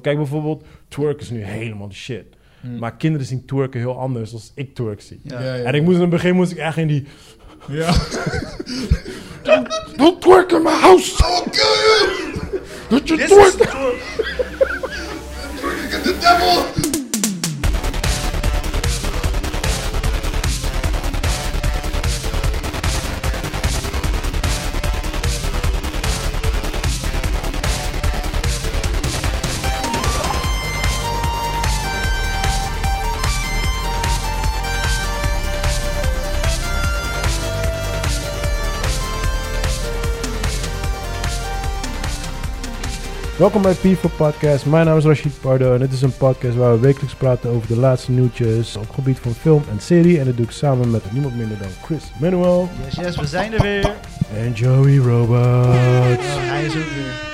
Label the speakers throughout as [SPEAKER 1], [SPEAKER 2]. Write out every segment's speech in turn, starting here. [SPEAKER 1] Kijk bijvoorbeeld, twerk is nu helemaal de shit.
[SPEAKER 2] Hm.
[SPEAKER 1] Maar kinderen zien twerken heel anders dan ik twerk zie.
[SPEAKER 2] Ja.
[SPEAKER 3] Ja, ja.
[SPEAKER 1] En ik moest in het begin moest ik echt in die...
[SPEAKER 3] Ja.
[SPEAKER 1] Don't twerk in my house!
[SPEAKER 4] will kill you!
[SPEAKER 1] Don't you
[SPEAKER 2] This
[SPEAKER 1] twerk!
[SPEAKER 2] is-
[SPEAKER 4] Get the devil!
[SPEAKER 5] Welkom bij People Podcast. Mijn naam is Rashid Pardo en dit is een podcast waar we wekelijks praten over de laatste nieuwtjes op het gebied van film en serie. En dat doe ik samen met niemand minder dan Chris Manuel
[SPEAKER 2] Yes, yes, we zijn er weer.
[SPEAKER 5] en Joey Robots.
[SPEAKER 2] Ja, hij is ook weer.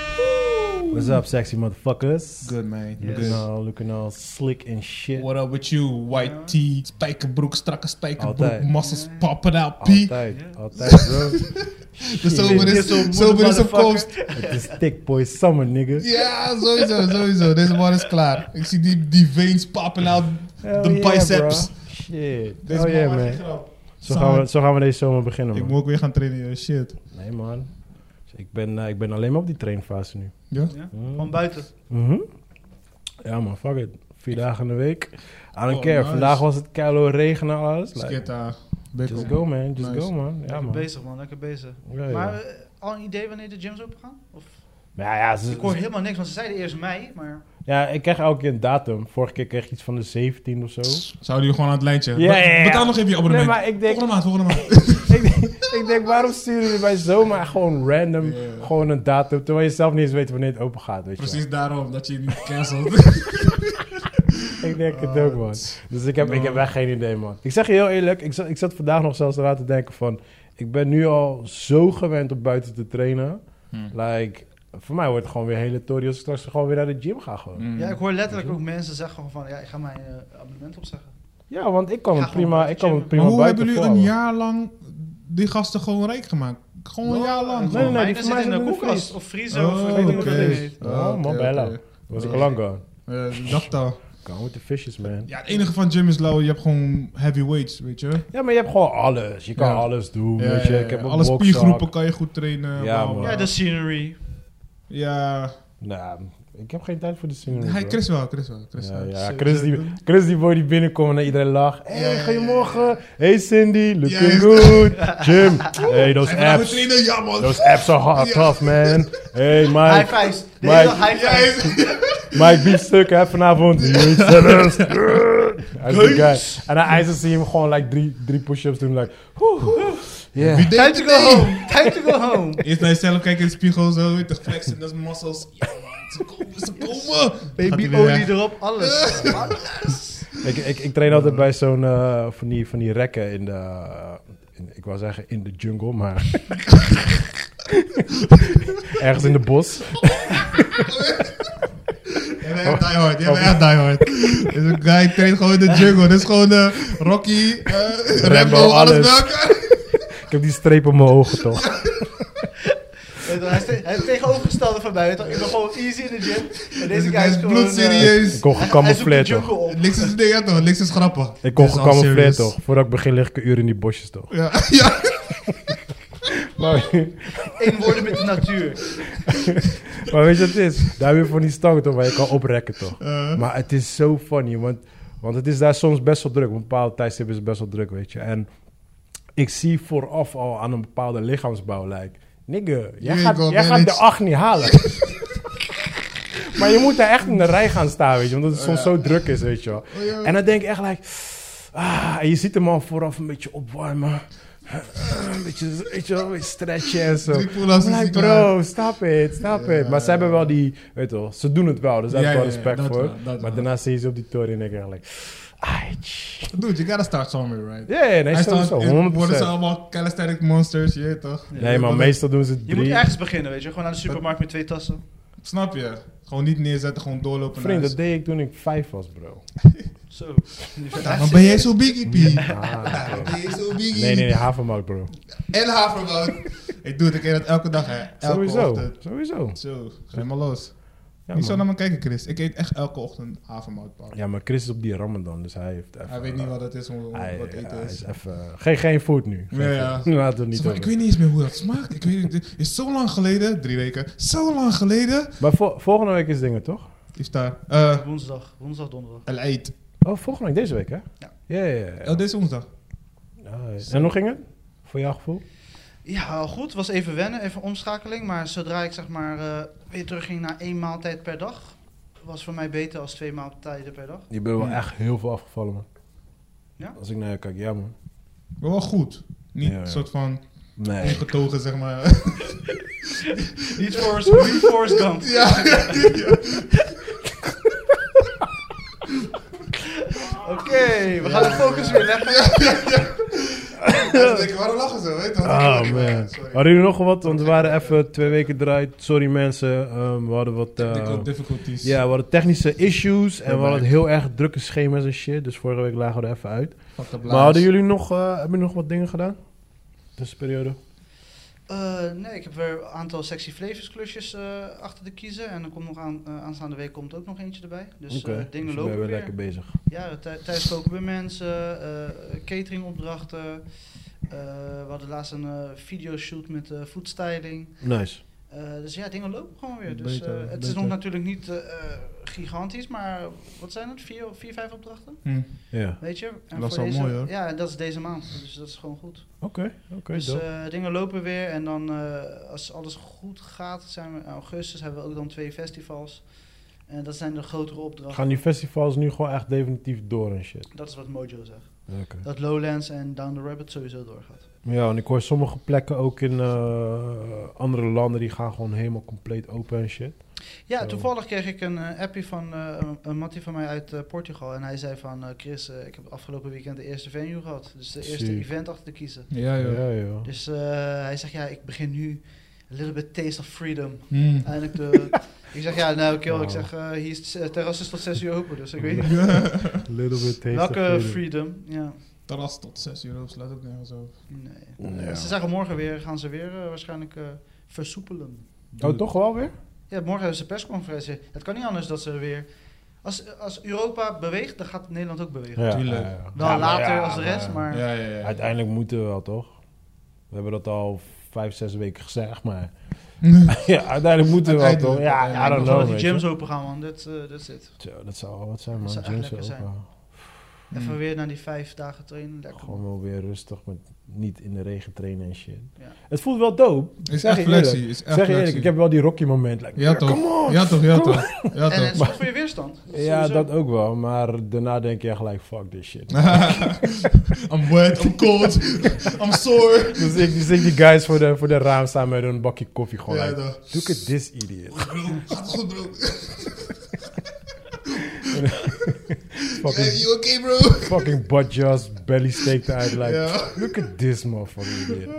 [SPEAKER 1] What's up, sexy motherfuckers?
[SPEAKER 2] Good, man.
[SPEAKER 1] Looking
[SPEAKER 2] Yes.
[SPEAKER 1] all, looking all slick and shit.
[SPEAKER 3] What up with you, white tee, spijkerbroek, strakke spijkerbroek,
[SPEAKER 1] Altijd.
[SPEAKER 3] muscles popping out, P.
[SPEAKER 1] Altijd, altijd bro.
[SPEAKER 3] De zomer
[SPEAKER 1] Shit.
[SPEAKER 2] Dit is
[SPEAKER 3] is,
[SPEAKER 2] zo'n moeder,
[SPEAKER 3] zomer is op
[SPEAKER 2] motherfucker.
[SPEAKER 3] komst.
[SPEAKER 1] Het is thick boy summer, nigga.
[SPEAKER 3] Ja, sowieso, sowieso. Deze man is klaar. Ik zie die, die veins popping out,
[SPEAKER 1] Hell
[SPEAKER 3] de
[SPEAKER 1] yeah,
[SPEAKER 3] biceps.
[SPEAKER 1] bro. Shit. oh
[SPEAKER 3] Deze man
[SPEAKER 1] yeah,
[SPEAKER 3] maakt geen
[SPEAKER 1] man.
[SPEAKER 3] grap.
[SPEAKER 1] Zo gaan, we, zo gaan we deze zomer beginnen,
[SPEAKER 3] Ik
[SPEAKER 1] man.
[SPEAKER 3] moet ook weer gaan trainen, joh. shit.
[SPEAKER 1] Nee, man. Dus ik, ben, eh, ik ben alleen maar op die trainfase nu.
[SPEAKER 3] Ja?
[SPEAKER 1] Mm.
[SPEAKER 2] Van buiten.
[SPEAKER 1] Mhm. Ja, man, fuck it. Vier dagen in de week. I don't
[SPEAKER 3] Oh,
[SPEAKER 1] care.
[SPEAKER 3] nice.
[SPEAKER 1] Vandaag was het keiharde regen en alles. Like,
[SPEAKER 3] Skita.
[SPEAKER 1] just go, man. Just
[SPEAKER 3] Nice.
[SPEAKER 1] go, man. Ja,
[SPEAKER 2] lekker
[SPEAKER 1] man.
[SPEAKER 2] bezig, man. Lekker bezig.
[SPEAKER 1] Ja, ja.
[SPEAKER 2] Maar eh, al een idee wanneer de gyms open gaan? Of?
[SPEAKER 1] Maar ja, ze-
[SPEAKER 2] Ik hoor helemaal niks, want ze zeiden eerst mei, maar...
[SPEAKER 1] ja, ik krijg elke keer een datum. Vorige keer kreeg ik iets van de 17 of zo.
[SPEAKER 3] Zouden jullie gewoon aan het lijntje?
[SPEAKER 1] Ja,
[SPEAKER 3] Be-
[SPEAKER 1] ja, ja.
[SPEAKER 3] Betaal nog even je abonnement.
[SPEAKER 1] Nee, maar ik denk-
[SPEAKER 3] Volgende maand, volgende maand.
[SPEAKER 1] ik, denk, ik denk, waarom sturen jullie mij zomaar gewoon random
[SPEAKER 3] Ja, ja.
[SPEAKER 1] gewoon een datum, terwijl je zelf niet eens weet wanneer het open gaat, weet je
[SPEAKER 3] Precies daarom, dat je je niet cancelt.
[SPEAKER 1] wel. Ik denk het ook,
[SPEAKER 3] Oh,
[SPEAKER 1] man. Dus ik heb, ik heb
[SPEAKER 3] man.
[SPEAKER 1] echt geen idee, man. Ik zeg je heel eerlijk, ik zat, ik zat vandaag nog zelfs eraan te denken van, ik ben nu al zo gewend om buiten te trainen.
[SPEAKER 3] Hmm.
[SPEAKER 1] Like, voor mij wordt het gewoon weer hele tory als ik straks gewoon weer naar de gym ga gewoon.
[SPEAKER 3] Mm.
[SPEAKER 2] Ja, ik hoor letterlijk ook mensen zeggen gewoon van... Ja, ik ga mijn eh, abonnement opzeggen.
[SPEAKER 1] Ja, want ik kan
[SPEAKER 2] Ga
[SPEAKER 1] het
[SPEAKER 2] gewoon
[SPEAKER 1] prima, ik
[SPEAKER 2] buiten
[SPEAKER 1] kan het
[SPEAKER 2] gymmen.
[SPEAKER 1] prima
[SPEAKER 3] maar hoe
[SPEAKER 1] buiten
[SPEAKER 3] hebben jullie een
[SPEAKER 1] volhouden.
[SPEAKER 3] jaar lang die gasten gewoon rijk gemaakt? Gewoon een jaar lang.
[SPEAKER 1] Oh, Nee, nee, nee,
[SPEAKER 3] gewoon.
[SPEAKER 2] Mijne
[SPEAKER 1] die van mij
[SPEAKER 2] zit in
[SPEAKER 1] zit
[SPEAKER 2] de
[SPEAKER 1] in de
[SPEAKER 2] koelkast
[SPEAKER 1] vries.
[SPEAKER 2] of vriezer of
[SPEAKER 3] Oh,
[SPEAKER 2] ik weet niet
[SPEAKER 3] oké.
[SPEAKER 2] hoe dat heet.
[SPEAKER 1] Oh,
[SPEAKER 3] oké,
[SPEAKER 1] man,
[SPEAKER 3] oké.
[SPEAKER 1] bella. Was ik al lang gone.
[SPEAKER 3] Eh, dat al.
[SPEAKER 1] Gone with the fishes, man.
[SPEAKER 3] Ja, het enige van Jim is low. Je hebt gewoon heavyweights, weet je.
[SPEAKER 1] Ja, maar je hebt gewoon alles. Je kan
[SPEAKER 3] Ja.
[SPEAKER 1] alles doen,
[SPEAKER 3] Ja,
[SPEAKER 1] weet je.
[SPEAKER 3] ja, ja.
[SPEAKER 1] Ik heb een
[SPEAKER 3] Alle
[SPEAKER 1] bokszak.
[SPEAKER 3] spiergroepen kan je goed trainen.
[SPEAKER 1] Ja, dus-
[SPEAKER 3] bla, bla.
[SPEAKER 1] man.
[SPEAKER 2] Ja, de scenery.
[SPEAKER 3] Ja,
[SPEAKER 1] Nou, ik heb geen tijd voor de single.
[SPEAKER 3] hij,
[SPEAKER 1] bro.
[SPEAKER 3] Chris wel, Chris wel. Chris
[SPEAKER 1] ja,
[SPEAKER 3] wel.
[SPEAKER 1] ja,
[SPEAKER 3] Zo-
[SPEAKER 1] Chris
[SPEAKER 3] zo-
[SPEAKER 1] die, Chris die boy die binnenkomt en naar iedereen lacht. Hey,
[SPEAKER 3] Ja, ja, ja,
[SPEAKER 1] goedemorgen. Hey Cindy,
[SPEAKER 3] Ja,
[SPEAKER 1] looking
[SPEAKER 3] ja.
[SPEAKER 1] good. Jim, hey, those
[SPEAKER 3] Hij wil nou
[SPEAKER 1] apps.
[SPEAKER 3] trainen, ja man.
[SPEAKER 1] Those apps are hard,
[SPEAKER 3] Ja.
[SPEAKER 1] tough, man. Hey,
[SPEAKER 2] High
[SPEAKER 1] Mike.
[SPEAKER 2] fives. De
[SPEAKER 1] Mike.
[SPEAKER 2] hele dag high
[SPEAKER 3] Ja,
[SPEAKER 2] fives.
[SPEAKER 3] hij-
[SPEAKER 1] Mike biefstuk, hè, vanavond. You eat salads. Hij is de guy. En dan eisen ze hem gewoon like drie, drie push-ups doen. Like, woe, woe. Yeah.
[SPEAKER 3] Wie denkt
[SPEAKER 2] Time to go home. Time to go home.
[SPEAKER 3] Eerst naar jezelf kijken in de spiegel, zo, weet je, flexen, dat is muscles. Ja man, ze komen, ze komen. Gaat hij
[SPEAKER 2] Baby
[SPEAKER 3] weer
[SPEAKER 2] olie
[SPEAKER 3] weg.
[SPEAKER 2] erop, alles.
[SPEAKER 1] Ik, ik, ik train altijd bij zo'n eh, van, die, van die rekken in de. eh, in- ik wou zeggen in de jungle, maar. Ergens in de bos.
[SPEAKER 3] Jij bent echt diehard, jij bent echt diehard. Dit is een guy, traint gewoon in de jungle. Dit is gewoon eh, Rocky, eh, Rambo, alles
[SPEAKER 1] alles.
[SPEAKER 3] bij elkaar.
[SPEAKER 1] Ik heb die streep op mijn ogen toch.
[SPEAKER 2] Weet je wel, Hij is te- hij is tegenovergestelde van mij. weet je wel. Ik ben gewoon easy in de gym. En deze guy
[SPEAKER 3] Hij
[SPEAKER 2] is
[SPEAKER 3] is
[SPEAKER 2] gewoon... eh,
[SPEAKER 3] bloedserieus.
[SPEAKER 1] Ik kon
[SPEAKER 2] Hij zoekt de
[SPEAKER 1] gecamoufleerd toch.
[SPEAKER 2] jungle op.
[SPEAKER 3] Links is nee, ja, toch, links is grappig.
[SPEAKER 1] Ik kon
[SPEAKER 3] Dit is
[SPEAKER 1] gecamoufleerd
[SPEAKER 3] serious.
[SPEAKER 1] toch. Voordat ik begin lig ik een uur in die bosjes toch.
[SPEAKER 3] Ja, ja.
[SPEAKER 1] Maar,
[SPEAKER 2] Eén woorden met de natuur.
[SPEAKER 1] maar weet je wat het is? Daar heb je van die stangen toch waar je kan oprekken toch.
[SPEAKER 3] Eh,
[SPEAKER 1] Maar het is zo funny, want, want het is daar soms best wel druk. Op een bepaalde tijdstip is het best wel druk, weet je. En ik zie vooraf al aan een bepaalde lichaamsbouw, like... Nigga, jij
[SPEAKER 3] You
[SPEAKER 1] gaat,
[SPEAKER 3] ain't
[SPEAKER 1] jij
[SPEAKER 3] gonna
[SPEAKER 1] gaat de
[SPEAKER 3] manage.
[SPEAKER 1] acht niet halen. maar je moet daar echt in de rij gaan staan, weet je. Omdat het soms zo druk is, weet je wel.
[SPEAKER 3] Oh, ja.
[SPEAKER 1] En dan denk ik echt, like... Ah, en je ziet hem al vooraf een beetje opwarmen. Eh, Een beetje, weet je wel, een beetje stretchen en zo.
[SPEAKER 3] Drie pull-ups
[SPEAKER 1] I'm
[SPEAKER 3] is
[SPEAKER 1] like,
[SPEAKER 3] hij klaar.
[SPEAKER 1] bro, stop it, stop it. Maar ze hebben wel die, weet je wel, ze doen het wel. Dus daar heb ik
[SPEAKER 3] Ja,
[SPEAKER 1] wel
[SPEAKER 3] ja, ja,
[SPEAKER 1] respect
[SPEAKER 3] dat
[SPEAKER 1] voor.
[SPEAKER 3] wel,
[SPEAKER 1] maar
[SPEAKER 3] dat wel.
[SPEAKER 1] daarna zie je ze op die toren en ik eigenlijk, ai, tsch.
[SPEAKER 3] Dude, you gotta start somewhere, right?
[SPEAKER 1] Ja, ja, nee,
[SPEAKER 3] Hij staat,
[SPEAKER 1] sowieso,
[SPEAKER 3] in- worden ze
[SPEAKER 1] 100%.
[SPEAKER 3] allemaal calisthenic monsters, je weet toch?
[SPEAKER 1] Nee, maar meestal doen ze
[SPEAKER 2] Je moet
[SPEAKER 1] drie.
[SPEAKER 2] ergens beginnen, weet je. Gewoon naar de supermarkt met twee tassen.
[SPEAKER 3] Snap je? Gewoon niet neerzetten, gewoon doorlopen.
[SPEAKER 1] Vriend,
[SPEAKER 3] naar
[SPEAKER 1] dat deed ik toen ik vijf was, bro.
[SPEAKER 2] Zo.
[SPEAKER 3] huis. Dan ben jij zo biggie, P.
[SPEAKER 1] Ah,
[SPEAKER 3] Dan
[SPEAKER 1] oké.
[SPEAKER 3] ben jij zo biggie.
[SPEAKER 1] Nee, nee, nee, havermout, bro.
[SPEAKER 3] En havermout. ik doe het, ik eet dat elke dag, hè. Elke
[SPEAKER 1] Sowieso,
[SPEAKER 3] ochtend.
[SPEAKER 1] sowieso.
[SPEAKER 3] Zo, ga je maar los.
[SPEAKER 1] Ja,
[SPEAKER 3] Niet zo
[SPEAKER 1] man.
[SPEAKER 3] naar me kijken, Chris. Ik eet echt elke ochtend havermoutpap.
[SPEAKER 1] ja, maar Chris is op die ramadan, dus hij heeft even...
[SPEAKER 3] Hij weet niet wat het is, hoe,
[SPEAKER 1] hij,
[SPEAKER 3] wat
[SPEAKER 1] ja,
[SPEAKER 3] eten
[SPEAKER 1] hij
[SPEAKER 3] is.
[SPEAKER 1] is even... Geen, geen food nu. Geen
[SPEAKER 3] Ja, ja.
[SPEAKER 1] food. Laten we het
[SPEAKER 3] Zo
[SPEAKER 1] niet
[SPEAKER 3] van,
[SPEAKER 1] over-
[SPEAKER 3] ik weet niet eens meer hoe dat smaakt. Ik weet, niet, dit is zo lang geleden, drie weken, zo lang geleden.
[SPEAKER 1] Maar vo- volgende week is dingen, toch?
[SPEAKER 3] Is daar. eh
[SPEAKER 2] Woensdag, woensdag, donderdag.
[SPEAKER 3] El Eid.
[SPEAKER 1] Oh, volgende week deze week, hè?
[SPEAKER 2] Ja.
[SPEAKER 1] Ja, ja, ja.
[SPEAKER 3] Oh, dit is woensdag.
[SPEAKER 1] Ah, ja. En hoe ging het? Voor jouw gevoel?
[SPEAKER 2] Ja, goed. Was even wennen, even omschakeling. Maar zodra ik zeg maar eh, weer terugging naar één maaltijd per dag, was voor mij beter als twee maaltijden per dag.
[SPEAKER 1] Je bent wel
[SPEAKER 3] Hmm.
[SPEAKER 1] echt heel veel afgevallen, man.
[SPEAKER 2] Ja?
[SPEAKER 1] Als ik naar je kijk, ja, man.
[SPEAKER 3] Maar wel goed. Niet
[SPEAKER 1] Ja, ja.
[SPEAKER 3] een soort van
[SPEAKER 1] Nee.
[SPEAKER 3] ingetogen, zeg maar.
[SPEAKER 2] Niet Forrest, niet Forrest Gump.
[SPEAKER 3] ja,
[SPEAKER 2] Oké, we gaan de focus weer leggen.
[SPEAKER 3] mensen denken, waarom lachen ze? Weet je wat?
[SPEAKER 1] Oh,
[SPEAKER 3] Ik-
[SPEAKER 1] man.
[SPEAKER 3] Sorry.
[SPEAKER 1] Hadden jullie nog wat? Want we waren even twee weken draait. Sorry mensen, ehm, we hadden wat... eh,
[SPEAKER 3] Technical difficulties.
[SPEAKER 1] ja, we hadden technische issues en we
[SPEAKER 3] Daarbij.
[SPEAKER 1] hadden heel erg drukke schema's en shit. Dus vorige week lagen we er even uit.
[SPEAKER 3] Fuck up,
[SPEAKER 1] Maar
[SPEAKER 3] laars.
[SPEAKER 1] hadden jullie nog, eh, hebben jullie nog wat dingen gedaan? Tussenperiode?
[SPEAKER 2] Eh, nee, ik heb weer een aantal sexy flavors klusjes eh, achter de kiezen. En er komt nog aan, eh, aanstaande week komt ook nog eentje erbij. Dus eh,
[SPEAKER 1] Oké,
[SPEAKER 2] dingen
[SPEAKER 1] dus we
[SPEAKER 2] lopen
[SPEAKER 1] zijn
[SPEAKER 2] weer.
[SPEAKER 1] weer lekker bezig.
[SPEAKER 2] Ja, thu- thuis koken bij mensen, eh cateringopdrachten. Eh, we hadden laatst een eh, videoshoot met eh foodstyling.
[SPEAKER 1] Nice.
[SPEAKER 2] Eh, dus ja, dingen lopen gewoon weer. Dus,
[SPEAKER 3] Beter,
[SPEAKER 2] eh, het is
[SPEAKER 3] beter.
[SPEAKER 2] nog natuurlijk niet eh, eh, gigantisch, maar wat zijn het? Vier, vier vijf opdrachten?
[SPEAKER 3] Hm.
[SPEAKER 1] Ja,
[SPEAKER 2] Weet je?
[SPEAKER 3] Dat is wel
[SPEAKER 2] deze,
[SPEAKER 3] mooi, hoor.
[SPEAKER 2] Ja, en dat is deze maand. Dus dat is gewoon goed.
[SPEAKER 1] oké. Oké,
[SPEAKER 2] dus
[SPEAKER 1] dope.
[SPEAKER 2] eh, dingen lopen weer. En dan, eh, als alles goed gaat, zijn we in augustus hebben we ook dan twee festivals. En dat zijn de grotere opdrachten.
[SPEAKER 1] eh, Gaan die festivals nu gewoon echt definitief door en shit?
[SPEAKER 2] Dat is wat Mojo zegt.
[SPEAKER 1] Oké.
[SPEAKER 2] Dat Lowlands en Down the Rabbit sowieso doorgaat.
[SPEAKER 1] Ja, en ik hoor sommige plekken ook in eh, andere landen, die gaan gewoon helemaal compleet open en shit.
[SPEAKER 2] Ja,
[SPEAKER 1] Zo.
[SPEAKER 2] toevallig kreeg ik een eh, appje van eh, een- een mattie van mij uit eh, Portugal. En hij zei van, eh, Chris, eh, ik heb afgelopen weekend de eerste venue gehad. Dus de eerste
[SPEAKER 1] Zie.
[SPEAKER 2] event achter te kiezen.
[SPEAKER 3] Ja, joh.
[SPEAKER 1] Ja, ja.
[SPEAKER 2] Dus eh, hij zegt, ja, ik begin nu a little bit taste of freedom.
[SPEAKER 3] Hm.
[SPEAKER 2] Eindelijk de... ik zeg, ja, nou, kill. Ik
[SPEAKER 1] Wauw.
[SPEAKER 2] zeg, eh, hier is het terras is tot 6 uur open. Dus ik weet niet
[SPEAKER 1] Little bit taste of
[SPEAKER 2] welke
[SPEAKER 1] freedom.
[SPEAKER 2] freedom. Ja,
[SPEAKER 3] Terras tot 6 euro slaat ook nergens op.
[SPEAKER 2] nee.
[SPEAKER 1] Ja.
[SPEAKER 2] Ze zeggen, morgen weer gaan ze weer eh, waarschijnlijk eh, versoepelen.
[SPEAKER 1] Oh, toch wel weer?
[SPEAKER 2] Ja, morgen hebben ze persconferentie. Het kan niet anders dat ze weer. Als, als Europa beweegt, dan gaat Nederland ook bewegen.
[SPEAKER 3] Tuurlijk.
[SPEAKER 1] ja, ja.
[SPEAKER 2] Wel
[SPEAKER 1] Ja, maar
[SPEAKER 2] later
[SPEAKER 1] ja,
[SPEAKER 2] als de rest, maar.
[SPEAKER 3] Ja, ja, ja.
[SPEAKER 1] Uiteindelijk moeten we wel, toch? We hebben dat al vijf, zes weken gezegd, maar... ja, uiteindelijk moeten we wel, toch?
[SPEAKER 3] Uiteindelijk,
[SPEAKER 1] Ja, I
[SPEAKER 3] uiteindelijk.
[SPEAKER 1] don't
[SPEAKER 2] Gewoon dat
[SPEAKER 1] know,
[SPEAKER 2] die
[SPEAKER 1] weet je.
[SPEAKER 2] gyms open gaan, man. Dat eh, dat zit.
[SPEAKER 1] Zo, dat zou wel wat zijn, man.
[SPEAKER 2] Dat zou echt
[SPEAKER 1] Gyms
[SPEAKER 2] lekker
[SPEAKER 1] open.
[SPEAKER 3] Hm.
[SPEAKER 2] Even weer naar die vijf dagen trainen. Lekker.
[SPEAKER 1] Gewoon wel weer rustig, met niet in de regen trainen en shit.
[SPEAKER 2] Ja.
[SPEAKER 1] Het voelt wel dope.
[SPEAKER 3] Is
[SPEAKER 1] Zeg
[SPEAKER 3] echt
[SPEAKER 1] je
[SPEAKER 3] flexie. Is echt
[SPEAKER 1] zeg je eerlijk,
[SPEAKER 3] flexie.
[SPEAKER 1] ik heb wel die Rocky-moment. Like,
[SPEAKER 3] Ja, toch?
[SPEAKER 1] Come on!
[SPEAKER 3] Ja, toch, ja, toch. Ja,
[SPEAKER 2] en het
[SPEAKER 3] toch.
[SPEAKER 2] is goed voor je weerstand.
[SPEAKER 1] Ja,
[SPEAKER 2] Sowieso.
[SPEAKER 1] dat ook wel. Maar daarna denk je gelijk, fuck this shit.
[SPEAKER 3] I'm wet, I'm cold, I'm sore.
[SPEAKER 1] dus ik dus ik die guys voor de, voor de raam staan met een bakje koffie gewoon.
[SPEAKER 3] Ja,
[SPEAKER 1] like,
[SPEAKER 3] toch.
[SPEAKER 1] Look at this idiot.
[SPEAKER 3] Bro, gaat goed, bro. Hey,
[SPEAKER 1] fucking
[SPEAKER 3] you okay, bro?
[SPEAKER 1] fucking butt just belly steak eruit. Like,
[SPEAKER 3] Ja.
[SPEAKER 1] Look at this motherfucking idiot.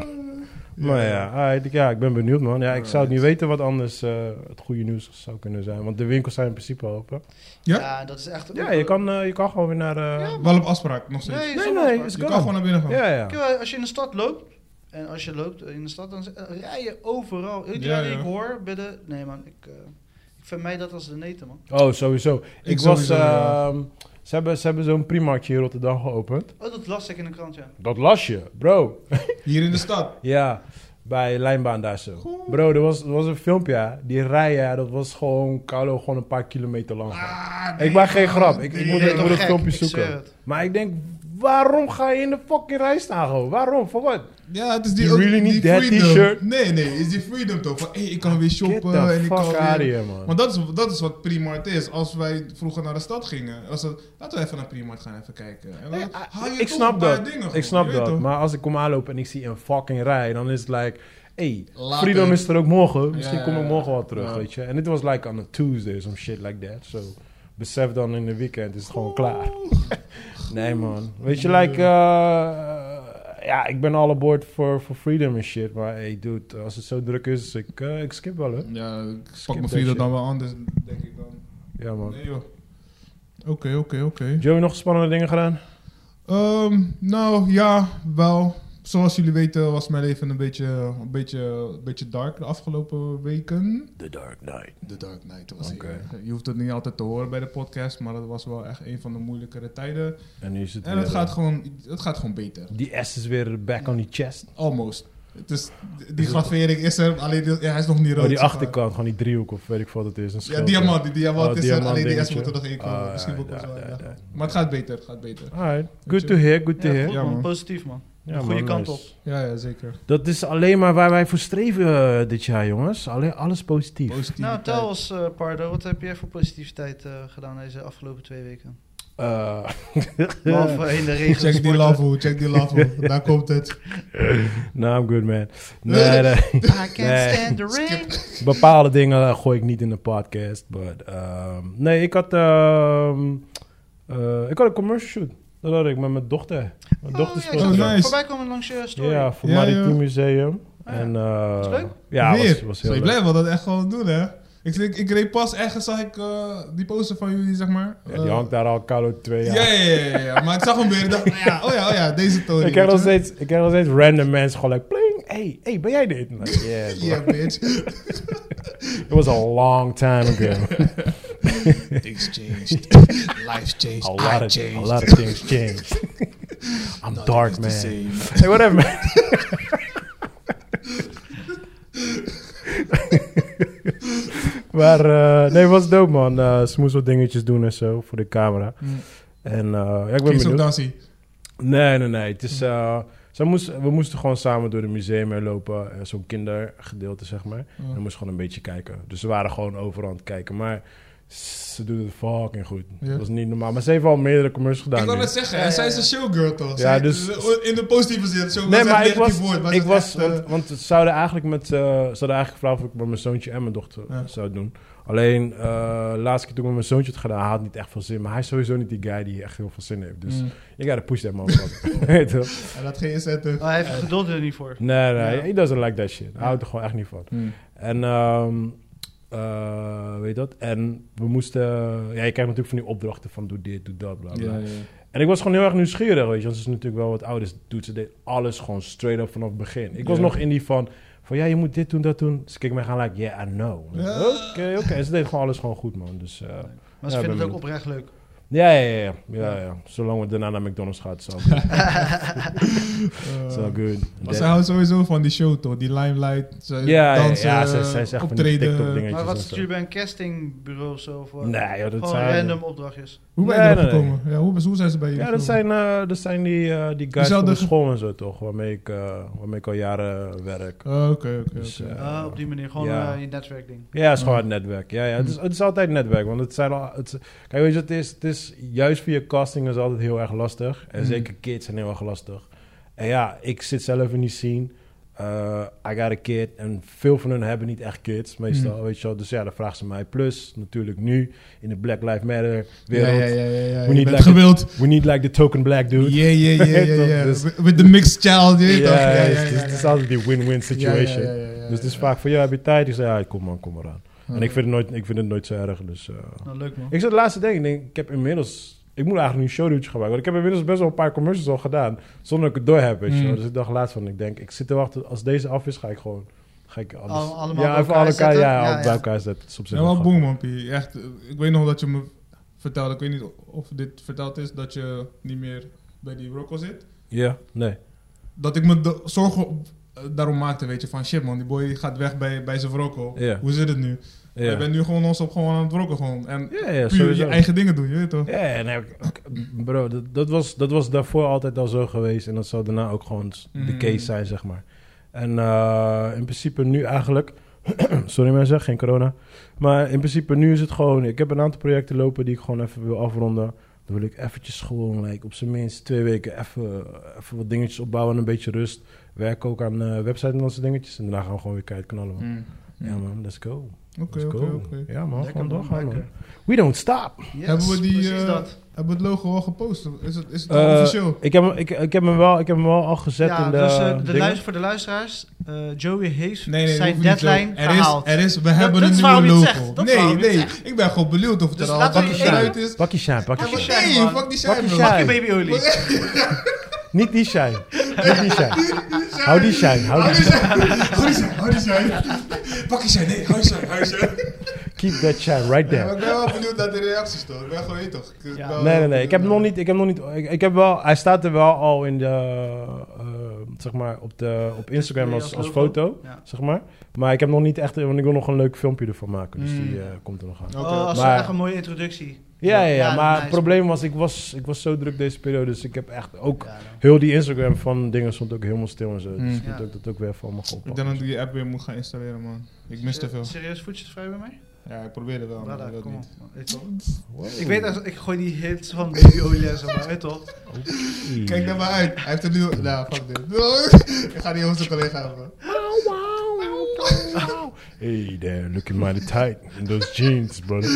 [SPEAKER 1] Maar ja, alright, ja, ik ben benieuwd man. Ja, ik zou het niet weten wat anders eh, het goede nieuws zou kunnen zijn. Want de winkels zijn in principe open.
[SPEAKER 3] Ja?
[SPEAKER 2] Ja, dat is echt.
[SPEAKER 1] Ja, je kan, eh, je kan gewoon weer naar... eh,
[SPEAKER 3] Wel op afspraak, nog steeds.
[SPEAKER 2] Nee,
[SPEAKER 1] nee,
[SPEAKER 2] soms-
[SPEAKER 1] nee, is
[SPEAKER 3] Je kan gewoon
[SPEAKER 1] gone.
[SPEAKER 3] naar binnen gaan.
[SPEAKER 1] Ja, ja.
[SPEAKER 2] Kijk, eh, Als je in de stad loopt. En als je loopt in de stad, dan z- eh, rij je overal. Iedereen
[SPEAKER 3] Ja,
[SPEAKER 2] die
[SPEAKER 3] ja.
[SPEAKER 2] ik hoor bij de. Nee, man. Ik, eh ik vermijd dat als de neten, man.
[SPEAKER 1] Oh, sowieso. Ik,
[SPEAKER 3] Ik
[SPEAKER 1] was...
[SPEAKER 3] sowieso, ja.
[SPEAKER 1] ehm, ze hebben, ze hebben zo'n primarkje in Rotterdam geopend.
[SPEAKER 2] Oh, dat las ik in de krant, ja.
[SPEAKER 1] Dat las je, bro.
[SPEAKER 3] Hier in de stad.
[SPEAKER 1] Ja, bij Lijnbaan daar zo. Bro, er was, er was een filmpje, hè. die rijden, dat was gewoon Carlo gewoon een paar kilometer lang.
[SPEAKER 3] Ah.
[SPEAKER 1] gaan. ik maak geen grap, ik, ik
[SPEAKER 2] Je
[SPEAKER 1] moet,
[SPEAKER 2] bent
[SPEAKER 1] ik
[SPEAKER 2] toch
[SPEAKER 1] moet het
[SPEAKER 2] gek?
[SPEAKER 1] filmpje
[SPEAKER 2] Ik zweer
[SPEAKER 1] zoeken.
[SPEAKER 2] het.
[SPEAKER 1] Maar ik denk, waarom ga je in de fucking rij staan gewoon? Waarom? Voor wat?
[SPEAKER 3] Ja, het is die,
[SPEAKER 1] You
[SPEAKER 3] ook-
[SPEAKER 1] really
[SPEAKER 3] die
[SPEAKER 1] need that
[SPEAKER 3] freedom.
[SPEAKER 1] t-shirt?
[SPEAKER 3] Nee, nee, is die freedom toch? Van, hé, ik kan weer
[SPEAKER 1] Get
[SPEAKER 3] shoppen en
[SPEAKER 1] the
[SPEAKER 3] ik
[SPEAKER 1] fuck
[SPEAKER 3] kan
[SPEAKER 1] out
[SPEAKER 3] weer...
[SPEAKER 1] of here, man.
[SPEAKER 3] Want dat is, dat is wat Primarkt is. Als wij vroeger naar de stad gingen, was dat, laten we even naar Primarkt gaan even kijken. En dan
[SPEAKER 1] Nee, ah,
[SPEAKER 3] haal je
[SPEAKER 1] Ik
[SPEAKER 3] toch een
[SPEAKER 1] snap
[SPEAKER 3] paar
[SPEAKER 1] dat,
[SPEAKER 3] dingen gewoon,
[SPEAKER 1] ik snap
[SPEAKER 3] je weet
[SPEAKER 1] dat.
[SPEAKER 3] toch?
[SPEAKER 1] Maar als ik kom aanlopen en ik zie een fucking rij, dan is het like... Hey,
[SPEAKER 3] Later.
[SPEAKER 1] freedom is er ook morgen. Misschien
[SPEAKER 3] ja,
[SPEAKER 1] kom ik
[SPEAKER 3] ja.
[SPEAKER 1] morgen wel terug,
[SPEAKER 3] Ja.
[SPEAKER 1] weet je. En dit was like on a Tuesday, some shit like that. So, besef dan in de weekend is het gewoon klaar. Nee, man. Weet je, like... eh, ja, ik ben all aboard voor voor freedom en shit. Maar hey, dude, als het zo druk is, ik, eh, ik skip wel, hè.
[SPEAKER 3] Ja, ik
[SPEAKER 1] Skip
[SPEAKER 3] pak mijn
[SPEAKER 1] dat
[SPEAKER 3] vrienden
[SPEAKER 1] shit.
[SPEAKER 3] dan wel anders, denk ik dan.
[SPEAKER 1] Ja, man.
[SPEAKER 3] Nee, joh. Oké, oké, oké.
[SPEAKER 1] Joey, nog spannende dingen gedaan?
[SPEAKER 3] Ehm, nou ja, wel. Zoals jullie weten was mijn leven een beetje, een beetje, een beetje dark de afgelopen weken.
[SPEAKER 1] The Dark Knight.
[SPEAKER 3] The Dark Knight was
[SPEAKER 1] Oké.
[SPEAKER 3] hier. Je hoeft het niet altijd te horen bij de podcast, maar dat was wel echt een van de moeilijkere tijden.
[SPEAKER 1] En nu is het
[SPEAKER 3] En het
[SPEAKER 1] weer,
[SPEAKER 3] gaat
[SPEAKER 1] eh,
[SPEAKER 3] gewoon, het gaat gewoon beter.
[SPEAKER 1] Die S is weer back on die chest.
[SPEAKER 3] Almost. Het is, die gravering is er, alleen die- ja, hij is nog niet rood.
[SPEAKER 1] Oh, die
[SPEAKER 3] zeg maar.
[SPEAKER 1] achterkant, gewoon die driehoek of weet ik veel wat het is. Een
[SPEAKER 3] Ja,
[SPEAKER 1] schild.
[SPEAKER 3] diamant. Die diamant
[SPEAKER 1] Oh,
[SPEAKER 3] is
[SPEAKER 1] diamant
[SPEAKER 3] er, alleen die S
[SPEAKER 1] dingetje.
[SPEAKER 3] moet er nog één komen.
[SPEAKER 1] Ah,
[SPEAKER 3] Misschien ook
[SPEAKER 1] ja,
[SPEAKER 3] wel zo.
[SPEAKER 1] ja,
[SPEAKER 3] ja.
[SPEAKER 1] ja.
[SPEAKER 3] Maar het gaat beter, het gaat beter.
[SPEAKER 1] Alright. Good to hear, good to
[SPEAKER 2] Ja,
[SPEAKER 1] hear.
[SPEAKER 2] goed,
[SPEAKER 3] Ja,
[SPEAKER 2] man.
[SPEAKER 3] man.
[SPEAKER 2] Positief, man.
[SPEAKER 1] Ja,
[SPEAKER 2] Goede
[SPEAKER 1] man,
[SPEAKER 2] kant
[SPEAKER 1] nice.
[SPEAKER 3] Ja, ja, zeker.
[SPEAKER 1] Dat is alleen maar waar wij voor streven eh, dit jaar, jongens. Alleen alles positief.
[SPEAKER 3] Positief.
[SPEAKER 2] Nou, tel ons, eh, Pardo, wat heb jij voor positiviteit eh, gedaan deze afgelopen twee weken?
[SPEAKER 1] Eh,
[SPEAKER 2] Behalve in de regen.
[SPEAKER 3] Check die
[SPEAKER 2] sporten.
[SPEAKER 3] love, hoe, check die love. hoe. Daar komt het.
[SPEAKER 1] nou, I'm good, man. Nee, nee.
[SPEAKER 2] I can't
[SPEAKER 1] Nee.
[SPEAKER 2] stand the rain.
[SPEAKER 1] Bepaalde dingen eh, gooi ik niet in de podcast. But, ehm, nee, ik had, ehm, eh, ik had een commercial shoot. Dat had ik met mijn dochter. Mijn dochter
[SPEAKER 2] Oh, ja, ik
[SPEAKER 1] speelt.
[SPEAKER 3] Oh,
[SPEAKER 2] zag
[SPEAKER 3] nice.
[SPEAKER 2] het voorbij komen langs je story.
[SPEAKER 1] Ja, voor
[SPEAKER 3] Ja,
[SPEAKER 1] Maritiem
[SPEAKER 3] ja.
[SPEAKER 1] Museum.
[SPEAKER 2] Ah, ja.
[SPEAKER 1] En, eh,
[SPEAKER 2] Was leuk?
[SPEAKER 1] Ja,
[SPEAKER 3] Weer.
[SPEAKER 1] was, was heel
[SPEAKER 3] Zo,
[SPEAKER 1] leuk.
[SPEAKER 3] je blijft wel dat echt gewoon doen, hè? Ik, ik, ik reed pas ergens, zag ik eh, die poster van jullie, zeg maar.
[SPEAKER 1] Ja, die hangt daar al koude twee
[SPEAKER 3] Ah. Ja,
[SPEAKER 1] jaar.
[SPEAKER 3] ja, ja, ja, ja. Maar ik zag hem weer en dacht, ja, oh ja, oh ja, deze toon.
[SPEAKER 1] Ik krijg, nog steeds, ik krijg nog steeds random mensen gewoon like, pling, hey, hey, ben jij dit? Like, yeah, bro.
[SPEAKER 3] Ja, bitch.
[SPEAKER 1] It was a long time ago.
[SPEAKER 3] Things changed. Life changed.
[SPEAKER 1] A lot of, a lot of things changed. I'm dark, man. Hey, whatever, man. maar eh, nee, was dope, man. Eh, ze moest wat dingetjes doen en zo voor de camera.
[SPEAKER 3] Mm.
[SPEAKER 1] En eh, ja, ik ben
[SPEAKER 3] Kings of
[SPEAKER 1] benieuwd.
[SPEAKER 3] Dancy.
[SPEAKER 1] Nee, nee, nee. Het is, eh, ze moest, we moesten gewoon samen door het museum heen lopen. eh, Zo'n kindergedeelte, zeg maar. En we moesten gewoon een beetje kijken. Dus ze waren gewoon overal aan het kijken. Maar ze doet het fucking goed.
[SPEAKER 3] Ja.
[SPEAKER 1] Dat was niet normaal. Maar ze heeft al meerdere commercials gedaan.
[SPEAKER 3] Ik wil
[SPEAKER 1] nu.
[SPEAKER 3] het zeggen,
[SPEAKER 2] Ja, ja,
[SPEAKER 3] zij is
[SPEAKER 2] ja.
[SPEAKER 3] een showgirl toch? Ja,
[SPEAKER 1] dus-
[SPEAKER 3] in de positieve zin, showgirl
[SPEAKER 1] Nee,
[SPEAKER 3] is
[SPEAKER 1] maar
[SPEAKER 3] echt
[SPEAKER 1] ik was,
[SPEAKER 3] negatief woord, maar
[SPEAKER 1] ik
[SPEAKER 3] het is
[SPEAKER 1] was
[SPEAKER 3] echt, eh,
[SPEAKER 1] want, want ze zouden eigenlijk met, eh, ze zouden eigenlijk gevraagd of ik met mijn zoontje en mijn dochter
[SPEAKER 3] Ja.
[SPEAKER 1] zou doen. Alleen, eh laatste keer toen ik met mijn zoontje het gedaan, hij had niet echt veel zin. Maar hij is sowieso niet die guy die echt heel veel zin heeft. Dus
[SPEAKER 3] Mm.
[SPEAKER 1] ik ga de push that man. Weet je wel?
[SPEAKER 3] Hij laat geen inzetten.
[SPEAKER 2] Oh, hij heeft geduld er niet voor.
[SPEAKER 1] nee, nee,
[SPEAKER 3] Ja. Hmm.
[SPEAKER 1] he doesn't like that shit. Hij houdt er gewoon echt niet van. En, ehm, eh, weet je dat? En we moesten, ja, je krijgt natuurlijk van die opdrachten van doe dit, doe dat, bla bla.
[SPEAKER 3] Ja, ja.
[SPEAKER 1] En ik was gewoon heel erg nieuwsgierig, weet je. Want ze is natuurlijk wel wat ouder. Ze doet ze deed alles gewoon straight up vanaf het begin. Ik was
[SPEAKER 3] Ja.
[SPEAKER 1] nog in die van... Van ja, je moet dit doen, dat doen. Ze keek mij gaan like, yeah, I know. Oké,
[SPEAKER 3] Ja.
[SPEAKER 1] oké. En ze deed gewoon alles gewoon goed, man. Dus eh,
[SPEAKER 2] Maar ze
[SPEAKER 1] Ja,
[SPEAKER 2] vinden
[SPEAKER 1] ben
[SPEAKER 2] het ook oprecht leuk.
[SPEAKER 1] ja, ja, ja, ja, ja, ja. Zolang we daarna naar McDonald's gaan, it's all good.
[SPEAKER 3] Eh,
[SPEAKER 1] It's all good.
[SPEAKER 3] maar
[SPEAKER 1] Dat-
[SPEAKER 3] zij houdt sowieso van die show toch? Die limelight, zij
[SPEAKER 1] Ja, ja,
[SPEAKER 3] dansen,
[SPEAKER 1] ja, zij- zij is echt van die
[SPEAKER 3] optreden.
[SPEAKER 1] TikTok-dingetjes.
[SPEAKER 2] Maar wat
[SPEAKER 1] en zo.
[SPEAKER 2] stuur je bij een castingbureau of zo? Of wat?
[SPEAKER 1] Nee, joh, dat
[SPEAKER 2] Gewoon
[SPEAKER 1] zijn-
[SPEAKER 2] random opdrachtjes.
[SPEAKER 3] Hoe ben je
[SPEAKER 1] Nee,
[SPEAKER 3] erop
[SPEAKER 1] nee, nee.
[SPEAKER 3] gekomen? Ja, hoe, hoe zijn ze bij jullie
[SPEAKER 1] Ja, dat
[SPEAKER 3] gekomen?
[SPEAKER 1] zijn, eh, dat zijn die, eh, die guys van
[SPEAKER 3] Diezelfde
[SPEAKER 1] de
[SPEAKER 3] ge-
[SPEAKER 1] school en zo, toch? Waarmee ik, eh, waarmee ik al jaren werk.
[SPEAKER 3] Oh, Oké, oké,
[SPEAKER 1] Dus,
[SPEAKER 3] oké.
[SPEAKER 1] eh,
[SPEAKER 2] Ah, op die manier, gewoon
[SPEAKER 1] ja.
[SPEAKER 2] eh, je netwerkding.
[SPEAKER 1] Ja, het is gewoon
[SPEAKER 3] Ja. Hm.
[SPEAKER 1] het netwerk. Ja, ja. Het, is, het is altijd netwerk. Want het zijn al. Het, kijk, weet je, het is, het is juist via casting is altijd heel erg lastig. En
[SPEAKER 3] Mm.
[SPEAKER 1] zeker kids zijn heel erg lastig. En ja, ik zit zelf in die scene. Eh, I got a kid. En veel van hun hebben niet echt kids, meestal.
[SPEAKER 3] Hm.
[SPEAKER 1] Weet je wel. Dus ja, dan vragen ze mij. Plus, natuurlijk nu in de Black Lives Matter
[SPEAKER 3] Ja,
[SPEAKER 1] wereld.
[SPEAKER 3] ja, ja, ja, ja.
[SPEAKER 1] We
[SPEAKER 3] Je
[SPEAKER 1] need like
[SPEAKER 3] bent
[SPEAKER 1] a-
[SPEAKER 3] gewild.
[SPEAKER 1] We need like the token black dude.
[SPEAKER 3] Ja, ja, ja, ja,
[SPEAKER 1] Toch,
[SPEAKER 3] ja.
[SPEAKER 1] dus-
[SPEAKER 3] With- With the mixed child, je weet
[SPEAKER 1] Ja,
[SPEAKER 3] toch? Ja, ja,
[SPEAKER 1] dus
[SPEAKER 3] ja,
[SPEAKER 1] het is-
[SPEAKER 3] ja,
[SPEAKER 1] Het is
[SPEAKER 3] ja.
[SPEAKER 1] altijd die win-win situation.
[SPEAKER 3] Ja, ja, ja, ja, ja,
[SPEAKER 1] Dus het is
[SPEAKER 3] ja.
[SPEAKER 1] vaak van, ja, heb je tijd? Ik zeg, ja, kom maar, kom maar aan.
[SPEAKER 3] Ja.
[SPEAKER 1] En ik vind, het nooit, ik vind het nooit zo erg, dus... eh,
[SPEAKER 2] Nou, leuk man.
[SPEAKER 1] Ik zat laatst te denken, ik denk, ik heb inmiddels... Ik moet eigenlijk een showdoetje gaan maken. Want ik heb inmiddels best wel een paar commercials al gedaan. Zonder dat ik het door heb, weet je
[SPEAKER 3] Mm.
[SPEAKER 1] wel. Dus ik dacht laatst van, ik denk, ik zit te wachten. Als deze af is, ga ik gewoon... Ga ik alles,
[SPEAKER 2] Al- allemaal
[SPEAKER 1] ja,
[SPEAKER 2] bij
[SPEAKER 1] even
[SPEAKER 2] elkaar
[SPEAKER 1] alle elkaar,
[SPEAKER 2] zetten?
[SPEAKER 1] ja,
[SPEAKER 2] Ja,
[SPEAKER 1] al
[SPEAKER 2] ja.
[SPEAKER 1] bij elkaar zetten. Het is op zich
[SPEAKER 3] Ja,
[SPEAKER 1] wel
[SPEAKER 3] wel
[SPEAKER 1] grappig.
[SPEAKER 3] boem, Wampie. Echt, eh, ik weet nog dat je me vertelde, ik weet niet of dit verteld is, dat je niet meer bij die Rocco zit.
[SPEAKER 1] Ja, nee.
[SPEAKER 3] Dat ik me de- zorgen op- eh, daarom maakte, weet je, van shit man, die boy gaat weg bij, bij zijn Rocco.
[SPEAKER 1] Ja.
[SPEAKER 3] Hoe zit het nu?
[SPEAKER 1] Ja,
[SPEAKER 3] Je bent nu gewoon ons gewoon aan het rocken gewoon. En
[SPEAKER 1] ja, ja
[SPEAKER 3] puur
[SPEAKER 1] sowieso.
[SPEAKER 3] je eigen dingen doen, je weet toch?
[SPEAKER 1] Ja, en heb ik- ook- bro, dat, dat, was, dat was daarvoor altijd al zo geweest. En dat zou daarna ook gewoon s- de
[SPEAKER 3] Mm.
[SPEAKER 1] case zijn, zeg maar. En eh, in principe nu eigenlijk... sorry mensen, geen corona. Maar in principe nu is het gewoon... Ik heb een aantal projecten lopen die ik gewoon even wil afronden. Dan wil ik eventjes gewoon like, op zijn minst twee weken even, even wat dingetjes opbouwen. en Een beetje rust. Werk ook aan eh website en dat soort dingetjes. En daarna gaan we gewoon weer keihard knallen, man.
[SPEAKER 2] Hmm.
[SPEAKER 3] Mm.
[SPEAKER 1] Ja man, let's go.
[SPEAKER 3] Oké,
[SPEAKER 1] Let's go.
[SPEAKER 3] oké, oké.
[SPEAKER 1] Ja man,
[SPEAKER 2] Lekker,
[SPEAKER 1] gewoon
[SPEAKER 2] man,
[SPEAKER 1] doorgaan man.
[SPEAKER 2] lekker.
[SPEAKER 1] We don't stop.
[SPEAKER 2] Yes,
[SPEAKER 3] Hebben we die,
[SPEAKER 2] precies
[SPEAKER 3] eh,
[SPEAKER 2] dat.
[SPEAKER 3] Hebben we het logo al gepost? Is het, is het
[SPEAKER 1] Eh,
[SPEAKER 3] al officieel?
[SPEAKER 1] Ik heb, hem- ik, ik, heb hem wel, ik heb hem wel al gezet
[SPEAKER 2] Ja,
[SPEAKER 1] in de.
[SPEAKER 2] dus eh, de
[SPEAKER 1] dingen.
[SPEAKER 2] luister voor de luisteraars. eh, Joey heeft
[SPEAKER 3] Nee, nee,
[SPEAKER 2] zijn
[SPEAKER 3] hoeft niet zo.
[SPEAKER 2] deadline
[SPEAKER 3] er
[SPEAKER 2] gehaald.
[SPEAKER 3] Is, er is, we hebben
[SPEAKER 2] dat
[SPEAKER 3] een
[SPEAKER 2] is
[SPEAKER 3] nieuwe
[SPEAKER 2] waarom je het
[SPEAKER 3] logo.
[SPEAKER 2] zegt. Dat is
[SPEAKER 3] nee,
[SPEAKER 2] waarom je het
[SPEAKER 3] nee, ik ben gewoon benieuwd of het
[SPEAKER 2] Dus
[SPEAKER 3] er al
[SPEAKER 2] laten we
[SPEAKER 3] bakje
[SPEAKER 2] je-
[SPEAKER 3] uit is.
[SPEAKER 1] Pak je shine, pak je
[SPEAKER 2] Pak je
[SPEAKER 1] shine.
[SPEAKER 2] shine.
[SPEAKER 3] Nee,
[SPEAKER 2] man.
[SPEAKER 3] fuck die
[SPEAKER 1] Pak je
[SPEAKER 3] shine, man.
[SPEAKER 1] shine.
[SPEAKER 2] Pak je baby olie.
[SPEAKER 1] Niet die shine. Niet die shine. Hou die shine. Hou die shine.
[SPEAKER 3] Hou die zijn, hou die zijn. Pak die zijn, nee, hou die zijn, hou die zijn.
[SPEAKER 1] Keep that shine right
[SPEAKER 3] Ja, maar
[SPEAKER 1] there.
[SPEAKER 3] ik ben wel benieuwd naar de reacties, toch? Ik ben gewoon, je weet toch? ik ben wel
[SPEAKER 1] Nee, nee, nee. Ik heb
[SPEAKER 3] benieuwd
[SPEAKER 1] nog niet. Ik heb nog niet. Ik, ik heb wel. Hij staat er wel al in de. eh, zeg maar op, de, op Instagram als, als foto.
[SPEAKER 2] Ja.
[SPEAKER 1] Zeg maar. Maar ik heb nog niet echt. Want ik wil nog een leuk filmpje ervan maken. Dus die
[SPEAKER 2] Mm.
[SPEAKER 1] eh, komt er nog aan.
[SPEAKER 3] Oké.
[SPEAKER 2] Oh, als
[SPEAKER 1] Maar-
[SPEAKER 2] echt een mooie introductie.
[SPEAKER 1] Ja, ja, ja,
[SPEAKER 2] Ja,
[SPEAKER 1] maar
[SPEAKER 2] nice.
[SPEAKER 1] het probleem was ik, was, ik was zo druk deze periode. Dus ik heb echt ook
[SPEAKER 2] Ja, dan.
[SPEAKER 1] heel die Instagram van dingen stond ook helemaal stil en zo.
[SPEAKER 3] Mm.
[SPEAKER 1] Dus ik moet
[SPEAKER 2] Ja.
[SPEAKER 1] ook dat ook weer even allemaal gaan
[SPEAKER 3] Ik
[SPEAKER 1] oppakken.
[SPEAKER 3] denk dat ik die app weer moet gaan installeren, man. Ik mis te veel.
[SPEAKER 2] Serieus voetjesvrij bij mij?
[SPEAKER 3] Ja, ik probeerde wel, maar
[SPEAKER 2] Brada,
[SPEAKER 3] ik wil het
[SPEAKER 2] kom op.
[SPEAKER 3] niet.
[SPEAKER 2] man. Weet je wel.
[SPEAKER 1] Wow.
[SPEAKER 2] Ik weet echt, ik gooi die hits van Baby Olie en zo, maar weet je toch?
[SPEAKER 3] Kijk naar maar uit. Hij heeft er nu... Nou, fuck dit. ik ga die over zijn collega hebben.
[SPEAKER 1] Hey there, looking mighty tight in those jeans, brother.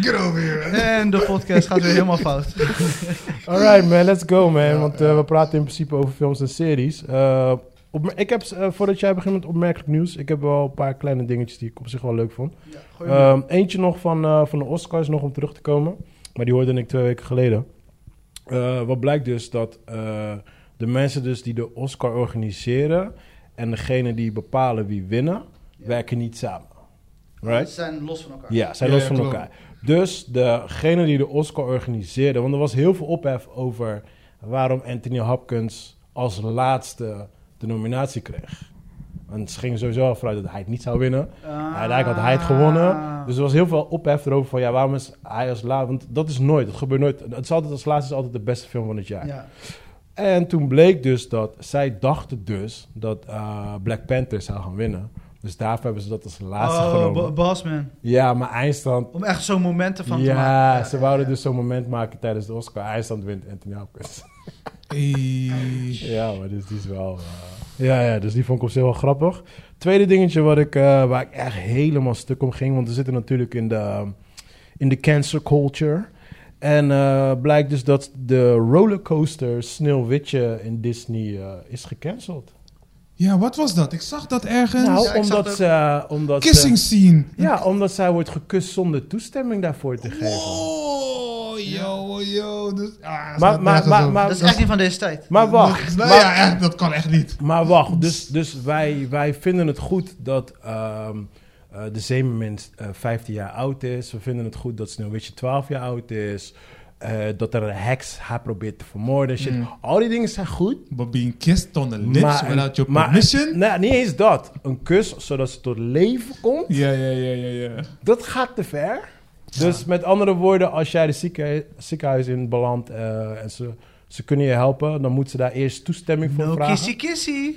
[SPEAKER 3] Get over here.
[SPEAKER 2] En de podcast gaat weer helemaal fout.
[SPEAKER 1] Alright man, let's go man. Want eh, we praten in principe over films en series. Eh, opmer- ik heb, eh, voordat jij begint met opmerkelijk nieuws, ik heb wel een paar kleine dingetjes die ik op zich wel leuk vond.
[SPEAKER 2] Ja, gooi hem.
[SPEAKER 1] Ehm, eentje nog van, eh, van de Oscars, nog om terug te komen. Maar die hoorde ik twee weken geleden. Eh, wat blijkt dus dat eh, de mensen dus die de Oscar organiseren... en degene die bepalen wie winnen,
[SPEAKER 2] Ja.
[SPEAKER 1] werken niet samen. Right?
[SPEAKER 2] Ze zijn los van elkaar.
[SPEAKER 1] Ja, zijn
[SPEAKER 3] Ja,
[SPEAKER 1] los
[SPEAKER 3] ja,
[SPEAKER 1] van
[SPEAKER 3] klopt.
[SPEAKER 1] elkaar. Dus degene die de Oscar organiseerde... want er was heel veel ophef over waarom Anthony Hopkins als laatste de nominatie kreeg. Want ze gingen sowieso al vanuit dat hij het niet zou winnen...
[SPEAKER 2] Ah.
[SPEAKER 1] Ja, eigenlijk had hij het gewonnen. Dus er was heel veel ophef erover van ja, waarom is hij als laatste? Want dat is nooit, dat gebeurt nooit. Het is altijd als laatste is altijd de beste film van het jaar.
[SPEAKER 2] Ja.
[SPEAKER 1] En toen bleek dus dat zij dachten dus dat eh, Black Panther zou gaan winnen. Dus daarvoor hebben ze dat als laatste
[SPEAKER 2] Oh,
[SPEAKER 1] genomen.
[SPEAKER 2] Ba- Basman.
[SPEAKER 1] ja, maar Eindstand.
[SPEAKER 2] Om echt zo'n momenten van te maken.
[SPEAKER 1] Ja, ze wouden dus zo'n moment maken tijdens de Oscar. Eindstand wint Anthony Hopkins. Ja, maar dus die is wel. eh, Ja, ja, dus die vond ik op zich wel grappig. Tweede dingetje wat ik, eh, waar ik echt helemaal stuk om ging. Want we zitten natuurlijk in de, ehm, in de cancer culture. En eh, blijkt dus dat de rollercoaster Sneeuwwitje in Disney eh, is gecanceld.
[SPEAKER 3] Ja, wat was dat? Ik zag dat ergens.
[SPEAKER 1] nou,
[SPEAKER 2] ja, ik zag
[SPEAKER 1] omdat,
[SPEAKER 2] dat
[SPEAKER 1] ze, eh, omdat ze-
[SPEAKER 3] Kissing scene.
[SPEAKER 1] Ja, omdat zij wordt gekust zonder toestemming daarvoor te geven.
[SPEAKER 3] Wow, yo, yo. Dus,
[SPEAKER 1] Maar-
[SPEAKER 3] ah, dat-
[SPEAKER 1] maar-
[SPEAKER 3] dat-
[SPEAKER 1] maar-
[SPEAKER 3] dat-
[SPEAKER 1] maar-
[SPEAKER 2] Dat is echt niet van deze tijd.
[SPEAKER 1] Maar wacht.
[SPEAKER 3] dat- nou
[SPEAKER 1] maar-
[SPEAKER 3] ja, echt, dat kan echt niet.
[SPEAKER 1] Maar wacht, dus, dus wij, wij vinden het goed dat ehm, eh, de zeemermens eh 15 jaar oud is. We vinden het goed dat Sneeuwwitje 12 jaar oud is. Eh, dat er een heks haar probeert te vermoorden. Shit. Al die dingen zijn goed.
[SPEAKER 3] But being kissed on the lips without your
[SPEAKER 1] maar-
[SPEAKER 3] permission?
[SPEAKER 1] nou, niet eens dat. Een kus zodat ze tot leven komt.
[SPEAKER 3] Ja, ja, ja, ja, ja.
[SPEAKER 1] Dat gaat te ver. Dus met andere woorden, als jij de zieke- ziekenhuis in belandt eh, en ze, ze kunnen je helpen, dan moeten ze daar eerst toestemming voor
[SPEAKER 2] No
[SPEAKER 1] vragen.
[SPEAKER 2] kissy kissy.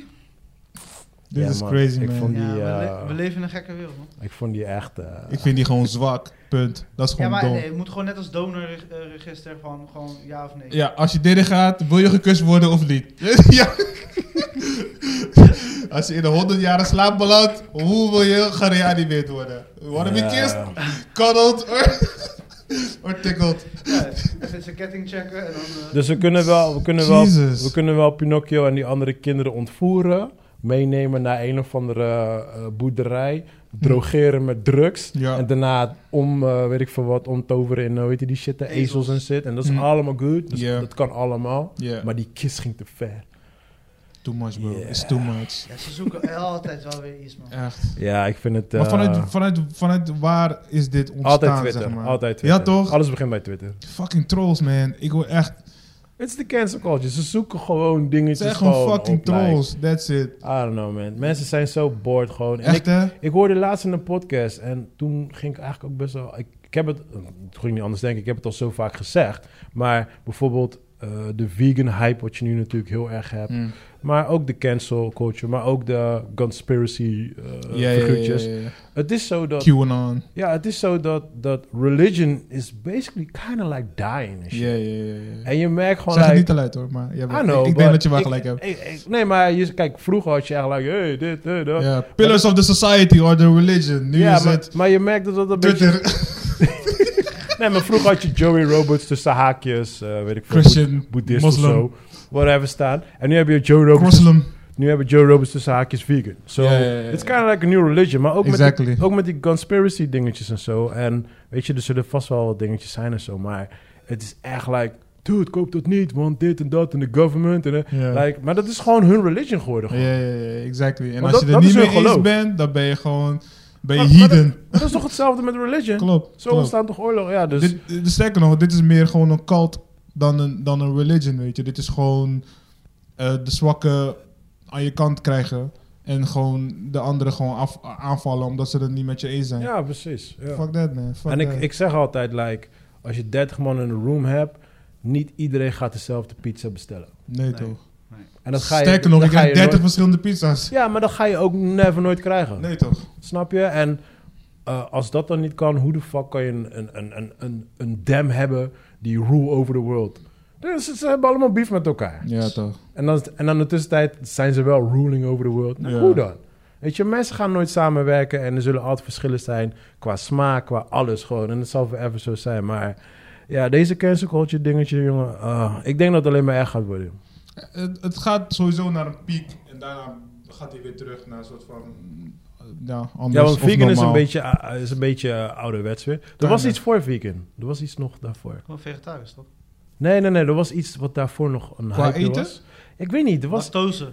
[SPEAKER 3] Dit
[SPEAKER 1] Ja,
[SPEAKER 3] is
[SPEAKER 1] man,
[SPEAKER 3] crazy,
[SPEAKER 1] ik
[SPEAKER 3] man.
[SPEAKER 1] vond- Die,
[SPEAKER 2] Ja, we, le-
[SPEAKER 1] eh,
[SPEAKER 2] we leven in een gekke wereld. man.
[SPEAKER 1] Ik vond die echt. eh,
[SPEAKER 3] Ik vind die gewoon zwak. Punt. Dat is
[SPEAKER 2] Ja,
[SPEAKER 3] gewoon
[SPEAKER 2] maar
[SPEAKER 3] dom.
[SPEAKER 2] nee, je moet gewoon net als donorregister van gewoon ja of nee.
[SPEAKER 3] Ja, als je dit gaat, wil je gekust worden of niet? ja. Als je in de 100 jaren slaap belandt, hoe wil je gereanimeerd worden? Wanna
[SPEAKER 1] Ja.
[SPEAKER 3] be kissed, cuddled or, or tickled?
[SPEAKER 2] Ja, even zijn ketting checken en dan... eh,
[SPEAKER 1] Dus we kunnen wel, we kunnen wel,
[SPEAKER 3] Jezus.
[SPEAKER 1] we kunnen wel Pinocchio en die andere kinderen ontvoeren. Meenemen naar een of andere eh, boerderij. Drogeren met drugs.
[SPEAKER 3] Hm. Ja.
[SPEAKER 1] En daarna om, eh, weet ik veel wat, omtoveren in, eh, weet je die shit, de ezels,
[SPEAKER 2] Ezels.
[SPEAKER 1] en shit. En dat is
[SPEAKER 3] Mm.
[SPEAKER 1] allemaal goed. Dus
[SPEAKER 3] Ja.
[SPEAKER 1] dat kan allemaal.
[SPEAKER 3] Ja.
[SPEAKER 1] Maar die kiss ging te ver.
[SPEAKER 3] Too much, bro.
[SPEAKER 1] Ja.
[SPEAKER 3] It's too much.
[SPEAKER 2] ja, ze zoeken altijd wel weer iets, man.
[SPEAKER 3] Echt.
[SPEAKER 1] Ja, ik vind het... eh,
[SPEAKER 3] Maar vanuit, vanuit, vanuit waar is dit ontstaan,
[SPEAKER 1] altijd Twitter.
[SPEAKER 3] zeg maar?
[SPEAKER 1] Altijd Twitter.
[SPEAKER 3] Ja, toch?
[SPEAKER 1] Alles begint bij Twitter.
[SPEAKER 3] Fucking trolls, man. Ik wil echt...
[SPEAKER 1] Het is de cancel culture. Ze zoeken gewoon dingetjes
[SPEAKER 3] Het zijn gewoon fucking
[SPEAKER 1] op, like,
[SPEAKER 3] trolls. That's it.
[SPEAKER 1] I don't know, man. Mensen zijn zo bored gewoon. En ik-
[SPEAKER 3] Echt, hè?
[SPEAKER 1] Ik hoorde laatst in een podcast en toen ging ik eigenlijk ook best wel. Ik, ik heb het, eh, het ging niet anders denken, ik heb het al zo vaak gezegd. Maar bijvoorbeeld eh, de vegan hype, wat je nu natuurlijk heel erg hebt.
[SPEAKER 3] Mm.
[SPEAKER 1] Maar ook de cancel culture, maar ook de conspiracy eh
[SPEAKER 3] Ja, ja, ja,
[SPEAKER 1] figuurtjes.
[SPEAKER 3] ja, ja.
[SPEAKER 1] Het is zo dat,
[SPEAKER 3] QAnon.
[SPEAKER 1] ja, het is zo dat, dat religion is basically kind of like dying. and shit.
[SPEAKER 3] Ja, ja, ja, ja.
[SPEAKER 1] En je merkt gewoon.
[SPEAKER 3] Zeg het
[SPEAKER 1] like-
[SPEAKER 3] niet te luid, hoor. Maar ja,
[SPEAKER 1] I know,
[SPEAKER 3] ik
[SPEAKER 1] but
[SPEAKER 3] denk dat je wel
[SPEAKER 1] ik-
[SPEAKER 3] gelijk hebt.
[SPEAKER 1] ik- ik- nee, maar je, kijk, vroeger had je eigenlijk, hey, dit, dit, dat.
[SPEAKER 3] Ja, pillars of the society or the religion. Nu
[SPEAKER 1] Ja,
[SPEAKER 3] is
[SPEAKER 1] maar,
[SPEAKER 3] het
[SPEAKER 1] maar je merkt dat dat een beetje
[SPEAKER 3] Twitter,
[SPEAKER 1] Nee, maar vroeger had je Joey Roberts tussen haakjes, eh, weet ik veel,
[SPEAKER 3] Christian,
[SPEAKER 1] boed- boeddhist of
[SPEAKER 3] moslim,
[SPEAKER 1] zo, whatever staan. En nu heb je Joe Roberts,
[SPEAKER 3] Muslim.
[SPEAKER 1] nu hebben Joe Roberts tussen haakjes vegan. So,
[SPEAKER 3] Ja, ja, ja, ja.
[SPEAKER 1] it's kind of like a new religion, maar ook, met
[SPEAKER 3] Exactly.
[SPEAKER 1] die, ook met die conspiracy dingetjes en zo. En weet je, er zullen vast wel wat dingetjes zijn en zo, maar het is echt like, dude, koop dat niet, want dit en dat en de government. En, eh,
[SPEAKER 3] Ja.
[SPEAKER 1] like, maar dat is gewoon hun religion geworden.
[SPEAKER 3] Ja,
[SPEAKER 1] gewoon.
[SPEAKER 3] ja, ja, exactly. En
[SPEAKER 1] Want
[SPEAKER 3] als
[SPEAKER 1] dat-
[SPEAKER 3] je er
[SPEAKER 1] dat is
[SPEAKER 3] niet
[SPEAKER 1] hun
[SPEAKER 3] mee eens
[SPEAKER 1] geloof.
[SPEAKER 3] bent, dan ben je gewoon... Ben je
[SPEAKER 1] Maar- maar dat-
[SPEAKER 3] heathen.
[SPEAKER 1] Dat is toch hetzelfde met religion?
[SPEAKER 3] Klopt.
[SPEAKER 1] Zo
[SPEAKER 3] klopt.
[SPEAKER 1] ontstaan toch oorlog? Ja, dus...
[SPEAKER 3] Dit, dit- sterker nog, dit is meer gewoon een cult dan een, dan een religion, weet je. Dit is gewoon eh, de zwakke aan je kant krijgen en gewoon de anderen gewoon af, aanvallen omdat ze het niet met je eens zijn.
[SPEAKER 1] ja, precies. Ja.
[SPEAKER 3] Fuck that, man. Fuck
[SPEAKER 1] en ik,
[SPEAKER 3] that.
[SPEAKER 1] ik zeg altijd, like, als je 30 man in een room hebt, niet iedereen gaat dezelfde pizza bestellen.
[SPEAKER 3] nee,
[SPEAKER 2] Nee.
[SPEAKER 3] toch.
[SPEAKER 1] En dat ga je,
[SPEAKER 3] Sterker nog,
[SPEAKER 1] dat
[SPEAKER 3] ik
[SPEAKER 1] ga
[SPEAKER 3] krijg
[SPEAKER 1] je
[SPEAKER 3] 30
[SPEAKER 1] nooit-
[SPEAKER 3] verschillende pizza's.
[SPEAKER 1] Ja, maar dat ga je ook never nooit krijgen.
[SPEAKER 3] Nee, toch.
[SPEAKER 1] Snap je? En eh, als dat dan niet kan, hoe de fuck kan je een, een, een, een, een, een dam hebben die rule over the world? Dus ze hebben allemaal beef met elkaar.
[SPEAKER 3] Ja, toch.
[SPEAKER 1] En dan, en dan in de tussentijd zijn ze wel ruling over the world. Nou,
[SPEAKER 3] Ja.
[SPEAKER 1] Hoe dan? Weet je, mensen gaan nooit samenwerken en er zullen altijd verschillen zijn qua smaak, qua alles gewoon. En dat zal forever zo zijn. Maar ja, deze cancel culture dingetje, jongen. ah, ik denk dat het alleen maar erg gaat worden.
[SPEAKER 3] Het, het gaat sowieso naar een piek en daarna gaat hij weer terug naar een soort van... eh, Ja, anders
[SPEAKER 1] Ja, want
[SPEAKER 3] of
[SPEAKER 1] vegan is een
[SPEAKER 3] normaal.
[SPEAKER 1] beetje, ah, is een beetje eh, ouderwets weer. Er was
[SPEAKER 3] Bijna.
[SPEAKER 1] iets voor vegan. Er was iets nog daarvoor.
[SPEAKER 2] Gewoon vegetarisch, toch?
[SPEAKER 1] Nee, nee, nee. Er was iets wat daarvoor nog een
[SPEAKER 3] Qua
[SPEAKER 1] hype
[SPEAKER 3] eten?
[SPEAKER 1] was. Ik weet niet. Er was,
[SPEAKER 2] Lactose.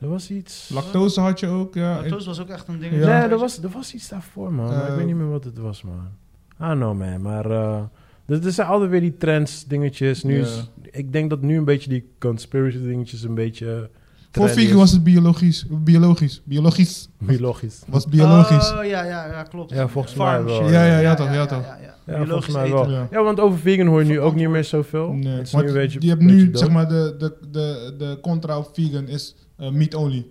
[SPEAKER 1] er was iets...
[SPEAKER 3] Lactose had je ook, ja.
[SPEAKER 2] Lactose was ook echt een ding.
[SPEAKER 3] Ja.
[SPEAKER 1] Nee, er was, er was iets daarvoor, man. maar ik
[SPEAKER 3] Eh,
[SPEAKER 1] weet niet meer wat het was, man. I don't know, man. Maar eh, er, er zijn altijd weer die trends, dingetjes. Nu
[SPEAKER 3] Ja.
[SPEAKER 1] is, ik denk dat nu een beetje die conspiracy dingetjes een beetje... eh,
[SPEAKER 3] Voor
[SPEAKER 1] trendy
[SPEAKER 3] vegan
[SPEAKER 1] is.
[SPEAKER 3] was het biologisch. Biologisch. Biologisch.
[SPEAKER 1] Biologisch.
[SPEAKER 3] Was biologisch.
[SPEAKER 2] Oh, ja, ja, ja, klopt.
[SPEAKER 1] Ja, volgens mij
[SPEAKER 2] Farm
[SPEAKER 1] wel.
[SPEAKER 2] shit.
[SPEAKER 3] Ja, ja, ja, toch, ja, toch.
[SPEAKER 2] Ja,
[SPEAKER 1] Ja,
[SPEAKER 2] Biologisch
[SPEAKER 1] volgens mij
[SPEAKER 2] eten.
[SPEAKER 1] wel.
[SPEAKER 3] Ja.
[SPEAKER 1] Ja, want over vegan hoor je nu ook niet meer zoveel.
[SPEAKER 3] Nee,
[SPEAKER 1] Het is
[SPEAKER 3] want
[SPEAKER 1] nu een beetje-
[SPEAKER 3] je hebt
[SPEAKER 1] beetje
[SPEAKER 3] nu,
[SPEAKER 1] dood.
[SPEAKER 3] zeg maar, de, de, de, de contra op vegan is eh, meat only.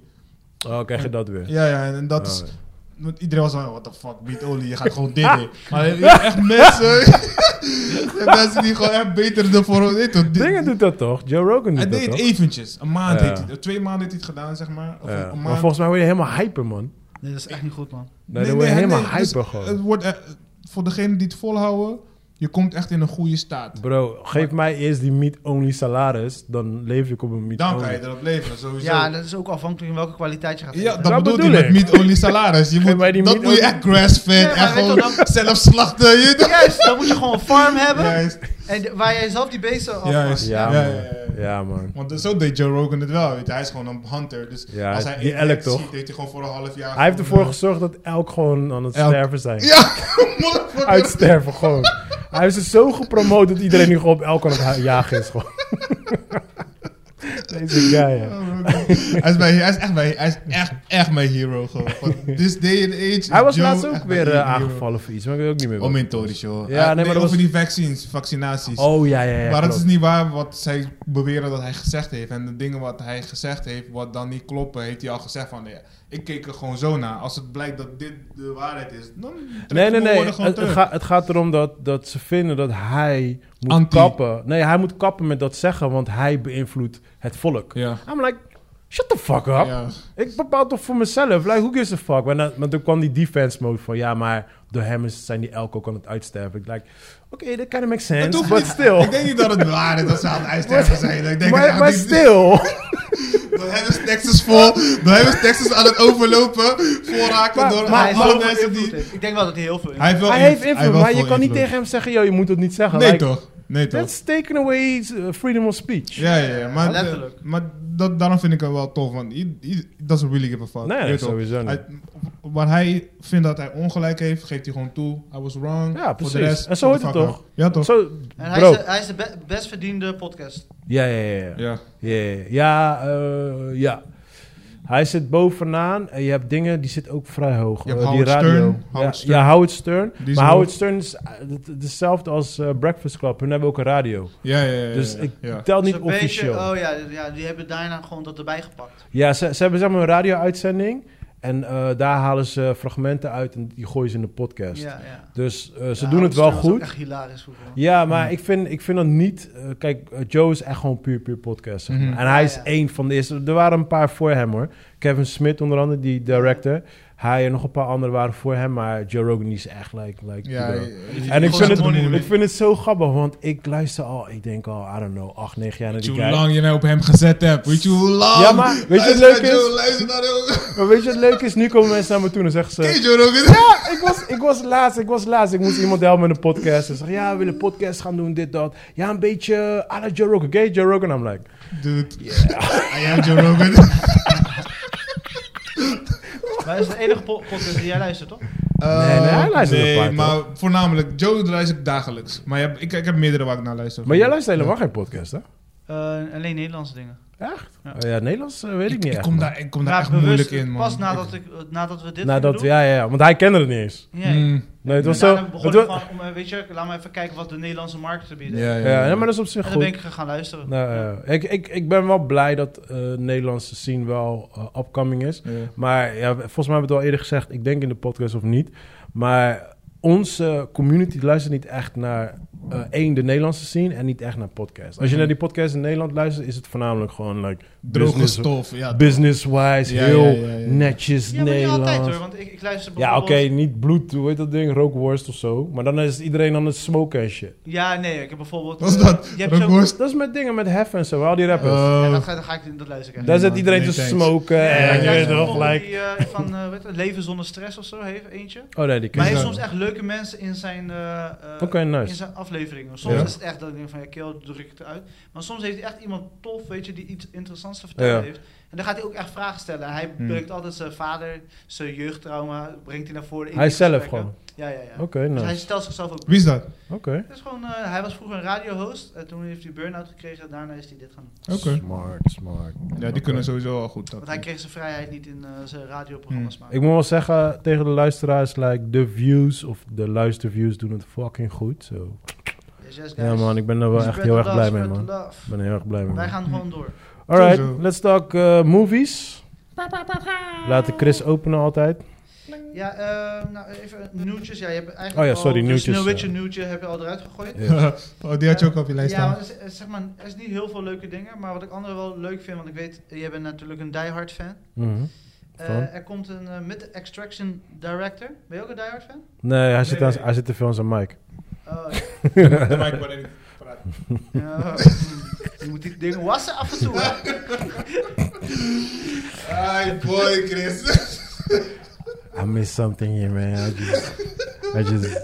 [SPEAKER 1] Oh, krijg je dat weer.
[SPEAKER 3] Ja, ja, en, dat
[SPEAKER 1] Oh,
[SPEAKER 3] is... Want iedereen was van, what the fuck, meat only, je gaat gewoon dit in. Maar je hebt echt mensen... je hebt mensen die gewoon echt beter ervoor... Nee, toch, die-
[SPEAKER 1] Dingen doet dat toch? Joe Rogan doet
[SPEAKER 3] Hij
[SPEAKER 1] dat
[SPEAKER 3] deed het
[SPEAKER 1] toch?
[SPEAKER 3] eventjes. Een maand
[SPEAKER 1] Ja.
[SPEAKER 3] heeft hij het- Twee maanden heeft hij het gedaan, zeg maar. Of
[SPEAKER 1] Ja.
[SPEAKER 3] een
[SPEAKER 1] Maar
[SPEAKER 3] maand.
[SPEAKER 1] volgens mij word je helemaal hyper, man.
[SPEAKER 2] Nee, dat is echt niet goed, man.
[SPEAKER 1] Nee, dan word je
[SPEAKER 3] hij-
[SPEAKER 1] helemaal
[SPEAKER 3] nee, dus
[SPEAKER 1] hyper gewoon.
[SPEAKER 3] Het wordt, eh, voor degenen die het volhouden, je komt echt in een goede staat.
[SPEAKER 1] Bro, geef mij eerst die meat-only salaris, dan leef ik op een meat-only.
[SPEAKER 3] Dan kan je erop leven, sowieso.
[SPEAKER 2] Ja, dat is ook afhankelijk van welke kwaliteit je gaat
[SPEAKER 3] Ja,
[SPEAKER 2] eten.
[SPEAKER 3] dat,
[SPEAKER 1] Dat
[SPEAKER 3] bedoel
[SPEAKER 1] bedoel
[SPEAKER 3] ik.
[SPEAKER 1] ik.
[SPEAKER 3] Met meat only salaris. Je moet,
[SPEAKER 1] maar die
[SPEAKER 3] dat
[SPEAKER 1] meat
[SPEAKER 3] moet je
[SPEAKER 1] only-
[SPEAKER 3] echt grass-fed
[SPEAKER 2] Ja, maar
[SPEAKER 3] en
[SPEAKER 2] weet
[SPEAKER 3] gewoon
[SPEAKER 2] je dan-
[SPEAKER 3] zelf slachten. Je weet
[SPEAKER 2] Juist, dan moet je gewoon een farm hebben.
[SPEAKER 3] Juist,
[SPEAKER 2] En de- waar jij zelf die beesten af
[SPEAKER 3] juist.
[SPEAKER 1] Ja,
[SPEAKER 3] Ja,
[SPEAKER 1] man.
[SPEAKER 3] ja, ja, ja.
[SPEAKER 1] Ja, man.
[SPEAKER 3] Want zo deed Joe Rogan het wel. Weet je. Hij is gewoon een hunter. Dus
[SPEAKER 1] Ja,
[SPEAKER 3] als hij
[SPEAKER 1] die
[SPEAKER 3] één
[SPEAKER 1] elk
[SPEAKER 3] echt
[SPEAKER 1] toch?
[SPEAKER 3] ziet, deed hij gewoon voor een half jaar.
[SPEAKER 1] Hij heeft
[SPEAKER 3] gewoon,
[SPEAKER 1] ervoor
[SPEAKER 3] eh,
[SPEAKER 1] gezorgd dat elk gewoon aan het
[SPEAKER 3] Elk.
[SPEAKER 1] sterven zijn.
[SPEAKER 3] Ja, motherfucker.
[SPEAKER 1] Uitsterven gewoon. Hij heeft ze zo gepromoot dat iedereen nu gewoon op elk aan het hu- jagen is gewoon. Deze guy, hè.
[SPEAKER 3] Oh my God. hij, is mijn, hij is echt mijn, hij is echt, echt mijn hero gewoon. Van This day and age. is
[SPEAKER 1] Hij was
[SPEAKER 3] Joe
[SPEAKER 1] laatst
[SPEAKER 3] echt
[SPEAKER 1] ook
[SPEAKER 3] mijn
[SPEAKER 1] weer eh,
[SPEAKER 3] hero.
[SPEAKER 1] aangevallen voor iets, maar ik weet ook niet meer wat.
[SPEAKER 3] Om in Tories, joh.
[SPEAKER 1] Ja,
[SPEAKER 3] Hij-
[SPEAKER 1] nee, maar dat
[SPEAKER 3] over
[SPEAKER 1] was-
[SPEAKER 3] die vaccins, vaccinaties.
[SPEAKER 1] Oh, ja, ja, ja.
[SPEAKER 3] maar het
[SPEAKER 1] klopt.
[SPEAKER 3] is niet waar wat zij beweren dat hij gezegd heeft. En de dingen wat hij gezegd heeft, wat dan niet kloppen, heeft hij al gezegd van... Ja, ik keek er gewoon zo naar. Als het blijkt dat dit de waarheid is, dan trek
[SPEAKER 1] Nee,
[SPEAKER 3] ik
[SPEAKER 1] nee,
[SPEAKER 3] mijn
[SPEAKER 1] nee.
[SPEAKER 3] woorden gewoon
[SPEAKER 1] Het, het
[SPEAKER 3] terug.
[SPEAKER 1] ga- het gaat erom dat, dat ze vinden dat hij moet
[SPEAKER 3] Anti.
[SPEAKER 1] kappen. Nee, hij moet kappen met dat zeggen, want hij beïnvloedt het volk.
[SPEAKER 3] Ja.
[SPEAKER 1] I'm like, shut the fuck up.
[SPEAKER 3] Ja.
[SPEAKER 1] Ik bepaal toch voor mezelf. Like, who gives a fuck? Maar, dan- maar toen kwam die defense mode van... Ja, maar door hem is, zijn die elk ook aan het uitsterven. Ik like, oké, dat kind of makes
[SPEAKER 3] Dat
[SPEAKER 1] sense,
[SPEAKER 3] hoeft
[SPEAKER 1] but
[SPEAKER 3] niet.
[SPEAKER 1] still.
[SPEAKER 3] Ik denk niet dat het waar is dat ze aan het uitsterven zijn. Ik denk
[SPEAKER 1] Maar,
[SPEAKER 3] dat
[SPEAKER 1] maar
[SPEAKER 3] die-
[SPEAKER 1] still.
[SPEAKER 3] Dan hebben ze Texas dus vol. Dan hebben ze Texas aan het overlopen. Voorraken
[SPEAKER 1] Maar- maar
[SPEAKER 3] door
[SPEAKER 2] hij
[SPEAKER 1] hij
[SPEAKER 2] is
[SPEAKER 3] alle
[SPEAKER 2] wel veel
[SPEAKER 3] mensen
[SPEAKER 2] invloed
[SPEAKER 3] die...
[SPEAKER 2] heeft. Ik denk wel dat hij heel veel invloed
[SPEAKER 3] Hij heeft wel
[SPEAKER 1] Hij
[SPEAKER 3] inv-
[SPEAKER 1] heeft invloed,
[SPEAKER 3] wel
[SPEAKER 1] maar je
[SPEAKER 3] veel
[SPEAKER 1] kan niet
[SPEAKER 3] invloed.
[SPEAKER 1] tegen hem zeggen... Yo, je moet dat niet zeggen.
[SPEAKER 3] Nee
[SPEAKER 1] Like,
[SPEAKER 3] toch? Nee toch?
[SPEAKER 1] That's taking away eh, freedom of speech.
[SPEAKER 3] Ja, ja, ja. Maar,
[SPEAKER 2] Letterlijk.
[SPEAKER 3] eh, maar dat, daarom vind ik hem wel tof. Want he, he doesn't really give a fuck.
[SPEAKER 1] Nee,
[SPEAKER 3] Je weet toch?
[SPEAKER 1] sowieso niet.
[SPEAKER 3] Hij, waar hij vindt dat hij ongelijk heeft, geeft hij gewoon toe. I was wrong.
[SPEAKER 1] Ja,
[SPEAKER 3] Voor de
[SPEAKER 1] precies.
[SPEAKER 3] rest,
[SPEAKER 1] En zo
[SPEAKER 3] what
[SPEAKER 1] hoort
[SPEAKER 3] the
[SPEAKER 1] het
[SPEAKER 3] fuck
[SPEAKER 1] toch?
[SPEAKER 3] up. Ja, toch?
[SPEAKER 1] Zo,
[SPEAKER 2] En hij
[SPEAKER 1] bro.
[SPEAKER 2] is de, hij is de be- best verdiende podcast.
[SPEAKER 1] Ja, ja, ja, ja.
[SPEAKER 3] Ja.
[SPEAKER 1] Ja, ja, ja. ja, eh, ja. Hij zit bovenaan en je hebt dingen die zit ook vrij hoog.
[SPEAKER 3] Je hebt
[SPEAKER 1] Eh,
[SPEAKER 3] Howard
[SPEAKER 1] die radio.
[SPEAKER 3] Stern, Howard
[SPEAKER 1] ja,
[SPEAKER 3] Stern.
[SPEAKER 1] ja, Howard Stern.
[SPEAKER 3] Die is
[SPEAKER 1] maar
[SPEAKER 3] hoog.
[SPEAKER 1] Howard Stern is eh, het- het- hetzelfde als eh, Breakfast Club. Hun hebben ook een radio.
[SPEAKER 3] Ja, ja, ja. ja,
[SPEAKER 1] Dus
[SPEAKER 3] ja,
[SPEAKER 1] ik
[SPEAKER 3] ja.
[SPEAKER 1] tel niet
[SPEAKER 2] Dus een beetje-
[SPEAKER 1] officieel.
[SPEAKER 2] oh ja, ja, die hebben daarna gewoon dat erbij gepakt.
[SPEAKER 1] Ja, ze, ze hebben zeg maar een radio-uitzending. En eh, daar halen ze fragmenten uit en die gooien ze in de podcast.
[SPEAKER 2] Ja, ja.
[SPEAKER 1] Dus eh, ze
[SPEAKER 2] Ja,
[SPEAKER 1] doen het wel
[SPEAKER 2] Amsterdam is ook
[SPEAKER 1] goed.
[SPEAKER 2] Echt hilarisch goed. man.
[SPEAKER 1] Ja, maar ik, vind, ik vind dat niet... eh, kijk, eh, Joe is echt gewoon puur, puur podcast. zeg maar.
[SPEAKER 3] Mhm.
[SPEAKER 1] En hij
[SPEAKER 2] Ja,
[SPEAKER 1] is
[SPEAKER 2] ja.
[SPEAKER 1] één van de eerste. Er waren een paar voor hem hoor. Kevin Smith onder andere, die director. Hij en nog een paar anderen waren voor hem, maar Joe Rogan is echt like... like
[SPEAKER 3] Ja,
[SPEAKER 1] you know.
[SPEAKER 3] eh,
[SPEAKER 1] En ik
[SPEAKER 3] gewoon
[SPEAKER 1] vind, het,
[SPEAKER 3] money ermee.
[SPEAKER 1] ik vind het zo grappig, want ik luister al, ik denk al, I don't know, acht, negen jaar naar
[SPEAKER 3] Weet je
[SPEAKER 1] die
[SPEAKER 3] hoe
[SPEAKER 1] guy.
[SPEAKER 3] lang je mij op hem gezet hebt? Weet je hoe lang?
[SPEAKER 1] Ja, maar weet je
[SPEAKER 4] Luister
[SPEAKER 1] wat leuk
[SPEAKER 4] naar
[SPEAKER 1] is?
[SPEAKER 4] Joe, luister naar Joe.
[SPEAKER 1] Maar weet je wat leuk is? Nu komen mensen naar me toe en zeggen ze...
[SPEAKER 4] Hey Joe Rogan.
[SPEAKER 1] Ja, ik was, ik was laatst, ik was laatst. Ik moest iemand helpen met een podcast. Ze zeggen, ja, we willen podcast gaan doen, dit, dat. Ja, een beetje eh, à la Joe Rogan. Oké, Joe Rogan? I'm like,
[SPEAKER 3] Dude. I am Joe Rogan.
[SPEAKER 2] Maar dat is de enige po- podcast die jij luistert, toch?
[SPEAKER 1] nee, hij luistert
[SPEAKER 3] Eh, nee,
[SPEAKER 1] een paar,
[SPEAKER 3] maar voornamelijk, Joe luister ik dagelijks. Maar je hebt- ik, ik heb meerdere waar ik naar luister.
[SPEAKER 1] maar jij luistert helemaal geen podcast, hè?
[SPEAKER 2] Eh, alleen Nederlandse dingen.
[SPEAKER 1] Echt?
[SPEAKER 2] Ja.
[SPEAKER 1] Ja, ja Nederlands eh, weet ik, niet
[SPEAKER 3] Ik
[SPEAKER 1] echt.
[SPEAKER 3] kom
[SPEAKER 1] man.
[SPEAKER 3] daar, ik kom daar
[SPEAKER 2] Maar
[SPEAKER 3] echt
[SPEAKER 2] bewust,
[SPEAKER 3] moeilijk in, man.
[SPEAKER 2] Pas nadat, ik, eh, nadat we dit
[SPEAKER 1] Nadat,
[SPEAKER 2] gingen doen.
[SPEAKER 1] ja, ja, ja, want hij kende het niet eens.
[SPEAKER 2] Ja, ja.
[SPEAKER 3] Mm,
[SPEAKER 1] Nee, het was
[SPEAKER 2] En
[SPEAKER 1] zo...
[SPEAKER 2] daarna begon
[SPEAKER 1] het
[SPEAKER 2] ik
[SPEAKER 1] wa-
[SPEAKER 2] van, om, eh, weet je, laat me even kijken wat de Nederlandse markt te bieden.
[SPEAKER 3] ja, ja,
[SPEAKER 1] ja,
[SPEAKER 3] ja.
[SPEAKER 1] nee, maar dat is op zich
[SPEAKER 2] En
[SPEAKER 1] goed.
[SPEAKER 2] dan ben ik gaan luisteren.
[SPEAKER 1] Nou, ja. ik, ik, ik ben wel blij dat eh, de Nederlandse scene wel eh, upcoming is.
[SPEAKER 3] Ja.
[SPEAKER 1] Maar ja, volgens mij hebben we het al eerder gezegd. Ik denk in de podcast of niet. Maar onze community luistert niet echt naar eh, één, de Nederlandse scene en niet echt naar podcasts. Als je naar die podcasts in Nederland luistert, is het voornamelijk gewoon like
[SPEAKER 3] Droge
[SPEAKER 1] business-
[SPEAKER 3] stof, ja.
[SPEAKER 1] business-wise,
[SPEAKER 3] Ja,
[SPEAKER 1] heel
[SPEAKER 3] ja, ja, ja.
[SPEAKER 1] netjes
[SPEAKER 2] Ja, maar niet
[SPEAKER 1] Nederlands.
[SPEAKER 2] altijd hoor, want ik, ik luister
[SPEAKER 1] ja, oké,
[SPEAKER 2] bijvoorbeeld...
[SPEAKER 1] niet bloed, hoe heet dat ding? Rookworst of zo. Maar dan is iedereen aan het smoken en shit.
[SPEAKER 2] Ja, nee, ik heb bijvoorbeeld...
[SPEAKER 3] Wat is
[SPEAKER 2] eh,
[SPEAKER 3] dat?
[SPEAKER 2] Je hebt zo...
[SPEAKER 3] Rookworst?
[SPEAKER 1] Dat is met dingen met hef en zo, al die rappers.
[SPEAKER 2] Ja,
[SPEAKER 3] Eh,
[SPEAKER 2] dat ga, dan ga ik dat luister ik echt.
[SPEAKER 1] Daar
[SPEAKER 3] Nee,
[SPEAKER 1] zit
[SPEAKER 3] man.
[SPEAKER 1] iedereen
[SPEAKER 3] Nee,
[SPEAKER 1] te
[SPEAKER 3] thanks.
[SPEAKER 1] smoken.
[SPEAKER 2] Nee,
[SPEAKER 1] en
[SPEAKER 2] ik
[SPEAKER 1] je weet
[SPEAKER 2] luister
[SPEAKER 1] toch,
[SPEAKER 2] bijvoorbeeld
[SPEAKER 1] like...
[SPEAKER 2] die, eh, van eh, weet je, Leven zonder stress of zo, heeft eentje.
[SPEAKER 1] Oh nee, die ken
[SPEAKER 2] Maar hij
[SPEAKER 1] ik
[SPEAKER 2] heeft
[SPEAKER 1] niet.
[SPEAKER 2] soms echt leuke mensen in zijn, eh, eh,
[SPEAKER 1] Oké, nice.
[SPEAKER 2] in zijn afleveringen. Soms
[SPEAKER 1] Ja.
[SPEAKER 2] is het echt dat ik denk van, ja, kill, druk ik het uit. Maar soms heeft hij echt iemand tof, weet je, die iets interessants te vertellen
[SPEAKER 1] Ja.
[SPEAKER 2] heeft. En dan gaat hij ook echt vragen stellen. Hij
[SPEAKER 3] Hmm.
[SPEAKER 2] brengt altijd zijn vader, zijn jeugdtrauma, brengt hij naar voren. in
[SPEAKER 1] Hij
[SPEAKER 2] die
[SPEAKER 1] zelf
[SPEAKER 2] gesprekken.
[SPEAKER 1] gewoon.
[SPEAKER 2] Ja, ja, ja.
[SPEAKER 1] Oké,
[SPEAKER 2] Dus hij
[SPEAKER 1] nice.
[SPEAKER 2] stelt zichzelf ook.
[SPEAKER 3] Wie is dat?
[SPEAKER 1] Oké.
[SPEAKER 2] Het is gewoon, eh, hij was vroeger een radiohost. En toen heeft hij burn-out gekregen. Daarna is hij dit gaan doen.
[SPEAKER 3] Oké.
[SPEAKER 1] Smart, smart.
[SPEAKER 3] Ja, die kunnen sowieso wel goed. Dat.
[SPEAKER 2] Want hij kreeg zijn vrijheid niet in eh, zijn radioprogramma's maken.
[SPEAKER 1] Hmm. Ik moet wel zeggen tegen de luisteraars, like, de views of de luisterviews doen het fucking goed. zo.
[SPEAKER 2] Yes, yes,
[SPEAKER 1] Ja
[SPEAKER 2] guys. Dus
[SPEAKER 1] man, ik ben er wel
[SPEAKER 2] Spread
[SPEAKER 1] echt heel
[SPEAKER 2] the
[SPEAKER 1] erg
[SPEAKER 2] love,
[SPEAKER 1] blij mee man.
[SPEAKER 2] spread the love.
[SPEAKER 1] Ik ben Hmm. er heel erg blij mee
[SPEAKER 2] Wij
[SPEAKER 1] man.
[SPEAKER 2] gaan gewoon door.
[SPEAKER 1] Alright,
[SPEAKER 3] Sowieso.
[SPEAKER 1] let's talk eh, movies. Laten Chris openen altijd.
[SPEAKER 2] Ja, eh, nou even nieuwtjes. Ja, je hebt eigenlijk
[SPEAKER 1] Oh ja, sorry,
[SPEAKER 2] al,
[SPEAKER 1] nieuwtjes,
[SPEAKER 2] Dus Sneeuwwitje
[SPEAKER 1] eh.
[SPEAKER 2] nieuwtje heb je al eruit gegooid.
[SPEAKER 3] oh, die had je ook op je lijst
[SPEAKER 2] Ja,
[SPEAKER 3] staan.
[SPEAKER 2] want er is- er is, zeg maar, er is niet heel veel leuke dingen. Maar wat ik andere wel leuk vind, want ik weet, eh, jij bent natuurlijk een diehard fan.
[SPEAKER 1] Mhm.
[SPEAKER 2] Eh,
[SPEAKER 1] Van?
[SPEAKER 2] er komt een eh, met de Extraction Director. Ben je ook een diehard fan?
[SPEAKER 1] Nee, hij zit,
[SPEAKER 3] Nee,
[SPEAKER 1] aan,
[SPEAKER 3] nee.
[SPEAKER 1] hij zit te veel aan zijn mic.
[SPEAKER 2] Oh,
[SPEAKER 3] De mic waarin ik praat.
[SPEAKER 2] ja. Oh, hmm. je moet die dingen wassen af en toe. hè?
[SPEAKER 4] Hi boy Chris.
[SPEAKER 1] I miss something here man. I just, I just,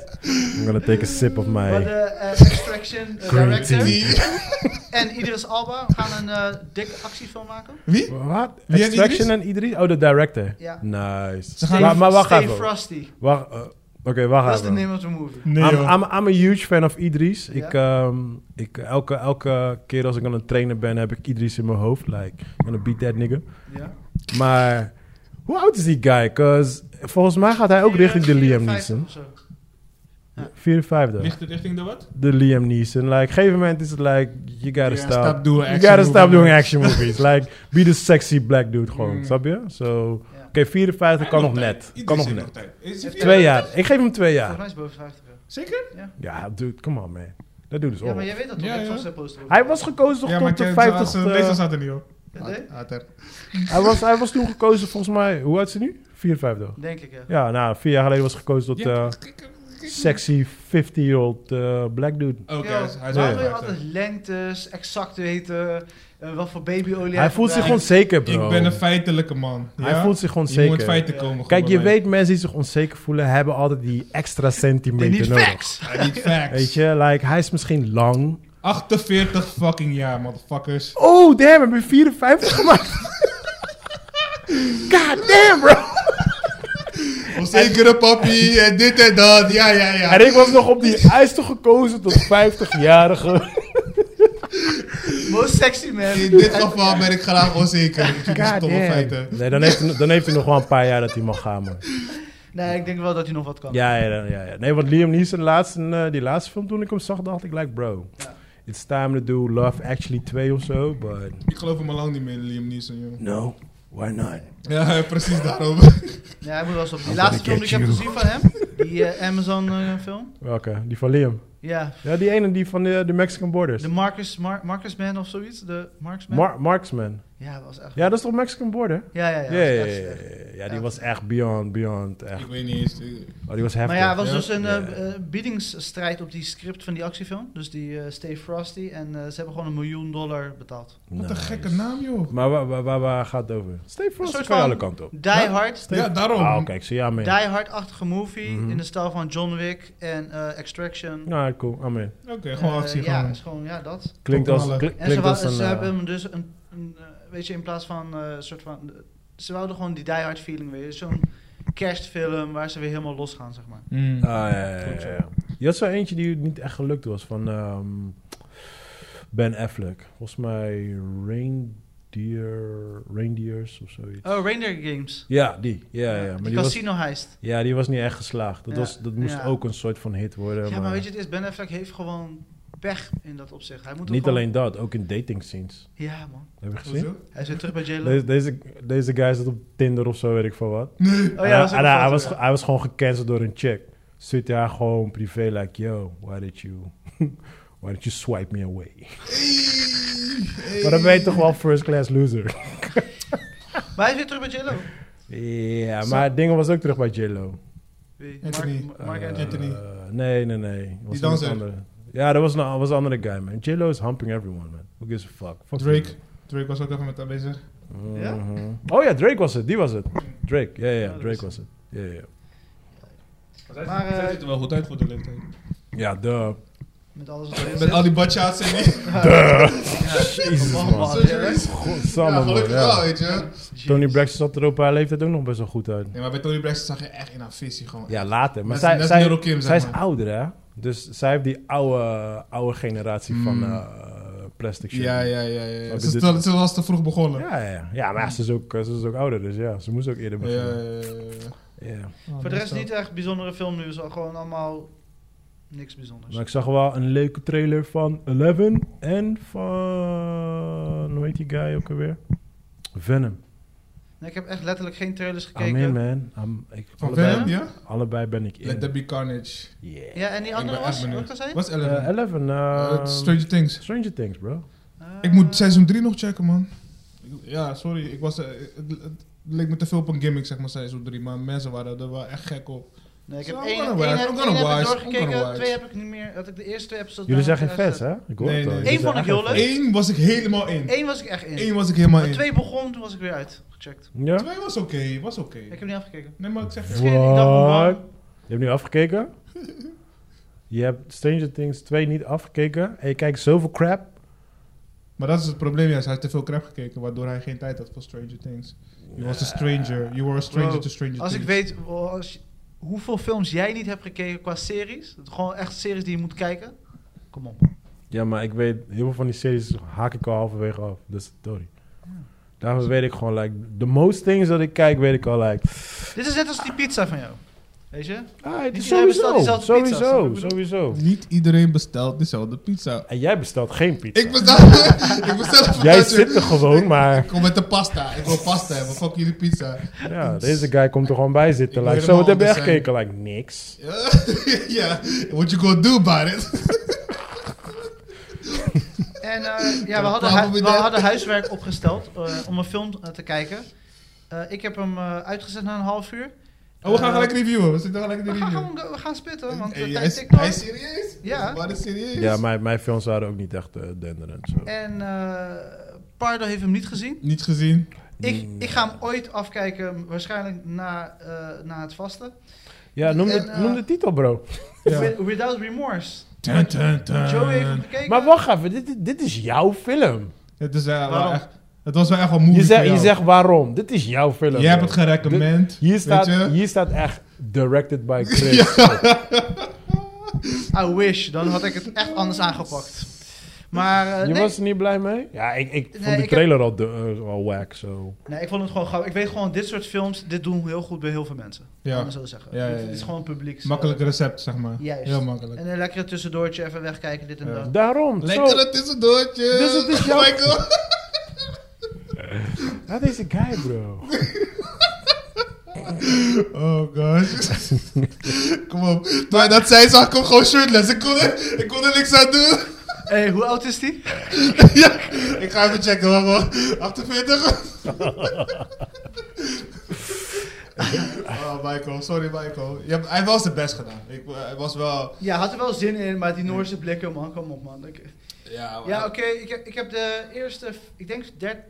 [SPEAKER 1] I'm gonna take a sip of my...
[SPEAKER 2] Maar de eh, Extraction eh,
[SPEAKER 1] Green
[SPEAKER 2] Director
[SPEAKER 1] tea.
[SPEAKER 2] en Idris Alba gaan een eh, dikke actiefilm maken.
[SPEAKER 3] Wie?
[SPEAKER 1] Wat?
[SPEAKER 3] Wie en
[SPEAKER 1] Extraction en Idris? Oh, de director.
[SPEAKER 2] Ja.
[SPEAKER 1] Nice.
[SPEAKER 3] Ze gaan-
[SPEAKER 1] maar, maar wacht
[SPEAKER 2] Stay
[SPEAKER 1] even.
[SPEAKER 2] Frosty.
[SPEAKER 1] Wacht, eh, Oké, wacht
[SPEAKER 2] Dat is de
[SPEAKER 1] even.
[SPEAKER 2] name of the movie.
[SPEAKER 3] Nee,
[SPEAKER 1] I'm,
[SPEAKER 3] joh.
[SPEAKER 1] I'm, I'm a huge fan of Idris.
[SPEAKER 2] Ja.
[SPEAKER 1] Ik, ehm, ik, elke, elke keer als ik aan het trainen ben, heb ik Idris in mijn hoofd. Like, I'm gonna beat that nigga.
[SPEAKER 2] Ja.
[SPEAKER 1] Maar hoe oud is die guy? 'Cause volgens mij gaat hij ook
[SPEAKER 2] Vier-
[SPEAKER 1] richting de
[SPEAKER 2] eh, vier-
[SPEAKER 1] Liam
[SPEAKER 2] vijf
[SPEAKER 1] Neeson.
[SPEAKER 2] of zo. ja.
[SPEAKER 1] 54.
[SPEAKER 3] Ligt het richting de wat?
[SPEAKER 1] De Liam Neeson. Like, op een gegeven moment is het like, you gotta
[SPEAKER 3] Ja,
[SPEAKER 1] stop.
[SPEAKER 3] stop doing
[SPEAKER 1] you
[SPEAKER 3] action
[SPEAKER 1] gotta stop
[SPEAKER 3] movies.
[SPEAKER 1] doing action movies. like, be the sexy black dude gewoon.
[SPEAKER 3] Mm.
[SPEAKER 1] Snap je? So, Oké,
[SPEAKER 2] Ja.
[SPEAKER 1] 54 kan nog net.
[SPEAKER 3] Iedereen
[SPEAKER 1] Kan nog
[SPEAKER 3] zit
[SPEAKER 1] net.
[SPEAKER 3] tijd. Is hij
[SPEAKER 2] Twee-
[SPEAKER 1] Twee jaar. Ik geef hem twee
[SPEAKER 2] Volgens
[SPEAKER 1] jaar.
[SPEAKER 2] mij is het boven 50. ja.
[SPEAKER 3] Zeker?
[SPEAKER 1] Ja, dude, come on man. Dat doet dus
[SPEAKER 2] Ja, maar
[SPEAKER 1] op.
[SPEAKER 2] jij weet dat toch?
[SPEAKER 3] Ja,
[SPEAKER 2] ik
[SPEAKER 3] ja.
[SPEAKER 2] zag zijn poster ook.
[SPEAKER 1] Hij was gekozen toch
[SPEAKER 3] Ja, maar
[SPEAKER 1] tot de
[SPEAKER 3] Ken-
[SPEAKER 1] 50
[SPEAKER 3] zijn- deze staat er niet op.
[SPEAKER 2] Ja, nee?
[SPEAKER 3] eh, Had er.
[SPEAKER 1] eh, hij, was, hij was toen gekozen volgens mij, hoe oud is hij nu? 54.
[SPEAKER 2] Denk ik, ja.
[SPEAKER 1] Ja, nou, vier jaar geleden was hij gekozen tot
[SPEAKER 3] Ja,
[SPEAKER 1] eh,
[SPEAKER 3] kijk, kijk, kijk.
[SPEAKER 1] sexy 50-year-old eh, black dude.
[SPEAKER 3] Oké,
[SPEAKER 2] Ja,
[SPEAKER 3] hij is- hij is
[SPEAKER 2] waarom
[SPEAKER 3] wel
[SPEAKER 2] wil je
[SPEAKER 3] vijftig.
[SPEAKER 2] altijd lengtes, exact weten, eh, wat voor babyolie
[SPEAKER 1] hij voelt zich
[SPEAKER 2] gebruikt?
[SPEAKER 1] onzeker, bro.
[SPEAKER 3] Ik ben een feitelijke man.
[SPEAKER 1] Hij
[SPEAKER 3] ja?
[SPEAKER 1] voelt zich
[SPEAKER 3] Je moet
[SPEAKER 1] onzeker.
[SPEAKER 3] feiten komen.
[SPEAKER 1] Kijk, je
[SPEAKER 3] gewoon bij
[SPEAKER 1] weet, mensen die zich onzeker voelen, hebben altijd die extra
[SPEAKER 2] Dit
[SPEAKER 1] centimeter
[SPEAKER 2] niet
[SPEAKER 1] nodig.
[SPEAKER 2] facts!
[SPEAKER 3] mij. Ja, Niet facts.
[SPEAKER 1] Weet je, like, hij is misschien lang.
[SPEAKER 3] 48 fucking jaar, motherfuckers.
[SPEAKER 1] Oh, damn, heb je 54 gemaakt? God damn, bro.
[SPEAKER 3] Onzekere papi en dit en dat. Ja, ja, ja.
[SPEAKER 1] En ik was nog op die ijster gekozen tot 50-jarige.
[SPEAKER 2] Most sexy man.
[SPEAKER 3] In dit geval ben ik graag onzeker. Ik vind die
[SPEAKER 1] God
[SPEAKER 3] stomme
[SPEAKER 1] damn.
[SPEAKER 3] feiten.
[SPEAKER 1] Nee, dan heeft, hij, dan heeft hij nog wel een paar jaar dat hij mag gaan, man.
[SPEAKER 2] Nee, ik denk wel dat hij nog wat kan.
[SPEAKER 1] Ja, ja, ja. ja. Nee, want Liam Neeson, laatste, eh, die laatste film toen ik hem zag, dacht ik, like, bro.
[SPEAKER 2] Ja.
[SPEAKER 1] It's time to do Love Actually 2 of zo, but...
[SPEAKER 3] Ik geloof hem al lang niet meer, Liam Neeson, joh.
[SPEAKER 1] No, why not?
[SPEAKER 3] Ja, precies daarover.
[SPEAKER 2] Ja, hij moet wel eens op die
[SPEAKER 1] I'm
[SPEAKER 2] laatste
[SPEAKER 1] gonna
[SPEAKER 2] film die ik
[SPEAKER 1] get
[SPEAKER 2] heb
[SPEAKER 1] you.
[SPEAKER 2] gezien van hem. Die eh, Amazon eh, film.
[SPEAKER 1] Welke? Die van Liam.
[SPEAKER 2] Ja.
[SPEAKER 1] Ja, die ene, die van de, de Mexican Borders.
[SPEAKER 2] De Marcus, Mar- Marcus Man of zoiets. De Marcus Man.
[SPEAKER 1] Mar- Marksman.
[SPEAKER 2] ja, dat was echt.
[SPEAKER 1] Ja, dat is toch Mexican Border?
[SPEAKER 2] Ja, ja, ja.
[SPEAKER 1] Ja,
[SPEAKER 2] dat
[SPEAKER 1] ja,
[SPEAKER 2] was
[SPEAKER 1] ja,
[SPEAKER 2] echt
[SPEAKER 1] ja,
[SPEAKER 2] slecht.
[SPEAKER 1] ja. Ja, die
[SPEAKER 2] Ja.
[SPEAKER 1] was echt beyond, beyond. Echt.
[SPEAKER 4] Ik weet niet eens. eh,
[SPEAKER 1] Oh, die was heftig.
[SPEAKER 2] Maar ja, het was
[SPEAKER 4] Ja.
[SPEAKER 2] dus een
[SPEAKER 1] Ja.
[SPEAKER 2] eh, eh, biedingsstrijd op die script van die actiefilm. Dus die eh, Steve Frosty. En eh, ze hebben gewoon een miljoen dollar betaald.
[SPEAKER 3] Wat een
[SPEAKER 1] Nice.
[SPEAKER 3] gekke naam, joh.
[SPEAKER 1] Maar waar, waar, waar, waar gaat het over? Steve Frost
[SPEAKER 2] soort
[SPEAKER 1] kan
[SPEAKER 2] van-
[SPEAKER 1] alle kanten op.
[SPEAKER 2] Die Hard.
[SPEAKER 3] Ja, daarom.
[SPEAKER 1] Ah, oké, ik zie ja, man.
[SPEAKER 2] Die Hard-achtige movie.
[SPEAKER 1] Mhm.
[SPEAKER 2] In de stijl van John Wick en eh, Extraction.
[SPEAKER 1] Nou, cool, amen.
[SPEAKER 3] Oké, gewoon
[SPEAKER 2] Eh,
[SPEAKER 3] actie.
[SPEAKER 2] ja,
[SPEAKER 3] gewoon.
[SPEAKER 2] is gewoon, ja, dat.
[SPEAKER 1] Klinkt als,
[SPEAKER 3] Totale.
[SPEAKER 1] kli-
[SPEAKER 2] En ze,
[SPEAKER 1] klinkt
[SPEAKER 2] wou-
[SPEAKER 1] als een...
[SPEAKER 2] ze
[SPEAKER 1] eh,
[SPEAKER 2] hebben hem dus een, een, eh, weet je, in plaats van eh, een soort van, ze wouden gewoon die Die Hard feeling weer. Zo'n kerstfilm waar ze weer helemaal los gaan, zeg maar.
[SPEAKER 3] Mm.
[SPEAKER 1] ah, ja, ja, ja, ja. Je had zo eentje die niet echt gelukt was, van ehm, Ben Affleck. Volgens mij Reindeer, Reindeers of zoiets.
[SPEAKER 2] Oh, Reindeer Games.
[SPEAKER 1] Ja, die. Ja, ja, maar
[SPEAKER 2] Die
[SPEAKER 1] die was,
[SPEAKER 2] casino heist.
[SPEAKER 1] ja, die was niet echt geslaagd. Dat,
[SPEAKER 2] Ja,
[SPEAKER 1] was, dat moest
[SPEAKER 2] ja.
[SPEAKER 1] ook een soort van hit worden.
[SPEAKER 2] Ja,
[SPEAKER 1] maar
[SPEAKER 2] maar weet je, het is Ben Affleck heeft gewoon pech in dat opzicht. Hij moet
[SPEAKER 1] niet
[SPEAKER 2] gewoon-
[SPEAKER 1] alleen dat, ook in dating scenes.
[SPEAKER 2] Ja, man.
[SPEAKER 1] Heb je gezien?
[SPEAKER 4] Hoezo?
[SPEAKER 2] Hij is weer terug bij J-Lo. Oh
[SPEAKER 1] Deze, deze, deze guy zat op Tinder of zo, weet ik veel wat.
[SPEAKER 3] Nee.
[SPEAKER 2] Oh ja, dat is ook
[SPEAKER 1] en hij,
[SPEAKER 2] een
[SPEAKER 1] hij
[SPEAKER 2] foto,
[SPEAKER 1] was, hij was gewoon gecanceld door een chick. Stuurt hij haar gewoon privé, like, yo, why did you, why did you swipe me away? Maar dan ben je toch wel first class loser.
[SPEAKER 2] ja. Maar hij is weer terug bij J-Lo.
[SPEAKER 1] Ja, maar dingen was ook terug bij J-Lo.
[SPEAKER 2] Wie?
[SPEAKER 3] Anthony.
[SPEAKER 2] Mark, Mark
[SPEAKER 1] Eh,
[SPEAKER 2] Anthony.
[SPEAKER 3] Anthony.
[SPEAKER 1] Nee, nee, nee. Was
[SPEAKER 3] Die
[SPEAKER 1] iemand
[SPEAKER 3] danser.
[SPEAKER 1] andere. Ja, dat was een, was een andere guy, man. J-Lo is humping everyone, man. Who gives a fuck? Fuck
[SPEAKER 3] Drake. Drake was ook even met haar bezig.
[SPEAKER 1] you.
[SPEAKER 2] Ja?
[SPEAKER 1] Mhm. Oh ja, Drake was het. Die was het. Drake. Ja, ja,
[SPEAKER 2] Ja, dat
[SPEAKER 1] Drake
[SPEAKER 2] is-
[SPEAKER 1] was het. Ja, ja.
[SPEAKER 2] Maar, eh,
[SPEAKER 4] Zij ziet er wel goed uit voor de leeftijd.
[SPEAKER 1] Ja, duh.
[SPEAKER 2] Met alles wat erin
[SPEAKER 3] Met
[SPEAKER 2] zit.
[SPEAKER 3] al die badshouts en die.
[SPEAKER 1] Jezus,
[SPEAKER 2] Oh,
[SPEAKER 1] man.
[SPEAKER 2] man.
[SPEAKER 4] Zo is-
[SPEAKER 1] Godsamme,
[SPEAKER 4] Ja,
[SPEAKER 1] man.
[SPEAKER 4] gelukkig
[SPEAKER 1] ja.
[SPEAKER 4] wel, weet je.
[SPEAKER 1] Tony Braxton zat er op haar leeftijd ook nog best wel goed uit.
[SPEAKER 3] Nee, maar bij Tony Braxton zag je echt in haar visie gewoon.
[SPEAKER 1] Ja, later. Maar
[SPEAKER 3] Net-
[SPEAKER 1] zij,
[SPEAKER 3] net
[SPEAKER 1] zij,
[SPEAKER 3] Neuro Kim, zeg
[SPEAKER 1] zij is
[SPEAKER 3] maar.
[SPEAKER 1] ouder, hè? Dus zij heeft die oude, oude generatie van
[SPEAKER 3] Mm.
[SPEAKER 1] eh, plastic shit.
[SPEAKER 3] Ja, ja, ja. ja,
[SPEAKER 1] Maar
[SPEAKER 3] ja. Ze,
[SPEAKER 1] dit-
[SPEAKER 3] ze- ze was te vroeg begonnen.
[SPEAKER 1] Ja, ja. ja maar ze is, ook, ze is ook ouder, dus ja. Ze moest ook eerder
[SPEAKER 3] Ja, ja,
[SPEAKER 1] beginnen.
[SPEAKER 3] ja, ja.
[SPEAKER 1] Ja.
[SPEAKER 2] Voor de rest niet echt bijzondere filmnieuws. al Gewoon allemaal niks bijzonders.
[SPEAKER 1] Maar ik zag wel een leuke trailer van Eleven en van... Hoe heet die guy ook alweer? Venom.
[SPEAKER 2] Nee, ik heb echt letterlijk geen trailers gekeken.
[SPEAKER 1] I'm in, man. I'm- ik,
[SPEAKER 3] Van
[SPEAKER 1] allebei,
[SPEAKER 3] Venom, ja?
[SPEAKER 1] allebei ben ik
[SPEAKER 3] Let
[SPEAKER 1] in.
[SPEAKER 3] There Be Carnage.
[SPEAKER 1] Yeah.
[SPEAKER 2] Ja, en die andere
[SPEAKER 3] ben echt
[SPEAKER 2] was?
[SPEAKER 3] benieuwd.
[SPEAKER 2] Wat was hij?
[SPEAKER 3] Was Eleven?
[SPEAKER 1] Eh, Eleven. eh,
[SPEAKER 4] ehm,
[SPEAKER 3] Eh, Stranger Things.
[SPEAKER 1] Stranger Things, bro.
[SPEAKER 3] Ik
[SPEAKER 2] Eh,
[SPEAKER 3] moet seizoen 3 nog checken, man. Ik- Ja, sorry. Ik was, eh, het, het leek me te veel op een gimmick, zeg maar, seizoen 3. Maar mensen waren er wel echt gek op.
[SPEAKER 2] Nee, ik heb
[SPEAKER 3] So, I'm
[SPEAKER 2] één,
[SPEAKER 3] gonna
[SPEAKER 2] één,
[SPEAKER 3] watch,
[SPEAKER 2] heb,
[SPEAKER 3] I'm
[SPEAKER 2] één
[SPEAKER 3] gonna
[SPEAKER 2] heb ik
[SPEAKER 3] watch, I'm gonna
[SPEAKER 2] doorgekeken,
[SPEAKER 3] watch.
[SPEAKER 2] twee heb ik niet meer. Dat ik de eerste twee episodes...
[SPEAKER 1] Jullie zijn
[SPEAKER 2] daarna
[SPEAKER 1] geen
[SPEAKER 2] heb
[SPEAKER 1] fans, hè? Ik hoor
[SPEAKER 3] Nee,
[SPEAKER 1] het al.
[SPEAKER 3] nee.
[SPEAKER 1] Jullie
[SPEAKER 2] Eén
[SPEAKER 1] zijn
[SPEAKER 2] vond ik
[SPEAKER 1] echt
[SPEAKER 2] heel
[SPEAKER 1] geen
[SPEAKER 2] leuk.
[SPEAKER 3] Eén was ik helemaal in.
[SPEAKER 2] uitgezet. Eén was ik echt in.
[SPEAKER 3] Eén was ik helemaal
[SPEAKER 2] Maar
[SPEAKER 3] in.
[SPEAKER 2] twee begon, toen was ik weer uit. Gecheckt.
[SPEAKER 1] fans. Ja?
[SPEAKER 3] Twee was oké, was oké.
[SPEAKER 2] Ik heb niet afgekeken.
[SPEAKER 3] Nee, maar ik zeg
[SPEAKER 1] Wat?
[SPEAKER 3] het.
[SPEAKER 2] Geen idee, ik dacht van, wow.
[SPEAKER 1] Je hebt nu afgekeken? je hebt Stranger Things 2 niet afgekeken. En je kijkt zoveel crap.
[SPEAKER 3] Maar dat is het probleem, juist. Hij heeft te veel crap gekeken, waardoor hij geen tijd had voor Stranger Things. You was a stranger. You were a stranger
[SPEAKER 2] Bro,
[SPEAKER 3] to Stranger
[SPEAKER 2] Als ik
[SPEAKER 3] Things.
[SPEAKER 2] weet oh, als je- hoeveel films jij niet hebt gekeken qua series. dat Gewoon echt series die je moet kijken. Kom op.
[SPEAKER 1] Ja, maar ik weet, heel veel van die series haak ik al halverwege af. Dus sorry.
[SPEAKER 2] Ah.
[SPEAKER 1] Daarom weet ik gewoon, like, the most things dat ik kijk, weet ik al, like,
[SPEAKER 2] Dit is net als die pizza van jou. Weet je?
[SPEAKER 1] ah, het is
[SPEAKER 2] Iedereen bestelt
[SPEAKER 1] sowieso,
[SPEAKER 2] diezelfde pizza, snap je
[SPEAKER 1] sowieso,
[SPEAKER 2] wat ik
[SPEAKER 1] sowieso.
[SPEAKER 3] Niet iedereen bestelt dezelfde pizza.
[SPEAKER 1] En jij bestelt geen pizza.
[SPEAKER 4] Ik bestel. ik bestel even
[SPEAKER 1] jij
[SPEAKER 4] uit,
[SPEAKER 1] zit er gewoon, maar
[SPEAKER 4] Ik kom met de pasta. Ik wil pasta hebben. Fuck jullie pizza.
[SPEAKER 1] ja, deze guy komt er gewoon bij zitten.
[SPEAKER 4] Ik
[SPEAKER 1] Like,
[SPEAKER 4] wil
[SPEAKER 1] zo, wat heb je echt
[SPEAKER 4] helemaal anders
[SPEAKER 1] gekeken? Like, niks.
[SPEAKER 4] Ja, Ja, what you gonna do about it?
[SPEAKER 2] En eh, ja, we hadden, hui- we hadden huiswerk opgesteld eh, om een film eh, te kijken. Eh, ik heb hem eh, uitgezet na een half uur.
[SPEAKER 3] Oh, we gaan
[SPEAKER 2] Eh,
[SPEAKER 3] gelijk reviewen. We zitten gelijk in de
[SPEAKER 2] We gaan,
[SPEAKER 3] review.
[SPEAKER 2] gewoon, we gaan spitten, want
[SPEAKER 4] Hey,
[SPEAKER 2] hey,
[SPEAKER 4] hij,
[SPEAKER 2] tijd
[SPEAKER 4] is,
[SPEAKER 2] tikt door.
[SPEAKER 4] hij is serieus?
[SPEAKER 2] Ja.
[SPEAKER 4] Wat is serieus?
[SPEAKER 1] Ja, mijn, mijn films waren ook niet echt eh, denderend. Zo.
[SPEAKER 2] En eh, Pardo heeft hem niet gezien.
[SPEAKER 3] Niet gezien.
[SPEAKER 2] Ik,
[SPEAKER 1] Mm.
[SPEAKER 2] ik ga hem ooit afkijken, waarschijnlijk na, eh, na het vasten.
[SPEAKER 1] Ja, noem de,
[SPEAKER 2] En, eh,
[SPEAKER 1] noem de titel, bro.
[SPEAKER 3] Ja.
[SPEAKER 2] With- Without Remorse.
[SPEAKER 3] Dun, dun, dun.
[SPEAKER 2] Joe heeft hem gekeken.
[SPEAKER 1] Maar wacht even, dit, dit- dit is jouw film.
[SPEAKER 3] Het, is, eh, wel
[SPEAKER 2] Waarom?
[SPEAKER 3] echt, het was wel echt wel moeilijk.
[SPEAKER 1] Je zegt, je zegt waarom, dit is jouw film.
[SPEAKER 3] Jij hebt
[SPEAKER 1] bro.
[SPEAKER 3] het gerecommend.
[SPEAKER 1] Hier staat,
[SPEAKER 3] Weet je?
[SPEAKER 1] hier staat echt directed by Chris.
[SPEAKER 2] I wish, dan had ik het echt anders aangepakt. Maar eh,
[SPEAKER 1] Je
[SPEAKER 2] nee,
[SPEAKER 1] was er niet blij mee? Ja, ik, ik
[SPEAKER 2] Nee,
[SPEAKER 1] vond die
[SPEAKER 2] ik
[SPEAKER 1] trailer al, de, eh, al whack, zo.
[SPEAKER 2] nee, ik vond het gewoon grappig. Ik weet gewoon, dit soort films, dit doen heel goed bij heel veel mensen.
[SPEAKER 3] Ja.
[SPEAKER 2] Laat me zo zeggen.
[SPEAKER 3] Ja, ja,
[SPEAKER 2] Het is
[SPEAKER 3] ja.
[SPEAKER 2] gewoon publiek.
[SPEAKER 3] Makkelijk recept, zeg maar.
[SPEAKER 2] Juist.
[SPEAKER 3] Heel makkelijk.
[SPEAKER 2] En een lekkere tussendoortje, even wegkijken, dit en
[SPEAKER 3] Ja.
[SPEAKER 2] dat.
[SPEAKER 1] Daarom, zo.
[SPEAKER 4] Lekker het tussendoortje.
[SPEAKER 1] Dus het is jouw-
[SPEAKER 4] Michael.
[SPEAKER 1] Dat is een guy, bro.
[SPEAKER 3] Oh gosh.
[SPEAKER 4] Kom op. Maar dat zij zag, kom gewoon shirtless. Ik kon, er, ik kon er niks aan doen.
[SPEAKER 2] hey, hoe oud is die?
[SPEAKER 4] ja, ik ga even checken, wacht, wacht. 48? oh, Michael. Sorry, Michael. Je hebt, hij was het best gedaan. Ik, eh, hij was wel...
[SPEAKER 2] Ja, had er wel zin in, maar die Noorse blikken, man, kom op, man. Ik-
[SPEAKER 3] Oh,
[SPEAKER 4] Ja, maar-
[SPEAKER 2] Ja, oké, ik, heb- ik heb de eerste, ik denk, der-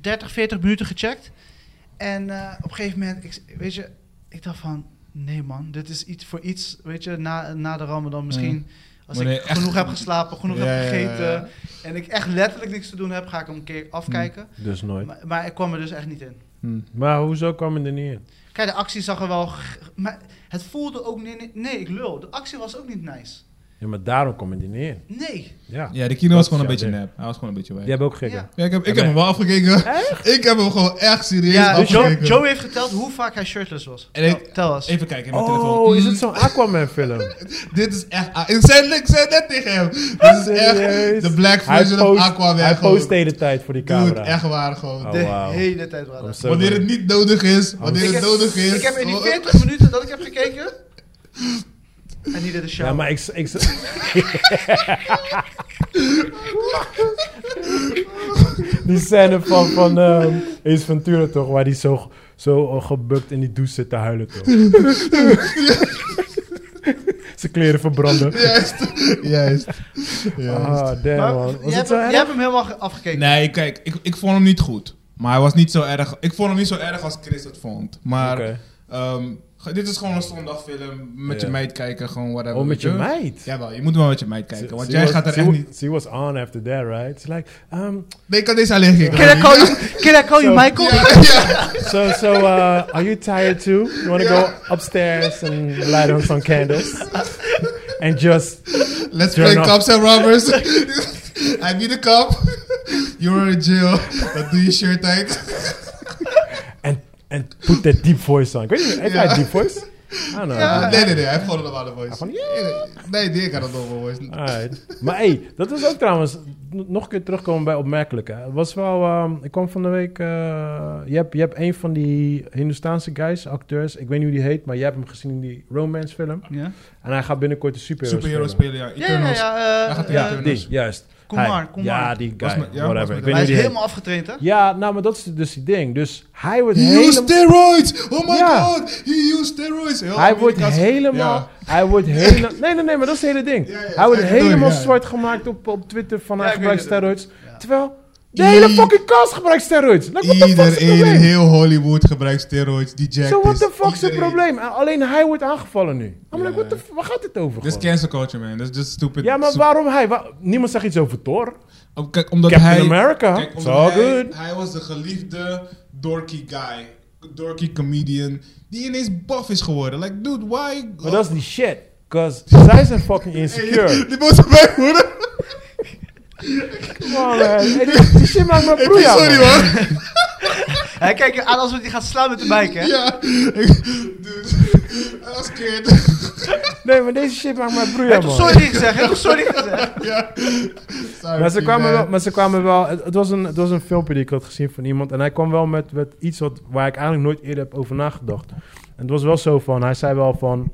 [SPEAKER 2] 30, 40 minuten gecheckt. En eh, op een gegeven moment, ik, weet je, ik dacht van, nee man, dit is iets voor iets, weet je, na, na de ramadan misschien. Als
[SPEAKER 3] Wanneer
[SPEAKER 2] ik
[SPEAKER 3] je echt-
[SPEAKER 2] genoeg heb geslapen, genoeg
[SPEAKER 3] Ja,
[SPEAKER 2] heb
[SPEAKER 3] ja, ja,
[SPEAKER 2] gegeten
[SPEAKER 3] ja.
[SPEAKER 2] en ik echt letterlijk niks te doen heb, ga ik hem een keer afkijken.
[SPEAKER 1] Dus
[SPEAKER 3] Hmm.
[SPEAKER 1] nooit.
[SPEAKER 2] Maar, maar ik kwam er dus echt niet in.
[SPEAKER 1] Maar hoezo kwam je er niet in?
[SPEAKER 2] Kijk, de actie zag er wel, g- maar het voelde ook, nee, nee, nee, ik lul, de actie was ook niet nice.
[SPEAKER 1] Ja, maar daarom kwam je er niet in.
[SPEAKER 2] Nee,
[SPEAKER 1] Ja.
[SPEAKER 3] Ja, de kino was gewoon een
[SPEAKER 1] Ja,
[SPEAKER 3] beetje
[SPEAKER 1] nee.
[SPEAKER 3] nep. Hij was gewoon een beetje
[SPEAKER 1] Jij
[SPEAKER 3] wij.
[SPEAKER 1] hebt ook gekken.
[SPEAKER 2] Ja.
[SPEAKER 3] Ja, ik heb, ik
[SPEAKER 1] Ja,
[SPEAKER 3] heb hem wel afgekeken. Ik heb hem gewoon echt serieus
[SPEAKER 2] ja, Joe,
[SPEAKER 3] afgekeken.
[SPEAKER 2] Joe heeft geteld hoe vaak hij shirtless was.
[SPEAKER 3] En ik-
[SPEAKER 2] Tel- tel eens.
[SPEAKER 3] Even kijken in mijn telefoon.
[SPEAKER 1] Oh, is het zo'n Aquaman film?
[SPEAKER 4] Dit is echt... ah, Ik zei, ik zei net tegen hem. Dit is
[SPEAKER 1] Serieus?
[SPEAKER 4] echt de black
[SPEAKER 1] Hij
[SPEAKER 4] version
[SPEAKER 1] post-
[SPEAKER 4] of Aquaman.
[SPEAKER 1] Hij
[SPEAKER 4] gewoon.
[SPEAKER 1] post de hele tijd voor die
[SPEAKER 4] Dude,
[SPEAKER 1] camera.
[SPEAKER 4] echt waar gewoon.
[SPEAKER 1] Oh,
[SPEAKER 2] De
[SPEAKER 1] wauw.
[SPEAKER 2] hele tijd waren
[SPEAKER 1] I'm
[SPEAKER 2] dat.
[SPEAKER 1] so
[SPEAKER 4] Wanneer het
[SPEAKER 1] glad.
[SPEAKER 4] niet nodig
[SPEAKER 1] Oh.
[SPEAKER 4] is. Wanneer
[SPEAKER 2] Ik
[SPEAKER 4] het
[SPEAKER 2] heb-
[SPEAKER 4] nodig is.
[SPEAKER 2] Ik heb in die
[SPEAKER 4] Oh.
[SPEAKER 2] 40 minuten dat ik heb gekeken. En niet in de show.
[SPEAKER 1] Ja, maar ik... ik die scène van, van ehm, Ace Ventura toch, waar die zo, zo eh, gebukt in die douche zit te huilen toch. Zijn kleren verbranden.
[SPEAKER 3] Juist. Juist.
[SPEAKER 1] Ah, damn
[SPEAKER 2] Maar
[SPEAKER 1] man. Was
[SPEAKER 2] jij,
[SPEAKER 1] het
[SPEAKER 2] hebt,
[SPEAKER 1] zo
[SPEAKER 2] hem- jij
[SPEAKER 1] erg?
[SPEAKER 2] hebt hem helemaal ge- afgekeken.
[SPEAKER 3] Nee, kijk, ik, ik vond hem niet goed. Maar hij was niet zo erg. Ik vond hem niet zo erg als Chris het vond. Maar
[SPEAKER 1] Oké.
[SPEAKER 3] ehm, ge- dit is gewoon een zondagfilm. Met
[SPEAKER 1] Ja.
[SPEAKER 3] je meid kijken, gewoon whatever.
[SPEAKER 1] Oh, met
[SPEAKER 3] weet
[SPEAKER 1] je meid?
[SPEAKER 3] Jawel, je moet wel met je meid kijken. eh, Want
[SPEAKER 1] She
[SPEAKER 3] jij
[SPEAKER 1] was-
[SPEAKER 3] gaat er
[SPEAKER 1] she
[SPEAKER 3] echt
[SPEAKER 1] wa-
[SPEAKER 3] niet.
[SPEAKER 1] She was on after that, right? It's like, um,
[SPEAKER 3] Nee, ik kan deze alleen kijken.
[SPEAKER 2] Can I call you, can I call you
[SPEAKER 1] Zo.
[SPEAKER 2] Michael?
[SPEAKER 1] so, so, uh, are you tired too? You want to go upstairs and light on some candles? and just,
[SPEAKER 4] Let's
[SPEAKER 1] Turn
[SPEAKER 4] play
[SPEAKER 1] off.
[SPEAKER 4] cops and robbers. I be the cop. You're in jail. Dan doe je shirt uit.
[SPEAKER 1] and, and put that deep voice on. Can you, have
[SPEAKER 4] Ja.
[SPEAKER 1] got deep voice? I don't know.
[SPEAKER 2] Ja.
[SPEAKER 4] Ah, Nee, nee, nee. Hij heeft gewoon een normale voice.
[SPEAKER 1] Van,
[SPEAKER 4] Nee, die kan een normal voice.
[SPEAKER 1] Alright. Maar hey, dat is ook trouwens. n- Nog een keer terugkomen bij opmerkelijk. Hè. Het was wel. ehm, ik kwam van de week. eh, je, hebt, je hebt een van die Hindoestaanse guys, acteurs. Ik weet niet hoe die heet, maar je hebt hem gezien in die romance film.
[SPEAKER 2] Ja,
[SPEAKER 1] En hij gaat binnenkort de superhero,
[SPEAKER 3] Superhero
[SPEAKER 1] spelen.
[SPEAKER 3] spelen, ja.
[SPEAKER 2] ja, ja.
[SPEAKER 3] Eternals.
[SPEAKER 2] ja,
[SPEAKER 3] Hij
[SPEAKER 2] eh,
[SPEAKER 3] gaat
[SPEAKER 2] ja.
[SPEAKER 3] tegen
[SPEAKER 1] Die, juist.
[SPEAKER 2] Kumar,
[SPEAKER 1] Hij.
[SPEAKER 2] Kumar.
[SPEAKER 1] Ja, die
[SPEAKER 3] Was
[SPEAKER 1] guy.
[SPEAKER 3] met- ja, was
[SPEAKER 1] whatever.
[SPEAKER 3] met-
[SPEAKER 1] Ik weet niet
[SPEAKER 2] Hij
[SPEAKER 1] hoe
[SPEAKER 2] is
[SPEAKER 1] die heet.
[SPEAKER 2] helemaal afgetraind, hè?
[SPEAKER 1] Ja, nou, maar dat is dus die ding. Dus hij wordt
[SPEAKER 4] He used
[SPEAKER 1] helemaal.
[SPEAKER 4] steroids. Oh my
[SPEAKER 1] Ja.
[SPEAKER 4] god. He used steroids. Heel
[SPEAKER 1] Hij wordt
[SPEAKER 4] Amerikaans-
[SPEAKER 1] helemaal.
[SPEAKER 4] Oh, Ja.
[SPEAKER 1] Hij wordt helemaal. Nee, nee, nee, maar dat is het hele ding.
[SPEAKER 4] Ja, ja,
[SPEAKER 1] hij wordt
[SPEAKER 4] dat bedoel ik,
[SPEAKER 1] helemaal
[SPEAKER 4] ja.
[SPEAKER 1] zwart gemaakt op, op Twitter van
[SPEAKER 2] Ja,
[SPEAKER 1] hij
[SPEAKER 2] ik
[SPEAKER 1] gebruikt
[SPEAKER 2] weet het.
[SPEAKER 1] steroids. Terwijl de
[SPEAKER 4] I-
[SPEAKER 1] hele fucking cast gebruikt steroids. Like, what the fuck is het
[SPEAKER 4] Iedereen in
[SPEAKER 1] probleem?
[SPEAKER 4] heel Hollywood gebruikt steroids. Die jacked
[SPEAKER 1] Zo, what
[SPEAKER 4] is.
[SPEAKER 1] the fuck is het
[SPEAKER 4] Iedereen.
[SPEAKER 1] probleem? En alleen hij wordt aangevallen nu. I'm
[SPEAKER 3] Ja.
[SPEAKER 1] like, what the f- waar gaat het over?
[SPEAKER 3] Dit is
[SPEAKER 1] gewoon?
[SPEAKER 3] cancel culture, man. Dat is just stupid.
[SPEAKER 1] Ja, maar
[SPEAKER 3] stupid-
[SPEAKER 1] waarom hij? Wa- niemand zegt iets over Thor.
[SPEAKER 3] Oh, Kijk, omdat
[SPEAKER 1] Captain
[SPEAKER 3] hij...
[SPEAKER 1] America.
[SPEAKER 3] Kijk,
[SPEAKER 1] It's
[SPEAKER 3] omdat
[SPEAKER 1] all
[SPEAKER 3] hij,
[SPEAKER 1] good.
[SPEAKER 3] hij was de geliefde dorky guy. Dorky comedian. Die ineens buff is geworden. Like, dude, why...
[SPEAKER 1] Maar dat is die shit. Cause zij zijn fucking insecure.
[SPEAKER 4] Die moet erbij worden.
[SPEAKER 1] Come on, man. Hey, die, die shit maakt me broei aan,
[SPEAKER 4] Sorry
[SPEAKER 1] man.
[SPEAKER 4] hoor.
[SPEAKER 2] Hij kijkt je aan alsof hij gaat slaan met de bike, hè?
[SPEAKER 4] Ja. Ik- Dude. I was scared.
[SPEAKER 1] Nee, maar deze shit maakt me broei
[SPEAKER 2] Hij
[SPEAKER 1] aan,
[SPEAKER 2] heeft
[SPEAKER 1] man.
[SPEAKER 2] toch sorry gezegd, hij heeft toch sorry gezegd.
[SPEAKER 4] Ja. Sorry,
[SPEAKER 1] Maar ze kwamen
[SPEAKER 4] man.
[SPEAKER 1] wel, maar ze kwamen wel het, het was een, het was een filmpje die ik had gezien van iemand. En hij kwam wel met, met iets wat, waar ik eigenlijk nooit eerder heb over nagedacht. En het was wel zo van, hij zei wel van,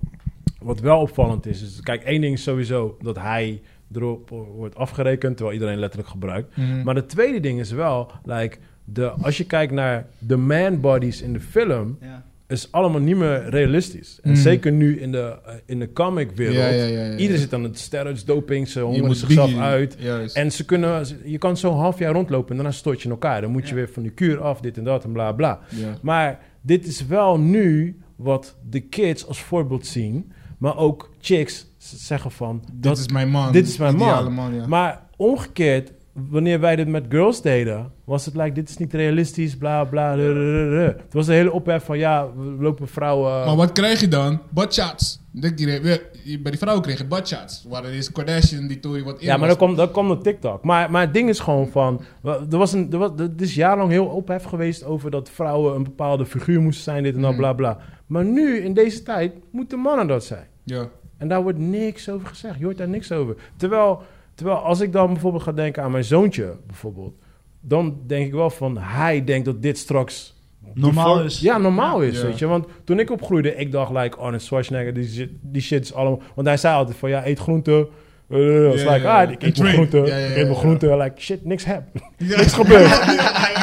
[SPEAKER 1] wat wel opvallend is. is kijk, één ding is sowieso dat hij erop wordt afgerekend, terwijl iedereen letterlijk gebruikt.
[SPEAKER 3] Mhm.
[SPEAKER 1] Maar het tweede ding is wel, like, de, als je kijkt naar de man bodies in de film,
[SPEAKER 2] Ja.
[SPEAKER 1] is allemaal niet meer realistisch. En
[SPEAKER 3] Mm.
[SPEAKER 1] zeker nu in de, eh, in de comic wereld.
[SPEAKER 3] Ja, ja, ja, ja, ja.
[SPEAKER 1] Iedereen zit aan het steroids, doping, ze
[SPEAKER 3] Je
[SPEAKER 1] hongeren
[SPEAKER 3] moet
[SPEAKER 1] zichzelf
[SPEAKER 3] biggie-
[SPEAKER 1] uit.
[SPEAKER 3] Juist.
[SPEAKER 1] En ze kunnen, ze- je kan zo'n half jaar rondlopen en daarna stoot je in elkaar. Dan moet je
[SPEAKER 2] Ja.
[SPEAKER 1] weer van die kuur af, dit en dat en bla bla.
[SPEAKER 3] Ja.
[SPEAKER 1] Maar dit is wel nu wat de kids als voorbeeld zien. Maar ook chicks z- zeggen van...
[SPEAKER 3] Dit is mijn man.
[SPEAKER 1] dit is mijn
[SPEAKER 3] Ideale
[SPEAKER 1] man.
[SPEAKER 3] ja.
[SPEAKER 1] Maar omgekeerd, wanneer wij dit met girls deden... was het like, dit is niet realistisch, bla bla. ru, ru, ru, ru. Het was een hele ophef van, ja, we lopen vrouwen...
[SPEAKER 3] Maar wat krijg je dan? Buttshots. Denk je, je- bij die vrouwen kreeg je buttshots. Waar er is Kardashian die Tory wat in
[SPEAKER 1] Ja, maar
[SPEAKER 3] was.
[SPEAKER 1] dan komt dan komt op TikTok. Maar, maar het ding is gewoon van... wa- Er, was een, er, was, er is jarenlang heel ophef geweest over dat vrouwen een bepaalde figuur moesten zijn, dit en dat, bla bla. Maar nu, in deze tijd, moeten mannen dat zijn.
[SPEAKER 3] Ja.
[SPEAKER 1] En daar wordt niks over gezegd. Je hoort daar niks over. Terwijl, terwijl als ik dan bijvoorbeeld ga denken aan mijn zoontje, bijvoorbeeld... Dan denk ik wel van, hij denkt dat dit straks
[SPEAKER 2] Normaal
[SPEAKER 1] bevol-
[SPEAKER 2] is.
[SPEAKER 1] Ja, normaal is,
[SPEAKER 3] Ja.
[SPEAKER 1] weet je. Want toen ik opgroeide, ik dacht, like, Arnold Schwarzenegger, die shit, die shit is allemaal... Want hij zei altijd van, ja, eet groente. Eh, eh, it's
[SPEAKER 3] Ja,
[SPEAKER 1] like,
[SPEAKER 3] ja,
[SPEAKER 1] ah, ik
[SPEAKER 3] ja. En
[SPEAKER 1] eet mijn
[SPEAKER 3] train.
[SPEAKER 1] groente,
[SPEAKER 3] Ja, ja,
[SPEAKER 1] ik
[SPEAKER 3] ja,
[SPEAKER 1] eet mijn
[SPEAKER 3] ja.
[SPEAKER 1] groente. Like, shit, niks heb. Niks gebeurd.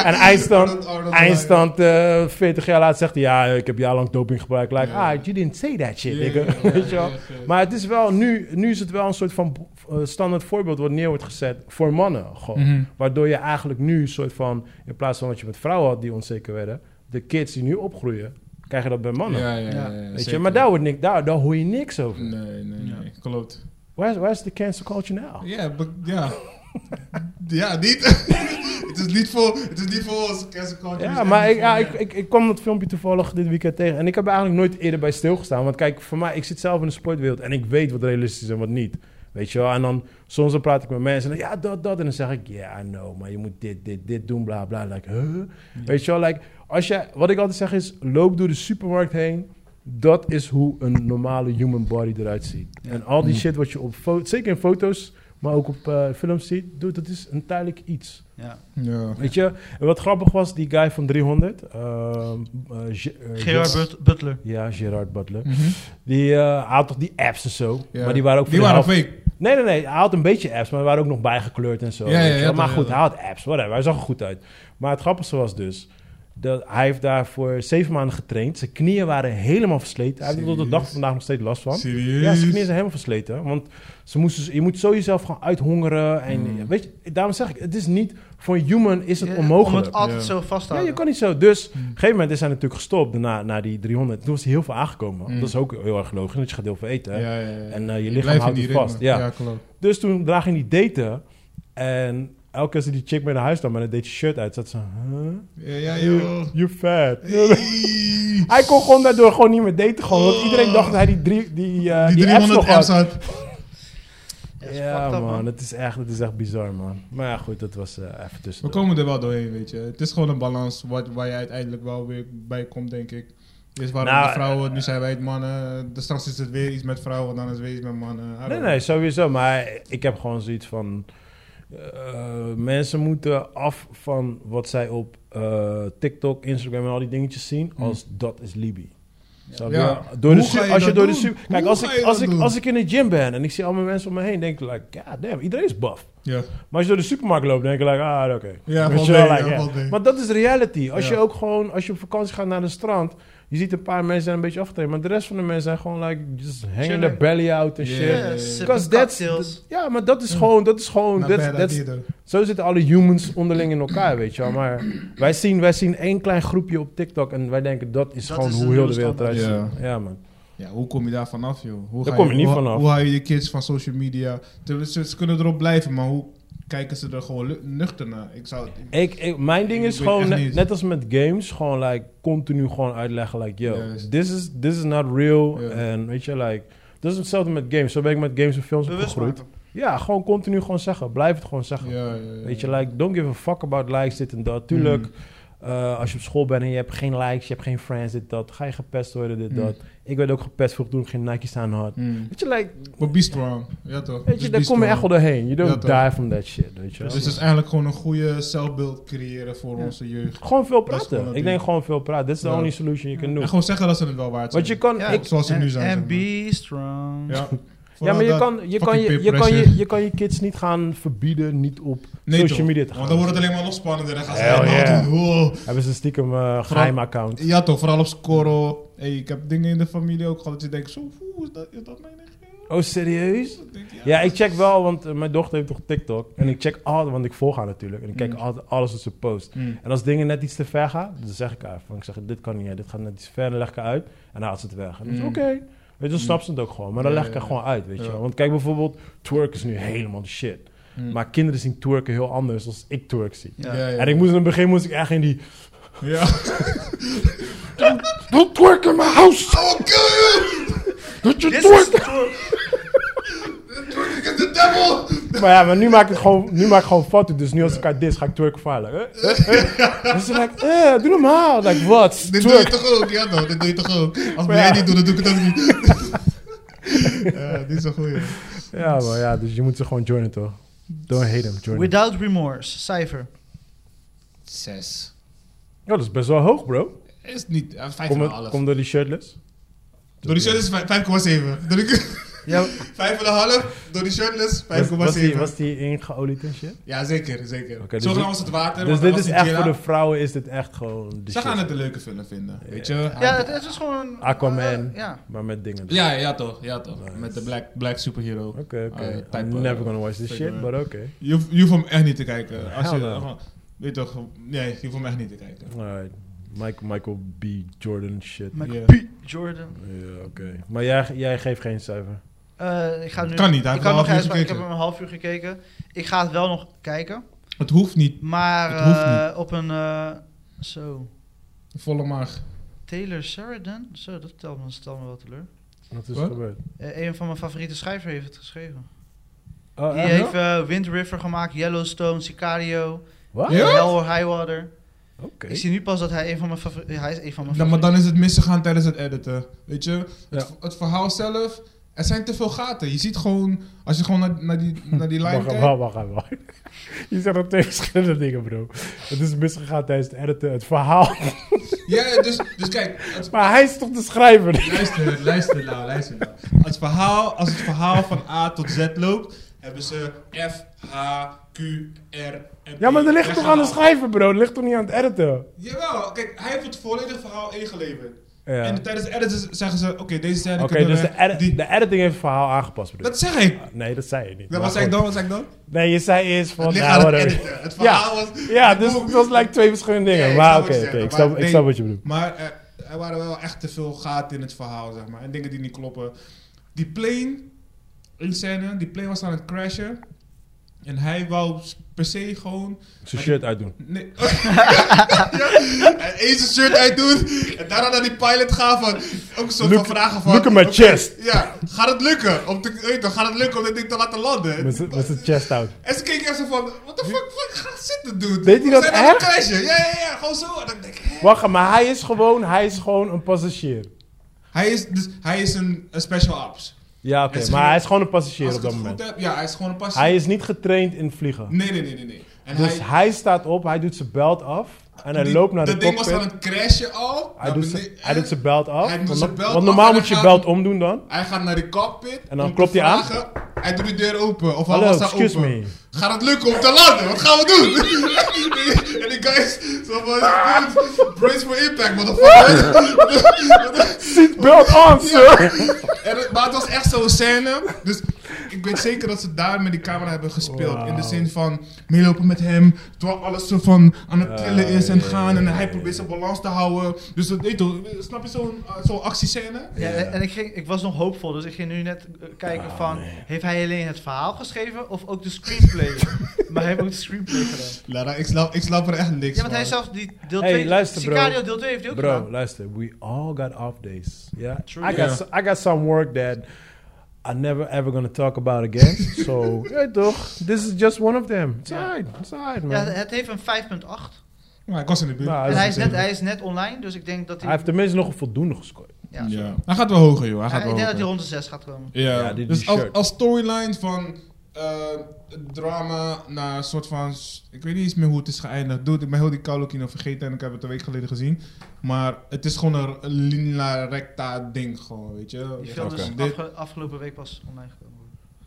[SPEAKER 1] en
[SPEAKER 3] Oh,
[SPEAKER 1] eindstand, eindstand eh 40 jaar later zegt hij, ja, ik heb jarenlang doping gebruikt. Like,
[SPEAKER 3] Ja.
[SPEAKER 1] ah, you didn't say that shit,
[SPEAKER 3] Ja,
[SPEAKER 1] nigga.
[SPEAKER 3] ja, ja,
[SPEAKER 1] weet je wel.
[SPEAKER 3] ja, ja.
[SPEAKER 1] Maar het is wel, nu, nu is het wel een soort van eh, standaard voorbeeld wat neer wordt gezet voor mannen gewoon.
[SPEAKER 3] Mhm.
[SPEAKER 1] Waardoor je eigenlijk nu een soort van, in plaats van wat je met vrouwen had die onzeker werden, de kids die nu opgroeien, krijgen dat bij mannen.
[SPEAKER 3] Ja, ja, ja.
[SPEAKER 1] Oh, Weet je, maar daar, wordt niks, daar, daar hoor je niks over.
[SPEAKER 3] Nee, nee,
[SPEAKER 2] Ja.
[SPEAKER 3] nee. Klopt.
[SPEAKER 1] Waar is, waar is de cancer culture nou? now?
[SPEAKER 3] Ja, but- ja.
[SPEAKER 4] Ja, niet. het is niet voor, het is niet voor ons. Cancel culture
[SPEAKER 1] Ja,
[SPEAKER 4] is
[SPEAKER 1] maar
[SPEAKER 4] echt
[SPEAKER 1] ik,
[SPEAKER 4] niet
[SPEAKER 1] ja,
[SPEAKER 4] voor-
[SPEAKER 1] ik, ik, ik kwam dat filmpje toevallig dit weekend tegen. En ik heb er eigenlijk nooit eerder bij stilgestaan. Want kijk, voor mij, ik zit zelf in de sportwereld. En ik weet wat realistisch is en wat niet. Weet je wel? En dan, soms dan praat ik met mensen. En dan, ja, dat, dat. En dan zeg ik, ja, I know. Maar je moet dit, dit, dit doen, bla, bla. Like, huh? Weet je wel? Like, als je, wat ik altijd zeg is, loop door de supermarkt heen. Dat is hoe een normale human body eruit ziet. En al die shit wat je op foto's, zeker in foto's, maar ook op eh, films ziet. Dude, dat is een tijdelijk iets.
[SPEAKER 2] Ja.
[SPEAKER 3] Ja.
[SPEAKER 1] Weet je, en wat grappig was, die guy van 300, ehm, eh, Ge- eh,
[SPEAKER 2] Gerard
[SPEAKER 1] Ge-
[SPEAKER 2] But- Butler.
[SPEAKER 1] Ja, Gerard Butler.
[SPEAKER 3] Mhm.
[SPEAKER 1] Die eh, had toch die apps en zo.
[SPEAKER 3] Ja.
[SPEAKER 1] Maar die waren ook voor
[SPEAKER 3] Die
[SPEAKER 1] de
[SPEAKER 3] waren
[SPEAKER 1] helft-
[SPEAKER 3] fake.
[SPEAKER 1] Nee, nee, nee. Hij had een beetje apps, maar er waren ook nog bijgekleurd en zo.
[SPEAKER 3] Ja, ja,
[SPEAKER 1] weet je wel.
[SPEAKER 3] ja,
[SPEAKER 1] maar
[SPEAKER 3] dat-
[SPEAKER 1] goed,
[SPEAKER 3] ja,
[SPEAKER 1] hij had apps, whatever. Hij zag er goed uit. Maar het grappigste was dus... Dat hij heeft daarvoor zeven maanden getraind. Zijn knieën waren helemaal versleten. Hij heeft er tot de dag van vandaag nog steeds last van.
[SPEAKER 3] Serieus?
[SPEAKER 1] Ja, zijn knieën zijn helemaal versleten. Want ze moesten, je moet zo jezelf gaan uithongeren. En, weet je, daarom zeg ik, het is niet... Voor een human is het
[SPEAKER 2] Ja, Om
[SPEAKER 1] onmogelijk.
[SPEAKER 2] het altijd
[SPEAKER 3] Hmm. Ja.
[SPEAKER 2] zo vast te
[SPEAKER 1] Ja, je
[SPEAKER 2] houden.
[SPEAKER 1] kan niet zo. Dus op een gegeven moment is hij natuurlijk gestopt na, na die 300. Toen was hij heel veel aangekomen.
[SPEAKER 3] Mm.
[SPEAKER 1] Dat is ook heel erg logisch, want je gaat heel veel eten.
[SPEAKER 3] Ja,
[SPEAKER 1] hè.
[SPEAKER 3] ja, ja.
[SPEAKER 1] En eh, je
[SPEAKER 3] Blijf
[SPEAKER 1] lichaam
[SPEAKER 3] in
[SPEAKER 1] houdt
[SPEAKER 3] die
[SPEAKER 1] het
[SPEAKER 3] ritme.
[SPEAKER 1] vast. Ja.
[SPEAKER 3] Ja, klopt.
[SPEAKER 1] Dus toen draag je die daten. En elke keer als hij die chick mee naar huis nam en hij deed je shirt uit, zat ze... Huh?
[SPEAKER 3] Ja, ja,
[SPEAKER 1] You,
[SPEAKER 3] joh.
[SPEAKER 1] you fat.
[SPEAKER 3] Hey.
[SPEAKER 1] Hij kon gewoon daardoor gewoon niet meer daten. Gewoon, want iedereen dacht dat hij die, drie, die, eh die,
[SPEAKER 3] Die
[SPEAKER 1] apps
[SPEAKER 3] 300
[SPEAKER 1] nog
[SPEAKER 3] apps
[SPEAKER 1] had.
[SPEAKER 3] had.
[SPEAKER 2] Ja, is
[SPEAKER 1] Ja,
[SPEAKER 2] fucked up,
[SPEAKER 1] man. Dat is, echt, dat is echt bizar, man. Maar ja, goed, dat was eh, even tussen.
[SPEAKER 3] We komen er wel doorheen, weet je. Het is gewoon een balans wat, waar je uiteindelijk wel weer bij komt, denk ik. Eerst waren
[SPEAKER 1] Nou,
[SPEAKER 3] de vrouwen, nu zijn wij het mannen. Dus straks is het weer iets met vrouwen, dan is het weer iets met mannen. I don't
[SPEAKER 1] Nee,
[SPEAKER 3] know.
[SPEAKER 1] nee, sowieso. Maar ik heb gewoon zoiets van... eh, mensen moeten af van wat zij op eh, TikTok, Instagram en al die dingetjes zien. Als dat is Libi. Snap je?
[SPEAKER 3] Mm. Ja.
[SPEAKER 1] Door de
[SPEAKER 3] Hoe ga
[SPEAKER 1] su-
[SPEAKER 3] je
[SPEAKER 1] als je
[SPEAKER 3] dat
[SPEAKER 1] door de
[SPEAKER 3] doen?
[SPEAKER 1] super- Kijk,
[SPEAKER 3] Hoe
[SPEAKER 1] als
[SPEAKER 3] ga
[SPEAKER 1] ik,
[SPEAKER 3] je
[SPEAKER 1] als,
[SPEAKER 3] dat
[SPEAKER 1] ik,
[SPEAKER 3] doen?
[SPEAKER 1] als ik in de gym ben en ik zie allemaal mensen om me heen, denk ik, like, god damn, iedereen is buff.
[SPEAKER 3] Ja,
[SPEAKER 1] Maar als je door de supermarkt loopt, denk ik, like, ah, oké.
[SPEAKER 3] ja
[SPEAKER 1] Weet
[SPEAKER 3] valt
[SPEAKER 1] je
[SPEAKER 3] mee,
[SPEAKER 1] wel,
[SPEAKER 3] ja,
[SPEAKER 1] like, ja.
[SPEAKER 3] valt mee.
[SPEAKER 1] Maar dat is reality. Als
[SPEAKER 3] Ja.
[SPEAKER 1] je ook gewoon, als je op vakantie gaat naar een strand, je ziet een paar mensen zijn een beetje afgetraind, maar de rest van de mensen zijn gewoon like, just hanging their
[SPEAKER 2] Chillen.
[SPEAKER 1] belly out en
[SPEAKER 3] Ja.
[SPEAKER 1] shit.
[SPEAKER 2] man.
[SPEAKER 3] Ja,
[SPEAKER 2] Ja,
[SPEAKER 1] Because
[SPEAKER 2] sipping
[SPEAKER 1] that's-
[SPEAKER 2] cocktails.
[SPEAKER 1] Ja, maar dat is gewoon, dat is gewoon,
[SPEAKER 3] Mm. Not
[SPEAKER 1] that's-
[SPEAKER 3] bad
[SPEAKER 1] that's-
[SPEAKER 3] idea, though.
[SPEAKER 1] zo zitten alle humans onderling in elkaar, weet je wel. Maar wij zien, wij zien één klein groepje op TikTok en wij denken dat is
[SPEAKER 2] Dat
[SPEAKER 1] gewoon
[SPEAKER 2] is de
[SPEAKER 1] hoe heel de
[SPEAKER 2] nieuwe
[SPEAKER 1] wereld eruit ziet. Ja.
[SPEAKER 3] standaard.
[SPEAKER 1] man.
[SPEAKER 3] Ja, hoe kom je daar vanaf, joh? Hoe
[SPEAKER 1] Daar
[SPEAKER 3] ga
[SPEAKER 1] kom je niet
[SPEAKER 3] hoe-
[SPEAKER 1] vanaf.
[SPEAKER 3] Hoe hou je de kids van social media... Ze, ze- ze kunnen erop blijven, maar hoe kijken ze er gewoon lu- nuchter naar? Ik zou...
[SPEAKER 1] Ik, ik- mijn ding
[SPEAKER 3] Ik
[SPEAKER 1] is
[SPEAKER 3] weet
[SPEAKER 1] gewoon,
[SPEAKER 3] echt
[SPEAKER 1] net,
[SPEAKER 3] niet.
[SPEAKER 1] net als met games, gewoon like continu gewoon uitleggen like, yo,
[SPEAKER 3] Juist.
[SPEAKER 1] this is, this is not real.
[SPEAKER 3] Ja.
[SPEAKER 1] En weet je, like, dat is hetzelfde met games. Zo ben ik met games en films
[SPEAKER 2] Bewust
[SPEAKER 1] opgegroeid.
[SPEAKER 2] maken.
[SPEAKER 1] Ja, gewoon continu gewoon zeggen. Blijf het gewoon zeggen.
[SPEAKER 3] Ja, ja, ja.
[SPEAKER 1] Weet je, like, don't give a fuck about likes, dit en dat. Tuurlijk,
[SPEAKER 3] Mm.
[SPEAKER 1] eh, als je op school bent en je hebt geen likes, je hebt geen friends, dit, dat. Ga je gepest worden, dit,
[SPEAKER 3] Mm.
[SPEAKER 1] dat. Ik werd ook gepest vroeg toen ik geen Nike's aan had.
[SPEAKER 3] Hmm.
[SPEAKER 1] Weet je, like,
[SPEAKER 3] Maar be strong. Ja, toch?
[SPEAKER 1] weet je
[SPEAKER 3] Dus
[SPEAKER 1] daar
[SPEAKER 3] be
[SPEAKER 1] kom je
[SPEAKER 3] strong.
[SPEAKER 1] echt wel doorheen. You don't
[SPEAKER 3] Ja, toch.
[SPEAKER 1] die from that shit, weet je wel.
[SPEAKER 3] Dus het is eigenlijk gewoon een goede zelfbeeld creëren voor
[SPEAKER 2] Ja.
[SPEAKER 3] onze jeugd.
[SPEAKER 1] Gewoon veel
[SPEAKER 3] is gewoon
[SPEAKER 1] praten.
[SPEAKER 3] een
[SPEAKER 1] Ik denk
[SPEAKER 3] ding.
[SPEAKER 1] gewoon veel praten. Dit is de
[SPEAKER 3] Ja.
[SPEAKER 1] only solution je
[SPEAKER 2] Ja.
[SPEAKER 1] kunt
[SPEAKER 3] En
[SPEAKER 1] doen.
[SPEAKER 3] gewoon zeggen dat ze het wel waard zijn.
[SPEAKER 1] Want je kan...
[SPEAKER 2] Ja.
[SPEAKER 1] ik-
[SPEAKER 3] Zoals ze nu
[SPEAKER 2] En-
[SPEAKER 3] zijn. zeg
[SPEAKER 2] En
[SPEAKER 3] maar.
[SPEAKER 2] be strong.
[SPEAKER 3] Ja.
[SPEAKER 1] ja,
[SPEAKER 3] Vooral
[SPEAKER 1] maar je
[SPEAKER 3] dat-
[SPEAKER 1] kan je, kan
[SPEAKER 3] fucking
[SPEAKER 1] je,
[SPEAKER 3] peer
[SPEAKER 1] je, kan
[SPEAKER 3] pressure.
[SPEAKER 1] je, je kan je kids niet gaan verbieden niet op
[SPEAKER 3] Nee,
[SPEAKER 1] social
[SPEAKER 3] toch?
[SPEAKER 1] media te gaan.
[SPEAKER 3] Want dan wordt het alleen maar nog spannender. Dan gaan ze
[SPEAKER 1] Hell
[SPEAKER 3] helemaal
[SPEAKER 1] yeah.
[SPEAKER 3] doen. Wow.
[SPEAKER 1] Hebben ze een stiekem eh geheim account.
[SPEAKER 3] Ja toch, vooral op Scoro. Hey, ik heb dingen in de familie ook gehad dat je denkt, zo, oeh, is dat, is dat mijn echt?
[SPEAKER 1] Oh, serieus?
[SPEAKER 3] Ik denk,
[SPEAKER 1] Ja, ik check wel, want eh, mijn dochter heeft toch TikTok. En ik check altijd, want ik volg haar natuurlijk. En ik kijk
[SPEAKER 3] Mm.
[SPEAKER 1] altijd alles wat ze post.
[SPEAKER 3] Mm.
[SPEAKER 1] En als dingen net iets te ver gaan, dan zeg ik haar. Van, ik zeg, dit kan niet, hè, dit gaat net iets ver. Dan leg ik haar uit en dan haalt ze het weg. En dan is
[SPEAKER 3] Mm.
[SPEAKER 1] oké. Weet je, dan snapt ze het ook gewoon. Maar dan
[SPEAKER 3] Ja,
[SPEAKER 1] leg ik haar
[SPEAKER 3] ja,
[SPEAKER 1] gewoon uit, weet je
[SPEAKER 3] Ja.
[SPEAKER 1] wel. Want kijk bijvoorbeeld, twerk is nu helemaal de shit.
[SPEAKER 3] Mm.
[SPEAKER 1] Maar kinderen zien twerken heel anders dan ik twerk zie.
[SPEAKER 2] Ja.
[SPEAKER 1] En ik moest in het begin moest ik echt in die...
[SPEAKER 3] Ja.
[SPEAKER 1] Don't twerk in my house!
[SPEAKER 4] Oh, God!
[SPEAKER 1] Don't you
[SPEAKER 2] This
[SPEAKER 1] twerk!
[SPEAKER 2] is the-
[SPEAKER 4] Ik heb de devil!
[SPEAKER 1] Maar ja, maar nu maak ik het gewoon, nu maak ik gewoon fouten. Dus nu als ik haar dis, ga ik twerken voor haar. Like, eh, eh, eh. Dus ze like, eh, doe normaal. Like, wat?
[SPEAKER 4] Dit doe je
[SPEAKER 1] Twerk.
[SPEAKER 4] toch ook? Ja, toch? Dit doe je toch ook? Als
[SPEAKER 1] Maar
[SPEAKER 4] jij
[SPEAKER 1] ja.
[SPEAKER 4] niet doet, dan doe ik het ook niet.
[SPEAKER 3] Ja, dit is een goeie.
[SPEAKER 1] Ja, maar ja, dus je moet ze gewoon joinen, toch? Don't hate them, join 'em.
[SPEAKER 2] Without remorse. Cijfer.
[SPEAKER 4] Zes.
[SPEAKER 1] Ja, dat is best wel hoog, bro.
[SPEAKER 4] Is niet, eh, vijf
[SPEAKER 1] Kom,
[SPEAKER 4] van
[SPEAKER 1] het-
[SPEAKER 4] alles.
[SPEAKER 1] kom door die shirtless.
[SPEAKER 4] Door die shirtless vij- 5,7. Door die-
[SPEAKER 2] Ja,
[SPEAKER 4] Vijf en een half, door die shirtless
[SPEAKER 1] Was, was, die,
[SPEAKER 4] 5,7.
[SPEAKER 1] was die ingeolied en shit?
[SPEAKER 4] Ja, zeker, zeker.
[SPEAKER 1] Oké, dus
[SPEAKER 4] Zo
[SPEAKER 1] dit-
[SPEAKER 4] was het water.
[SPEAKER 1] Dus
[SPEAKER 4] want
[SPEAKER 1] dit
[SPEAKER 4] dan
[SPEAKER 1] is
[SPEAKER 4] was
[SPEAKER 1] echt
[SPEAKER 4] Jera.
[SPEAKER 1] voor de vrouwen is dit echt gewoon de
[SPEAKER 4] Ze gaan
[SPEAKER 1] shit.
[SPEAKER 4] het een leuke film vinden, weet je.
[SPEAKER 3] Ah,
[SPEAKER 2] ja het, het is gewoon...
[SPEAKER 1] Aquaman.
[SPEAKER 2] eh, ja.
[SPEAKER 1] Maar met dingen.
[SPEAKER 4] ja, ja toch, ja toch. Met de black, black superhero.
[SPEAKER 1] Oké,
[SPEAKER 4] Eh,
[SPEAKER 1] oké.
[SPEAKER 4] type,
[SPEAKER 1] I'm
[SPEAKER 4] eh,
[SPEAKER 1] never gonna watch this
[SPEAKER 4] type,
[SPEAKER 1] shit,
[SPEAKER 4] eh,
[SPEAKER 1] but oké.
[SPEAKER 3] Je hoeft, je hoeft hem echt niet te kijken. Als je,
[SPEAKER 1] Hell no.
[SPEAKER 3] gewoon- weet toch, nee, je hoeft hem echt niet te kijken.
[SPEAKER 1] Alright. Mike- Michael B. Jordan shit.
[SPEAKER 2] Met
[SPEAKER 3] Ja.
[SPEAKER 2] P. Jordan.
[SPEAKER 1] Ja, oké. Maar jij, jij geeft geen cijfer.
[SPEAKER 2] Eh, ik ga nu,
[SPEAKER 3] Kan niet, hij heeft
[SPEAKER 2] ik, kan
[SPEAKER 3] wel
[SPEAKER 2] nog
[SPEAKER 3] een half uur
[SPEAKER 2] eens, ik heb
[SPEAKER 3] gekeken.
[SPEAKER 2] hem een half uur gekeken. Ik ga het wel nog kijken.
[SPEAKER 3] Het hoeft niet.
[SPEAKER 2] Maar
[SPEAKER 3] Het hoeft
[SPEAKER 2] eh, op een... eh, zo.
[SPEAKER 3] Volle maag.
[SPEAKER 2] Taylor Sheridan? Zo, dat telt me, stel me wel teleur.
[SPEAKER 1] Wat is er
[SPEAKER 3] Wat?
[SPEAKER 1] gebeurd?
[SPEAKER 2] Eh, een van mijn favoriete schrijvers heeft het geschreven.
[SPEAKER 1] Oh,
[SPEAKER 2] Die
[SPEAKER 1] echt?
[SPEAKER 2] heeft eh, Wind River gemaakt, Yellowstone, Sicario,
[SPEAKER 1] Wat?
[SPEAKER 3] Ah, Ja?
[SPEAKER 2] Hell or High Water.
[SPEAKER 1] Oké.
[SPEAKER 2] Ik zie nu pas dat hij een van mijn favorieten... Hij is een van mijn
[SPEAKER 3] Dan, maar
[SPEAKER 2] favorieten.
[SPEAKER 3] dan is het misgegaan tijdens het editen. Weet je, het,
[SPEAKER 1] Ja.
[SPEAKER 3] het verhaal zelf, er zijn te veel gaten. Je ziet gewoon, als je gewoon naar, naar die, naar die lijn
[SPEAKER 1] Wacht,
[SPEAKER 3] kijkt.
[SPEAKER 1] wacht, wacht, wacht, wacht. Je zegt dat twee verschillende dingen, bro. Het is misgegaan tijdens het editen, het verhaal.
[SPEAKER 3] Ja, ja, dus, dus kijk, het-
[SPEAKER 1] Maar hij is toch de schrijver?
[SPEAKER 3] luister, luister nou, luister nou. Als, verhaal, als het verhaal van A tot Z loopt, hebben ze F, H, Q, R en P
[SPEAKER 1] Ja, maar dat ligt toch aan de
[SPEAKER 3] weggehaald.
[SPEAKER 1] schrijver, bro? Dat ligt toch niet aan het editen?
[SPEAKER 3] Jawel, kijk, hij heeft het volledige verhaal ingeleverd.
[SPEAKER 1] Ja.
[SPEAKER 3] En tijdens de edits zeggen ze, oké, deze scène
[SPEAKER 1] Oké,
[SPEAKER 3] kunnen
[SPEAKER 1] dus
[SPEAKER 3] we-
[SPEAKER 1] de, edit-
[SPEAKER 3] die-
[SPEAKER 1] de editing heeft het verhaal aangepast, bedoel
[SPEAKER 3] Dat zeg ik.
[SPEAKER 1] je? Nee, dat zei je niet.
[SPEAKER 3] Ja,
[SPEAKER 1] Maar
[SPEAKER 3] wat zei ik
[SPEAKER 1] goed.
[SPEAKER 3] dan? Wat zei ik dan?
[SPEAKER 1] Nee, je zei eerst van...
[SPEAKER 3] Het ligt
[SPEAKER 1] nou,
[SPEAKER 3] aan het
[SPEAKER 1] whatever.
[SPEAKER 3] editen. Het verhaal was...
[SPEAKER 1] Ja, dus het was lijkt twee verschillende dingen.
[SPEAKER 3] Ja, ik
[SPEAKER 1] maar
[SPEAKER 3] snap
[SPEAKER 1] oké,
[SPEAKER 3] wat je
[SPEAKER 1] oké,
[SPEAKER 3] zegt,
[SPEAKER 1] ik,
[SPEAKER 3] maar
[SPEAKER 1] snap, ik
[SPEAKER 3] nee.
[SPEAKER 1] snap wat je bedoelt.
[SPEAKER 3] Maar eh, er waren wel echt te veel gaten in het verhaal, zeg maar. En dingen die niet kloppen. Die plane, in scène, die plane was aan het crashen. En hij wou s- per se gewoon...
[SPEAKER 1] Zijn shirt uitdoen.
[SPEAKER 3] Nee. en eens een shirt uitdoen. En daarna naar die pilot gaan van... Ook zo van
[SPEAKER 1] Look-
[SPEAKER 3] vragen van...
[SPEAKER 1] look at my
[SPEAKER 3] oké,
[SPEAKER 1] chest.
[SPEAKER 3] Ja, gaat het lukken? Om te, weet je, toch, gaat het lukken om dit ding te laten landen?
[SPEAKER 1] Met z'n- met zijn chest out.
[SPEAKER 3] En ze keek echt zo van, what the fuck, fuck gaat zitten, dude?
[SPEAKER 1] Deed hij
[SPEAKER 3] We
[SPEAKER 1] dat
[SPEAKER 3] zijn aan het
[SPEAKER 1] echt?
[SPEAKER 3] crashen. Ja, ja, ja, gewoon zo. En dan denk ik, hè?
[SPEAKER 1] Wacht, maar hij is gewoon, hij is gewoon een passagier.
[SPEAKER 3] Hij is, dus, hij is een, een special ops.
[SPEAKER 1] Ja, oké,
[SPEAKER 3] Het is
[SPEAKER 1] maar
[SPEAKER 3] gewoon-
[SPEAKER 1] hij is gewoon een
[SPEAKER 3] Als
[SPEAKER 1] passagier
[SPEAKER 3] ik
[SPEAKER 1] op dat
[SPEAKER 3] het
[SPEAKER 1] moment.
[SPEAKER 3] goed heb, ja, hij is gewoon een passie.
[SPEAKER 1] Hij is niet getraind in vliegen.
[SPEAKER 3] Nee, nee, nee, nee. nee. En
[SPEAKER 1] Dus
[SPEAKER 3] hij,
[SPEAKER 1] hij staat op, hij doet zijn belt af en hij
[SPEAKER 3] die-
[SPEAKER 1] loopt naar de
[SPEAKER 3] Dat ding was
[SPEAKER 1] cockpit.
[SPEAKER 3] aan het crashen al.
[SPEAKER 1] Hij
[SPEAKER 3] naar
[SPEAKER 1] doet,
[SPEAKER 3] beneden-
[SPEAKER 1] zijn, hij doet zijn belt af.
[SPEAKER 3] Hij doet
[SPEAKER 1] want,
[SPEAKER 3] zijn
[SPEAKER 1] no-
[SPEAKER 3] belt
[SPEAKER 1] want
[SPEAKER 3] af
[SPEAKER 1] normaal
[SPEAKER 3] en
[SPEAKER 1] moet je
[SPEAKER 3] hij
[SPEAKER 1] belt
[SPEAKER 3] gaat-
[SPEAKER 1] omdoen dan.
[SPEAKER 3] Hij gaat naar de cockpit.
[SPEAKER 1] En dan
[SPEAKER 3] om te
[SPEAKER 1] klopt hij aan.
[SPEAKER 3] vragen. Hij doet de deur open. Of
[SPEAKER 1] Hallo,
[SPEAKER 3] hij was daar
[SPEAKER 1] excuse
[SPEAKER 3] open.
[SPEAKER 1] me.
[SPEAKER 3] Gaat het lukken om te landen? Wat gaan we doen? en die guys, zo van, brace for impact, motherfucker.
[SPEAKER 1] Seatbelt on, sir!
[SPEAKER 3] En het- maar het was echt zo'n scène. Dus ik weet zeker dat ze daar met die camera hebben gespeeld. In de zin van meelopen met hem. Terwijl alles zo van aan het trillen is en
[SPEAKER 1] ja,
[SPEAKER 3] gaan.
[SPEAKER 1] ja,
[SPEAKER 3] en
[SPEAKER 1] ja,
[SPEAKER 3] hij
[SPEAKER 1] ja,
[SPEAKER 3] probeert
[SPEAKER 1] ja.
[SPEAKER 3] zijn balans te houden. Dus dat, weet je, toch, snap je zo'n eh, zo'n actiescène?
[SPEAKER 2] Ja, en- en ik, ging, ik was nog hoopvol, dus ik ging nu net eh, kijken
[SPEAKER 3] Oh,
[SPEAKER 2] van... Heeft hij alleen het verhaal geschreven of ook de screenplay? maar hij heeft ook de screenplay gedaan.
[SPEAKER 3] Lara, ik snap, ik snap er echt niks
[SPEAKER 2] Ja, want hij
[SPEAKER 3] van.
[SPEAKER 2] zelf die deel
[SPEAKER 1] Hey,
[SPEAKER 2] 2...
[SPEAKER 1] luister, bro.
[SPEAKER 2] Sicario deel 2 heeft hij ook
[SPEAKER 1] Bro,
[SPEAKER 2] gedaan.
[SPEAKER 1] luister, we all got off days. Yeah?
[SPEAKER 2] True.
[SPEAKER 1] I, got
[SPEAKER 3] Yeah.
[SPEAKER 1] so- I got some work that I'm never ever gonna talk about again. so, yeah, toch? This is just one of them. It's alright, it's alright, man.
[SPEAKER 2] Ja, het heeft een 5.8.
[SPEAKER 3] Maar ik was in de buurt.
[SPEAKER 1] Nou,
[SPEAKER 2] En hij is,
[SPEAKER 1] een
[SPEAKER 2] net,
[SPEAKER 1] zeven.
[SPEAKER 2] hij is net online, dus ik denk dat
[SPEAKER 1] Hij
[SPEAKER 2] hij...
[SPEAKER 1] heeft tenminste nog een voldoende gescoord.
[SPEAKER 2] ja,
[SPEAKER 3] Ja.
[SPEAKER 2] sorry.
[SPEAKER 3] Hij gaat wel hoger, joh. Hij
[SPEAKER 2] Ja,
[SPEAKER 3] gaat
[SPEAKER 2] ik
[SPEAKER 3] wel
[SPEAKER 2] denk dat hij
[SPEAKER 3] hoger.
[SPEAKER 2] rond de 6 gaat komen.
[SPEAKER 3] Ja,
[SPEAKER 1] Ja, die-
[SPEAKER 3] dus
[SPEAKER 1] die
[SPEAKER 3] als,
[SPEAKER 1] shirt.
[SPEAKER 3] als storyline van eh, drama naar een soort van. s- Ik weet niet eens meer hoe het is geëindigd. Dude, ik ben heel die Kaulokino vergeten en ik heb het een week geleden gezien. Maar het is gewoon een r- linea recta ding, gewoon, weet je.
[SPEAKER 2] Die
[SPEAKER 3] Ja,
[SPEAKER 2] film is
[SPEAKER 3] van dit-
[SPEAKER 2] afge- afgelopen week pas online gekomen.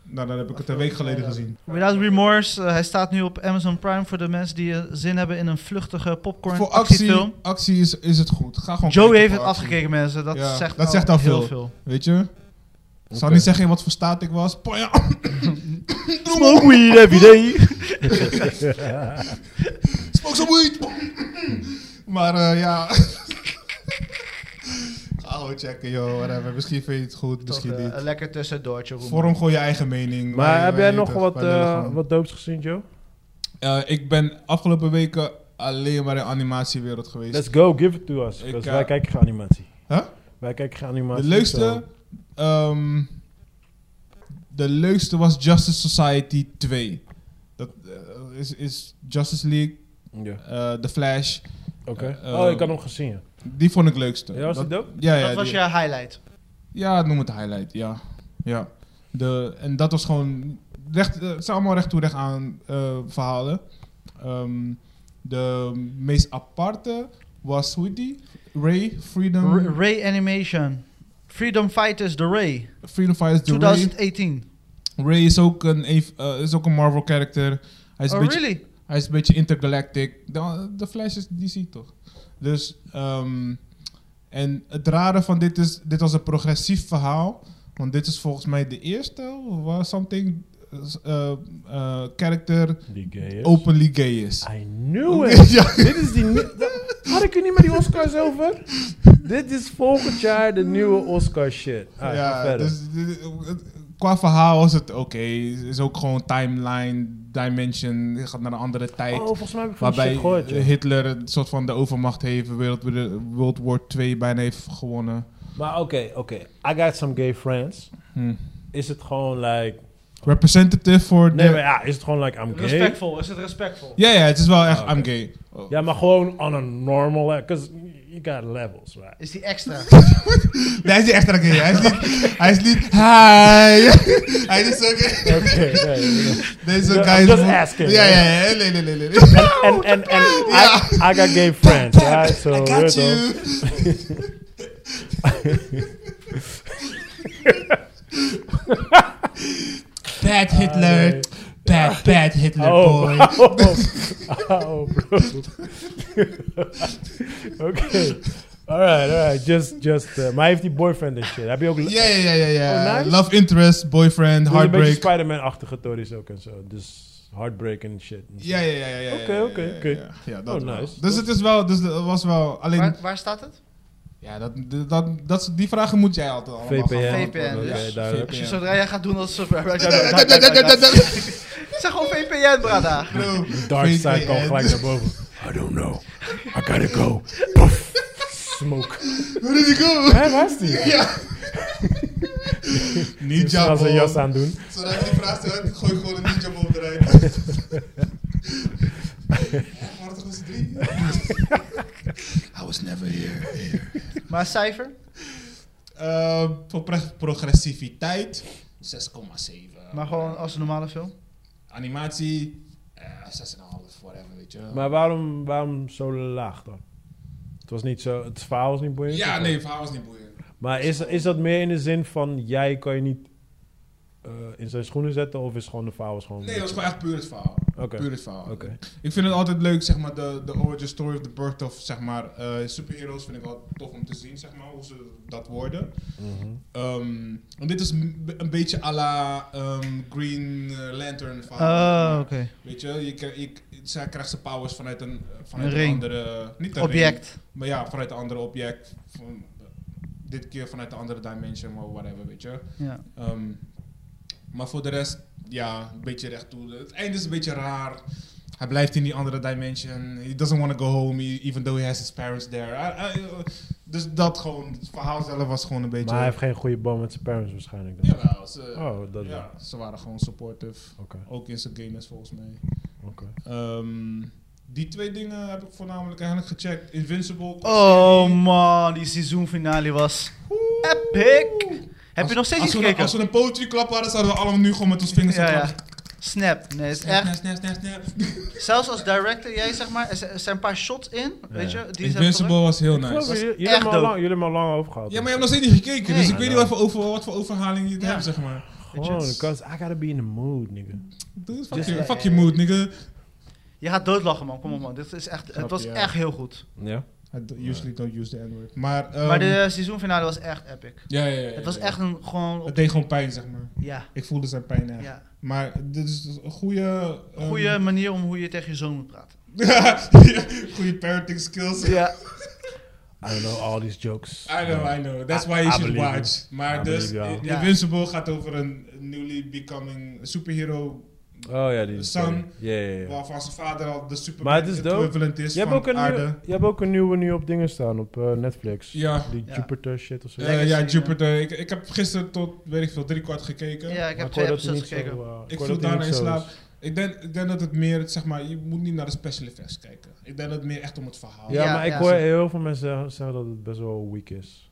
[SPEAKER 3] nou, dan heb ik het een week geleden gezien.
[SPEAKER 2] Without Remorse, eh, hij staat nu op Amazon Prime voor de mensen die eh, zin hebben in een vluchtige popcorn
[SPEAKER 3] Voor actie,
[SPEAKER 2] actiefilm.
[SPEAKER 3] actie is, is het goed. Ga gewoon.
[SPEAKER 2] Joey
[SPEAKER 3] kijken
[SPEAKER 2] heeft het
[SPEAKER 3] voor actie.
[SPEAKER 2] afgekeken, mensen. Dat,
[SPEAKER 3] Ja,
[SPEAKER 2] zegt,
[SPEAKER 3] dat
[SPEAKER 2] al
[SPEAKER 3] zegt al
[SPEAKER 2] heel
[SPEAKER 3] veel. Weet je? Ik zou niet zeggen in wat voor staat ik was. Poja.
[SPEAKER 1] Smoke weed every day.
[SPEAKER 3] Smoke some weed. maar eh, ja. Ga gewoon checken, joh. Whatever. Misschien vind je het goed,
[SPEAKER 2] Toch,
[SPEAKER 3] misschien
[SPEAKER 2] eh,
[SPEAKER 3] niet.
[SPEAKER 2] een lekker tussendoortje. roemen.
[SPEAKER 3] Vorm gewoon je eigen mening.
[SPEAKER 1] Maar
[SPEAKER 3] Wij-
[SPEAKER 1] heb
[SPEAKER 3] wij
[SPEAKER 1] jij
[SPEAKER 3] weten
[SPEAKER 1] nog
[SPEAKER 3] het,
[SPEAKER 1] wat,
[SPEAKER 3] wij lullen
[SPEAKER 1] eh,
[SPEAKER 3] gewoon.
[SPEAKER 1] wat doops gezien, Joe?
[SPEAKER 3] Eh, ik ben afgelopen weken alleen maar in animatiewereld geweest.
[SPEAKER 1] Let's go, give it to us.
[SPEAKER 3] Ik,
[SPEAKER 1] Because
[SPEAKER 3] eh,
[SPEAKER 1] wij kijken geen animatie.
[SPEAKER 3] Huh?
[SPEAKER 1] Wij kijken geen animatie.
[SPEAKER 3] de leukste...
[SPEAKER 1] zo.
[SPEAKER 3] ehm, de leukste was Justice Society 2. Dat eh, is, is Justice League,
[SPEAKER 1] Ja,
[SPEAKER 3] eh, The Flash.
[SPEAKER 1] oké.
[SPEAKER 3] Eh,
[SPEAKER 1] oh,
[SPEAKER 3] eh,
[SPEAKER 1] ik had hem gezien. ja.
[SPEAKER 3] Die vond ik leukste.
[SPEAKER 1] Ja, was die dope?
[SPEAKER 3] Ja, ja,
[SPEAKER 2] dat was
[SPEAKER 3] die-
[SPEAKER 2] je highlight.
[SPEAKER 3] Ja, noem het highlight, ja. ja. De, en dat was gewoon... Recht, eh, het zijn allemaal recht toe recht aan eh, verhalen. Ehm, de meest aparte was, hoe heet die? Ray, Freedom,
[SPEAKER 2] R- Ray Animation. Freedom Fighters, The Ray.
[SPEAKER 3] Freedom Fighters, the Ray.
[SPEAKER 2] 2018.
[SPEAKER 3] Ray is ook een, ev- eh, is ook een Marvel character. Hij is
[SPEAKER 2] Oh,
[SPEAKER 3] een beetje
[SPEAKER 2] really?
[SPEAKER 3] Hij is een beetje intergalactic. De, de Flash is DC toch? Dus, ehm, en het rare van dit is, dit was een progressief verhaal. Want dit is volgens mij de eerste waar something eh, eh, character
[SPEAKER 1] Die gay is.
[SPEAKER 3] openly gay is.
[SPEAKER 1] I knew it. Dit is die... nie- Had ik u niet met die Oscars over? Dit is volgend jaar de nieuwe Oscar shit. Ah, ga
[SPEAKER 3] ja,
[SPEAKER 1] verder.
[SPEAKER 3] dus dit- het- qua verhaal is het oké. Is ook gewoon timeline, dimension. Je gaat naar een andere tijd.
[SPEAKER 1] oh, volgens mij heb ik van die
[SPEAKER 3] Waarbij
[SPEAKER 1] shit gehoord. ja.
[SPEAKER 3] Hitler een soort van de overmacht heeft, Wereld, World War II bijna heeft gewonnen.
[SPEAKER 1] Maar oké, oké. I got some gay friends.
[SPEAKER 3] Hm.
[SPEAKER 1] Is het gewoon like...
[SPEAKER 3] representative voor
[SPEAKER 1] Nee,
[SPEAKER 3] de...
[SPEAKER 1] maar ja, is het gewoon like I'm gay?
[SPEAKER 2] Respectful, is het respectful?
[SPEAKER 3] Ja, ja, het is wel echt,
[SPEAKER 1] Ah, oké.
[SPEAKER 3] I'm gay.
[SPEAKER 1] Ja, maar gewoon on a normal... Because you got levels, right?
[SPEAKER 2] Is die extra?
[SPEAKER 3] Nee, hij is niet echt gay. Hij is niet, hij is niet, hi. hij is zo gay.
[SPEAKER 1] Oké, nee.
[SPEAKER 3] Deze
[SPEAKER 1] I'm
[SPEAKER 3] guy is...
[SPEAKER 1] just asking,
[SPEAKER 3] Ja, ja, ja, nee, nee, nee, nee. nee.
[SPEAKER 1] and and, and I, I got gay friends, right? So
[SPEAKER 3] I
[SPEAKER 1] we're
[SPEAKER 3] got
[SPEAKER 1] those-
[SPEAKER 3] you. bad Hitler.
[SPEAKER 1] nee.
[SPEAKER 3] Bad, bad Hitler
[SPEAKER 1] Oh,
[SPEAKER 3] boy.
[SPEAKER 1] oh, bro. okay. All right, all right. Just, just. Uh, maar hij heeft die boyfriend en shit. Heb je ook.
[SPEAKER 3] Ja, ja, ja, ja, ja.
[SPEAKER 1] Oh, nice.
[SPEAKER 3] Love interest, boyfriend,
[SPEAKER 1] Dus een beetje
[SPEAKER 3] heartbreak.
[SPEAKER 1] Spider-Man-achtige tories ook en zo. Dus heartbreak en shit.
[SPEAKER 3] Ja, ja, ja, ja, ja. ja,
[SPEAKER 1] Oké,
[SPEAKER 3] ja,
[SPEAKER 1] oké,
[SPEAKER 3] ja, ja,
[SPEAKER 1] oké.
[SPEAKER 3] ja. Ja, dat
[SPEAKER 1] Oh,
[SPEAKER 3] wel.
[SPEAKER 1] nice.
[SPEAKER 3] Dus het is wel, dus dat was wel, alleen,
[SPEAKER 2] waar, waar staat het?
[SPEAKER 3] ja, dat, dat, dat, die vragen moet jij altijd allemaal
[SPEAKER 1] VPN.
[SPEAKER 3] gaan
[SPEAKER 2] VPN,
[SPEAKER 3] beantwoorden.
[SPEAKER 2] dus.
[SPEAKER 1] Oké, duidelijk.
[SPEAKER 2] Als je
[SPEAKER 3] Ja.
[SPEAKER 2] zodra jij gaat doen als... Zeg gewoon VPN, brada.
[SPEAKER 3] Bro,
[SPEAKER 1] Dark side kwam
[SPEAKER 3] VPN.
[SPEAKER 1] gelijk naar boven. I don't know. I gotta go. Puff. Smoke.
[SPEAKER 3] Where did he go?
[SPEAKER 1] Waar was die?
[SPEAKER 3] Niet
[SPEAKER 1] Zal zijn jas
[SPEAKER 3] Jabo.
[SPEAKER 1] aan doen.
[SPEAKER 3] Zodat je die vraag stelt, gooi gewoon een niet Jabo op de rij. Maar toch was het drie? I was never here.
[SPEAKER 2] Maar cijfer?
[SPEAKER 3] Eh, Voor pro- progressiviteit, 6,7.
[SPEAKER 2] Maar gewoon als een normale film?
[SPEAKER 3] Animatie, eh, 6,5, whatever, weet je.
[SPEAKER 1] Maar waarom, waarom zo laag dan? Het was niet zo. Het verhaal was niet boeiend.
[SPEAKER 3] ja,
[SPEAKER 1] of
[SPEAKER 3] nee, verhaal is niet boeiend.
[SPEAKER 1] Maar is, is dat meer in de zin van jij kan je niet eh, in zijn schoenen zetten of is gewoon de verhaal was gewoon.
[SPEAKER 3] Nee, dat is gewoon echt puur het verhaal.
[SPEAKER 1] Oké.
[SPEAKER 3] Puur het verhaal.
[SPEAKER 1] Oké.
[SPEAKER 3] Ik vind het altijd leuk, zeg maar, de, de origin story of the birth of, zeg maar, eh, superheroes vind ik wel tof om te zien, zeg maar, hoe ze dat worden.
[SPEAKER 1] Mhm.
[SPEAKER 3] Ehm, want dit is m- een beetje à la ehm, Green Lantern verhaal.
[SPEAKER 2] Oh, oké.
[SPEAKER 3] Weet je, je, kri- je, zij krijgt zijn powers vanuit een, vanuit
[SPEAKER 2] Een
[SPEAKER 3] een,
[SPEAKER 2] ring.
[SPEAKER 3] andere... Niet een ring,
[SPEAKER 2] Object.
[SPEAKER 3] maar ja, vanuit een ander object. Van, dit keer vanuit een andere dimension, maar whatever, weet je.
[SPEAKER 2] Ja.
[SPEAKER 3] Ehm, maar voor de rest, ja, een beetje recht toe. Het einde is een beetje raar. Hij blijft in die andere dimension. He doesn't want to go home, e- even though he has his parents there. I- I- dus dat gewoon, het verhaal zelf was gewoon een beetje...
[SPEAKER 1] Maar hij heeft geen goede band met zijn parents waarschijnlijk. Dan.
[SPEAKER 3] Jawel, ze,
[SPEAKER 1] Oh, dat wel.
[SPEAKER 3] ja, ze waren gewoon supportive.
[SPEAKER 1] Oké,
[SPEAKER 3] Ook in zijn games volgens mij.
[SPEAKER 1] oké.
[SPEAKER 3] Ehm, die twee dingen heb ik voornamelijk eigenlijk gecheckt. Invincible.
[SPEAKER 2] Oh man, die seizoenfinale was epic. Heb je nog steeds
[SPEAKER 3] als
[SPEAKER 2] niet
[SPEAKER 3] we, een-
[SPEAKER 2] gekeken?
[SPEAKER 3] als we een poetry club hadden, zouden we allemaal nu gewoon met ons vingers
[SPEAKER 2] Ja, ja.
[SPEAKER 3] klappen.
[SPEAKER 2] Snap. Nee, het is
[SPEAKER 3] Snap,
[SPEAKER 2] echt.
[SPEAKER 3] snap, snap, snap.
[SPEAKER 2] Zelfs als director, jij zeg maar, er z- er zijn een paar shots in, weet je? Die zijn
[SPEAKER 3] Invincible was heel
[SPEAKER 1] Ik geloof
[SPEAKER 3] nice.
[SPEAKER 1] jullie- jullie
[SPEAKER 2] echt
[SPEAKER 1] hebben al
[SPEAKER 2] dope.
[SPEAKER 1] lang- Jullie hebben al lang over gehad.
[SPEAKER 3] Ja, maar je hebt nog steeds niet gekeken,
[SPEAKER 2] Nee.
[SPEAKER 3] dus ik weet niet wat voor, over, wat voor overhaling je het
[SPEAKER 2] Ja.
[SPEAKER 3] hebt, zeg maar.
[SPEAKER 1] Gewoon, cause I gotta be in the mood, nigga.
[SPEAKER 3] Dude, fuck,
[SPEAKER 1] Just
[SPEAKER 3] your,
[SPEAKER 1] like-
[SPEAKER 3] fuck your mood, nigga.
[SPEAKER 2] terug. Je gaat doodlachen man, kom op man. Dit is echt,
[SPEAKER 3] Snap
[SPEAKER 2] het was
[SPEAKER 3] je, ja.
[SPEAKER 2] echt heel goed.
[SPEAKER 1] Ja?
[SPEAKER 3] I d- usually don't use the N-word. Maar, ehm,
[SPEAKER 2] Maar de seizoenfinale was echt epic.
[SPEAKER 3] ja, ja, ja, ja,
[SPEAKER 2] Het was
[SPEAKER 3] ja.
[SPEAKER 2] echt een gewoon...
[SPEAKER 3] Het
[SPEAKER 2] Op,
[SPEAKER 3] deed gewoon pijn, zeg maar.
[SPEAKER 2] ja,
[SPEAKER 3] Ik voelde zijn pijn echt.
[SPEAKER 2] ja.
[SPEAKER 3] Maar dit is een goede... ehm,
[SPEAKER 2] Goede manier om hoe je tegen je zoon moet praten.
[SPEAKER 3] goede parenting skills.
[SPEAKER 2] Ja.
[SPEAKER 1] I don't know all these jokes.
[SPEAKER 3] I know, I know. That's why you
[SPEAKER 1] I
[SPEAKER 3] should
[SPEAKER 1] believe you.
[SPEAKER 3] watch. Maar
[SPEAKER 1] I
[SPEAKER 3] dus,
[SPEAKER 1] believe you.
[SPEAKER 3] I- Invincible gaat over een newly becoming superhero...
[SPEAKER 1] Oh ja, die
[SPEAKER 3] The Sun.
[SPEAKER 1] Ja, ja, ja.
[SPEAKER 3] waarvan zijn vader al de super
[SPEAKER 1] Maar het is dope.
[SPEAKER 3] equivalent is
[SPEAKER 1] Je hebt,
[SPEAKER 3] van
[SPEAKER 1] ook een nieuwe,
[SPEAKER 3] aarde.
[SPEAKER 1] je hebt ook een nieuwe nu op dingen staan op eh, Netflix.
[SPEAKER 3] Ja.
[SPEAKER 1] Die
[SPEAKER 2] Ja.
[SPEAKER 1] Jupiter shit of zo.
[SPEAKER 3] Eh,
[SPEAKER 2] Legacy,
[SPEAKER 3] ja,
[SPEAKER 2] ja.
[SPEAKER 3] Jupiter. Ik, ik heb gisteren tot, weet ik veel, drie kwart gekeken.
[SPEAKER 2] ja, ik
[SPEAKER 1] Maar
[SPEAKER 2] heb
[SPEAKER 1] hoor
[SPEAKER 2] twee
[SPEAKER 1] dat hij
[SPEAKER 2] episodes
[SPEAKER 1] niet
[SPEAKER 2] gekeken.
[SPEAKER 1] zo, eh, ik
[SPEAKER 3] Ik
[SPEAKER 1] hoor
[SPEAKER 3] viel
[SPEAKER 1] dat hij
[SPEAKER 3] daarna in
[SPEAKER 1] niet zo
[SPEAKER 3] slaap.
[SPEAKER 1] is.
[SPEAKER 3] Ik denk, ik denk dat het meer, zeg maar, je moet niet naar de special effects kijken. Ik denk dat het meer echt om het verhaal
[SPEAKER 1] Ja,
[SPEAKER 2] Ja,
[SPEAKER 1] maar ik
[SPEAKER 2] ja.
[SPEAKER 1] hoor heel veel mensen zeggen- zeggen dat het best wel weak is.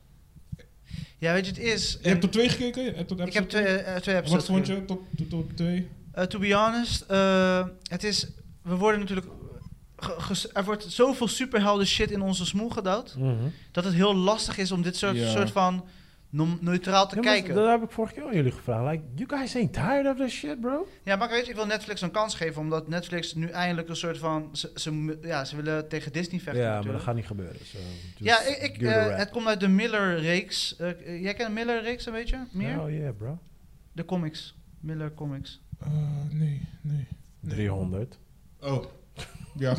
[SPEAKER 2] Ja, weet je, het is...
[SPEAKER 3] Je hebt tot twee gekeken? Je hebt tot
[SPEAKER 2] ik heb
[SPEAKER 3] episode
[SPEAKER 2] twee, eh, twee
[SPEAKER 3] twee? Wat
[SPEAKER 2] episodes
[SPEAKER 3] vond
[SPEAKER 2] gekeken.
[SPEAKER 3] je tot, tot, tot twee?
[SPEAKER 2] Eh, to be honest, eh, het is... We worden natuurlijk... ge- ges- er wordt zoveel superhelden shit in onze smoel gedouwd. Dat het heel lastig is om dit soort,
[SPEAKER 4] Ja.
[SPEAKER 2] soort van nom- neutraal te
[SPEAKER 1] Ja, maar
[SPEAKER 2] kijken.
[SPEAKER 1] Dat heb ik vorige keer aan jullie gevraagd. Like, you guys ain't tired of this shit, bro?
[SPEAKER 2] Ja, maar weet je, ik wil Netflix een kans geven. Omdat Netflix nu eindelijk een soort van... Ze, ze, mu- ja, ze willen tegen Disney vechten
[SPEAKER 1] ja, maar dat
[SPEAKER 2] natuurlijk.
[SPEAKER 1] gaat niet gebeuren. so just
[SPEAKER 2] ja, ik, ik,
[SPEAKER 1] give it a
[SPEAKER 2] eh,
[SPEAKER 1] rap.
[SPEAKER 2] het komt uit de Miller-reeks. Eh, eh, jij kent Miller-reeks een beetje meer?
[SPEAKER 1] Oh yeah, bro.
[SPEAKER 2] De comics. Miller comics.
[SPEAKER 3] Eh, nee, nee.
[SPEAKER 1] 300.
[SPEAKER 4] Oh. Ja.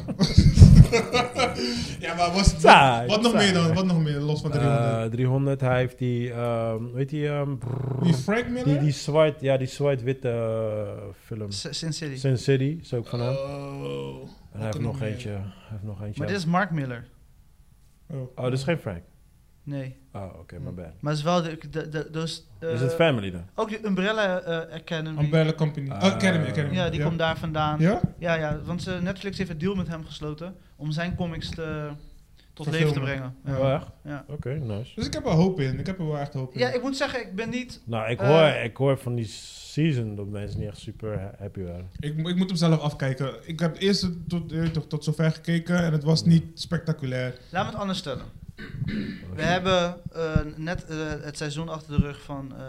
[SPEAKER 4] ja, maar was,
[SPEAKER 1] Saai,
[SPEAKER 4] wat nog
[SPEAKER 1] saai.
[SPEAKER 4] meer dan? Wat nog meer los van de
[SPEAKER 1] Eh, 300, hij heeft die, ehm weet die, ehm, brrr,
[SPEAKER 3] Wie, Frank
[SPEAKER 1] die,
[SPEAKER 3] Miller?
[SPEAKER 1] die zwart, ja, die zwart-witte eh, film.
[SPEAKER 2] S- Sin City.
[SPEAKER 1] Sin City is ook van hem.
[SPEAKER 4] Oh.
[SPEAKER 1] en hij heeft
[SPEAKER 4] kan ik
[SPEAKER 1] nog
[SPEAKER 4] niet
[SPEAKER 1] eentje, hij heeft nog eentje.
[SPEAKER 2] maar dit is Mark Miller.
[SPEAKER 1] Oh, dit is geen Frank.
[SPEAKER 2] Nee.
[SPEAKER 1] Oh, oké, my bad.
[SPEAKER 2] Maar het is wel de... de, Hmm. de dus, eh,
[SPEAKER 1] is het family dan?
[SPEAKER 2] Ook de Umbrella eh, Academy.
[SPEAKER 3] Umbrella Company.
[SPEAKER 1] Ah.
[SPEAKER 3] Oh, Academy, Academy.
[SPEAKER 2] Ja, die komt daar vandaan. Ja,
[SPEAKER 3] Ja?
[SPEAKER 2] ja, want eh, Netflix heeft een deal met hem gesloten om zijn comics te, tot
[SPEAKER 3] Verfilmen.
[SPEAKER 2] leven te brengen. Ja.
[SPEAKER 1] Oh, echt?
[SPEAKER 2] Ja.
[SPEAKER 1] Oké, nice.
[SPEAKER 3] Dus ik heb er hoop in. Ik heb er wel echt hoop in.
[SPEAKER 2] Ja, ik moet zeggen, ik ben niet...
[SPEAKER 1] Nou, ik
[SPEAKER 2] Eh,
[SPEAKER 1] hoor, ik hoor van die season dat mensen niet echt super ha- happy waren.
[SPEAKER 3] Ik, mo- ik moet hem zelf afkijken. Ik heb eerst het tot, eh, toch tot zover gekeken en het was niet spectaculair.
[SPEAKER 2] Laat me het anders stellen. We hebben eh, net eh, het seizoen achter de rug van eh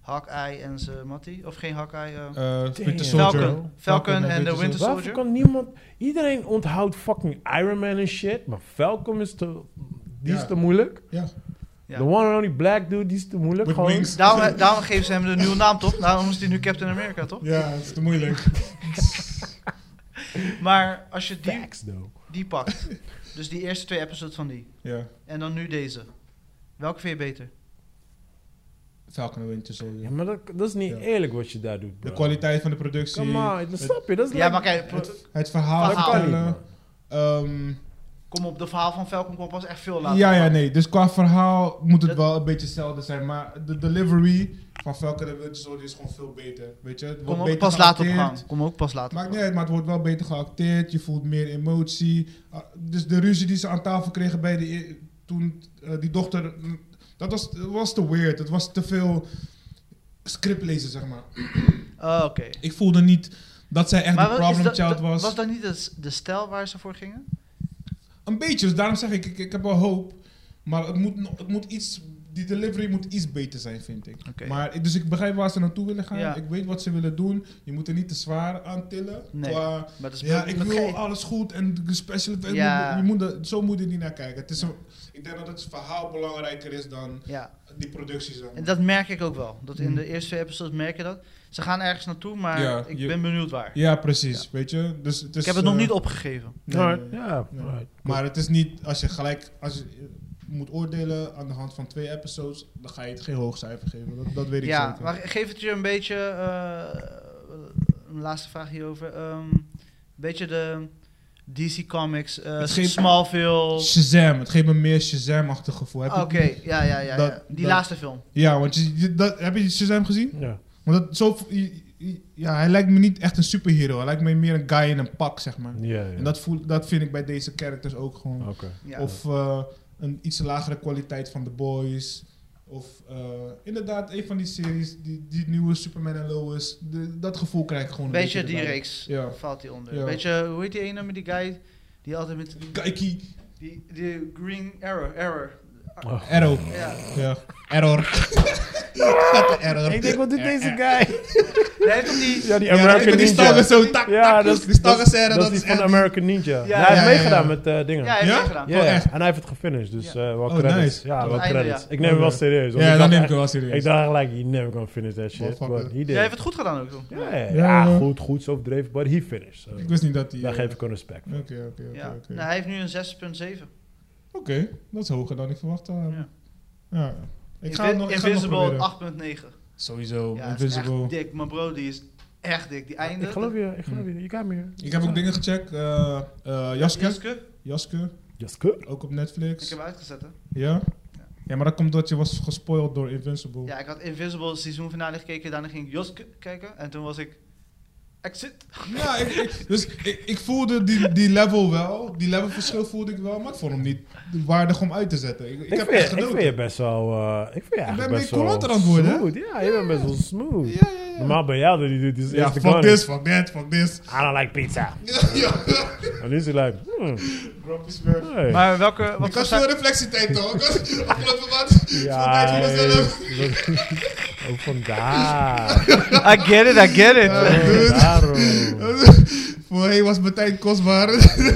[SPEAKER 2] Hawkeye en zijn Matty. Of geen Hawkeye. eh,
[SPEAKER 3] Eh Winter
[SPEAKER 2] Falcon.
[SPEAKER 3] Soldier.
[SPEAKER 2] Falcon, en de Winter
[SPEAKER 1] Waarvoor
[SPEAKER 2] Soldier.
[SPEAKER 1] kan niemand... Iedereen onthoudt fucking Iron Man en shit, maar Falcon is te... Die is
[SPEAKER 3] Ja.
[SPEAKER 1] te moeilijk.
[SPEAKER 3] Ja.
[SPEAKER 2] Ja.
[SPEAKER 1] The one and only black dude, die is te moeilijk.
[SPEAKER 3] With
[SPEAKER 1] gewoon.
[SPEAKER 3] wings.
[SPEAKER 2] Daarom, daarom geven ze hem de nieuwe naam, toch? Daarom is hij nu Captain America, toch?
[SPEAKER 3] Ja, het is te moeilijk.
[SPEAKER 2] Maar als je die,
[SPEAKER 1] Facts, though.
[SPEAKER 2] die pakt, dus die eerste twee episodes van die,
[SPEAKER 3] ja.
[SPEAKER 2] en dan nu deze. Welke vind je beter?
[SPEAKER 3] Falcon en Winter Soldier.
[SPEAKER 1] Ja, maar dat, dat is niet
[SPEAKER 3] Ja.
[SPEAKER 1] eerlijk wat je daar doet, bro.
[SPEAKER 3] De kwaliteit van de productie.
[SPEAKER 1] Come on, dat snap je. Dat is
[SPEAKER 2] Ja,
[SPEAKER 1] like-
[SPEAKER 2] maar kijk, pro-
[SPEAKER 3] Het verhaal.
[SPEAKER 1] dat
[SPEAKER 2] verhaal.
[SPEAKER 1] kan niet,
[SPEAKER 3] vertellen.
[SPEAKER 1] man.
[SPEAKER 3] Ehm,
[SPEAKER 2] kom op, de verhaal van Falcon kwam pas echt veel later.
[SPEAKER 3] ja, ja, nee. Dus qua verhaal moet het
[SPEAKER 2] Dat-
[SPEAKER 3] wel een beetje hetzelfde zijn. Maar de delivery van Falcon en Winter Soldier is gewoon veel beter. Weet je? Het wordt
[SPEAKER 2] Kom ook
[SPEAKER 3] beter
[SPEAKER 2] pas later op
[SPEAKER 3] geacteerd.
[SPEAKER 2] gang. Kom ook pas later
[SPEAKER 3] Maakt
[SPEAKER 2] op
[SPEAKER 3] niet uit,
[SPEAKER 2] gang.
[SPEAKER 3] maar het wordt wel beter geacteerd. Je voelt meer emotie. Ah, dus de ruzie die ze aan tafel kregen bij de, e- toen eh, die dochter... mm, Dat was, dat was te weird. Het was te veel script lezen, zeg maar.
[SPEAKER 2] Oh, Oké.
[SPEAKER 3] Ik voelde niet dat zij echt
[SPEAKER 2] Maar
[SPEAKER 3] de
[SPEAKER 2] wat- is
[SPEAKER 3] problem
[SPEAKER 2] dat-
[SPEAKER 3] child
[SPEAKER 2] dat-
[SPEAKER 3] was.
[SPEAKER 2] Was dat niet de, s- de stijl waar ze voor gingen?
[SPEAKER 3] Een beetje, dus daarom zeg ik, ik, ik heb wel hoop. Maar het moet, nog- het moet iets... Die delivery moet iets beter zijn, vind ik.
[SPEAKER 2] Oké.
[SPEAKER 3] Maar, ik- dus ik begrijp waar ze naartoe willen gaan.
[SPEAKER 2] Ja.
[SPEAKER 3] Ik weet wat ze willen doen. Je moet er niet te zwaar aan tillen.
[SPEAKER 2] Nee.
[SPEAKER 3] Qua
[SPEAKER 2] Maar dat is
[SPEAKER 3] Ja, ik
[SPEAKER 2] dat
[SPEAKER 3] wil
[SPEAKER 2] ge-
[SPEAKER 3] alles goed en de special effects.
[SPEAKER 2] Ja.
[SPEAKER 3] Je moet er, zo moet je er niet naar kijken. Het is een- ik denk dat het verhaal belangrijker is dan
[SPEAKER 2] Ja,
[SPEAKER 3] die producties. zeg maar.
[SPEAKER 2] en dat merk ik ook wel. Dat in
[SPEAKER 3] Hmm.
[SPEAKER 2] de eerste twee episodes merk je dat. Ze gaan ergens naartoe, maar
[SPEAKER 3] Ja,
[SPEAKER 2] ik
[SPEAKER 3] je-
[SPEAKER 2] ben benieuwd waar.
[SPEAKER 3] Ja, precies. Weet je? Dus het is,
[SPEAKER 2] ik heb het nog
[SPEAKER 3] eh,
[SPEAKER 2] niet opgegeven.
[SPEAKER 3] nee, nee,
[SPEAKER 1] Alright,
[SPEAKER 3] nee.
[SPEAKER 1] Ja,
[SPEAKER 3] Nee.
[SPEAKER 1] alright.
[SPEAKER 3] Maar het is niet, als je gelijk als je eh, moet oordelen aan de hand van twee episodes, dan ga je het geen hoog cijfer geven. Dat, dat weet ik
[SPEAKER 2] Ja,
[SPEAKER 3] zeker.
[SPEAKER 2] maar geef het je een beetje. eh, een laatste vraag hierover. ehm, een beetje de DC Comics, eh
[SPEAKER 3] Het geeft-
[SPEAKER 2] Smallville.
[SPEAKER 3] Shazam, het geeft me meer Shazam-achtig gevoel. Heb
[SPEAKER 2] Oké,
[SPEAKER 3] je-
[SPEAKER 2] ja, ja, ja, ja.
[SPEAKER 3] dat-
[SPEAKER 2] Die
[SPEAKER 3] dat-
[SPEAKER 2] laatste film.
[SPEAKER 3] Ja, want je, je- dat, heb je Shazam gezien?
[SPEAKER 1] Ja.
[SPEAKER 3] Want dat, zo, je- je- ja, hij lijkt me niet echt een superhero. Hij lijkt me meer een guy in een pak, zeg maar.
[SPEAKER 1] Ja, ja. Oh.
[SPEAKER 3] En dat, voel, dat vind ik bij deze characters ook gewoon.
[SPEAKER 1] Oké.
[SPEAKER 2] Ja.
[SPEAKER 3] Of eh, een iets lagere kwaliteit van The Boys. Of eh, inderdaad, een van die series, die, die nieuwe Superman en Lois. De- dat gevoel krijg ik gewoon
[SPEAKER 2] een
[SPEAKER 3] een
[SPEAKER 2] beetje die
[SPEAKER 3] erbij.
[SPEAKER 2] reeks
[SPEAKER 3] Ja.
[SPEAKER 2] valt die onder.
[SPEAKER 3] Ja.
[SPEAKER 2] Beetje, hoe heet die ene met die guy die altijd met
[SPEAKER 3] Kaikie,
[SPEAKER 2] die, die Green Error, Error.
[SPEAKER 3] Arrow.
[SPEAKER 2] Ja.
[SPEAKER 3] Ja, Error. Error.
[SPEAKER 1] Ik denk, wat doet deze guy?
[SPEAKER 2] Hij heeft toch die,
[SPEAKER 1] Ja, die
[SPEAKER 3] Ja,
[SPEAKER 1] American
[SPEAKER 3] met die
[SPEAKER 1] Ninja.
[SPEAKER 3] stangen zo, tak,
[SPEAKER 1] Ja,
[SPEAKER 3] tak,
[SPEAKER 1] dat is-
[SPEAKER 3] die stangen
[SPEAKER 1] dat
[SPEAKER 3] serre,
[SPEAKER 1] is
[SPEAKER 3] dat
[SPEAKER 1] die
[SPEAKER 3] is
[SPEAKER 1] van
[SPEAKER 3] echt...
[SPEAKER 1] American Ninja.
[SPEAKER 2] Ja,
[SPEAKER 1] Ja, hij heeft
[SPEAKER 3] ja,
[SPEAKER 1] meegedaan
[SPEAKER 3] ja.
[SPEAKER 1] met eh, dingen.
[SPEAKER 2] Ja, hij heeft
[SPEAKER 3] Ja?
[SPEAKER 2] meegedaan.
[SPEAKER 1] Ja,
[SPEAKER 3] Oh,
[SPEAKER 1] ja.
[SPEAKER 3] echt?
[SPEAKER 1] en hij heeft het gefinished, dus eh wel
[SPEAKER 3] Oh,
[SPEAKER 1] credits.
[SPEAKER 3] nice.
[SPEAKER 1] Ja,
[SPEAKER 2] Tot
[SPEAKER 1] wel
[SPEAKER 2] het einde,
[SPEAKER 1] credits.
[SPEAKER 2] ja.
[SPEAKER 1] Ik neem hem wel
[SPEAKER 3] Oké.
[SPEAKER 1] serieus. want
[SPEAKER 3] Oh, Ja, dan
[SPEAKER 1] dacht
[SPEAKER 3] neem ik
[SPEAKER 1] echt-
[SPEAKER 3] hem wel
[SPEAKER 1] Ik
[SPEAKER 3] serieus.
[SPEAKER 1] dacht gelijk, he never gonna finish that shit.
[SPEAKER 3] Motherfucker.
[SPEAKER 1] But he did.
[SPEAKER 2] Jij heeft het goed gedaan ook. toch?
[SPEAKER 1] Ja, ja,
[SPEAKER 3] Ja,
[SPEAKER 1] ja,
[SPEAKER 3] ja.
[SPEAKER 1] goed, goed, zo overdreven, but he finished. So,
[SPEAKER 3] Ik wist niet dat die...
[SPEAKER 1] daar
[SPEAKER 3] eh,
[SPEAKER 1] geef ik hem respect voor.
[SPEAKER 3] Oké, oké,
[SPEAKER 2] Ja.
[SPEAKER 3] oké,
[SPEAKER 2] Nou,
[SPEAKER 3] oké.
[SPEAKER 2] hij heeft nu een 6.7.
[SPEAKER 3] Oké, dat is hoger dan ik verwacht had.
[SPEAKER 2] Ja.
[SPEAKER 3] Ja. Ik ga
[SPEAKER 2] Invi-
[SPEAKER 3] het nog, ik ga het nog
[SPEAKER 2] Invisible
[SPEAKER 3] proberen.
[SPEAKER 2] 8.9.
[SPEAKER 3] Sowieso,
[SPEAKER 2] Ja, dat is
[SPEAKER 3] Invisible.
[SPEAKER 2] echt dik. Mijn bro, die is echt dik. Die
[SPEAKER 1] Ik
[SPEAKER 2] einde.
[SPEAKER 1] geloof je, ik geloof je. You got me. here.
[SPEAKER 3] Hmm. Ik heb ook dingen gecheckt. eh, eh, Jaske.
[SPEAKER 2] Jaske.
[SPEAKER 3] Jaske,
[SPEAKER 1] Just good.
[SPEAKER 3] ook op
[SPEAKER 2] Ik
[SPEAKER 3] Netflix.
[SPEAKER 2] heb hem uitgezet, hè.
[SPEAKER 3] Ja?
[SPEAKER 2] Ja.
[SPEAKER 3] Ja, maar dat komt omdat je was gespoild door Invincible.
[SPEAKER 2] Ja, ik had Invisible seizoenfinale gekeken. Daarna ging ik Joske kijken. En toen was ik... Exit.
[SPEAKER 3] Ja, ik, ik- dus ik, ik voelde die, die level wel. Die levelverschil voelde ik wel, maar ik vond hem niet waardig om uit te zetten. Ik, ik,
[SPEAKER 1] Ik,
[SPEAKER 3] heb
[SPEAKER 1] vind,
[SPEAKER 3] echt
[SPEAKER 1] je- ik vind
[SPEAKER 3] genoten.
[SPEAKER 1] je best wel... eh, ik vind je eigenlijk
[SPEAKER 3] ben
[SPEAKER 1] best
[SPEAKER 3] meer
[SPEAKER 1] wel
[SPEAKER 3] coulanter aan het worden, hè?
[SPEAKER 1] smooth. Ja, je bent best wel smooth.
[SPEAKER 3] Ja, ja, ja.
[SPEAKER 1] Normaal bij jou, die doet is
[SPEAKER 3] Ja,
[SPEAKER 1] eerst de
[SPEAKER 3] fuck
[SPEAKER 1] gun.
[SPEAKER 3] this, fuck that, fuck this.
[SPEAKER 1] I don't like pizza.
[SPEAKER 3] Ja, ja.
[SPEAKER 1] En is hij like, hmm, hey.
[SPEAKER 2] Maar welke...
[SPEAKER 3] Ik
[SPEAKER 2] Wat
[SPEAKER 3] had
[SPEAKER 2] was
[SPEAKER 3] veel
[SPEAKER 2] zijn-
[SPEAKER 3] reflectietijd toch? Ik had afgelopen maand.
[SPEAKER 1] ja,
[SPEAKER 3] vandaag was
[SPEAKER 1] hey.
[SPEAKER 3] wel
[SPEAKER 1] Oh, vandaar.
[SPEAKER 2] I get it, I get it.
[SPEAKER 1] Oh, daarom. Hey.
[SPEAKER 3] Voor hey, was mijn tijd kostbaar.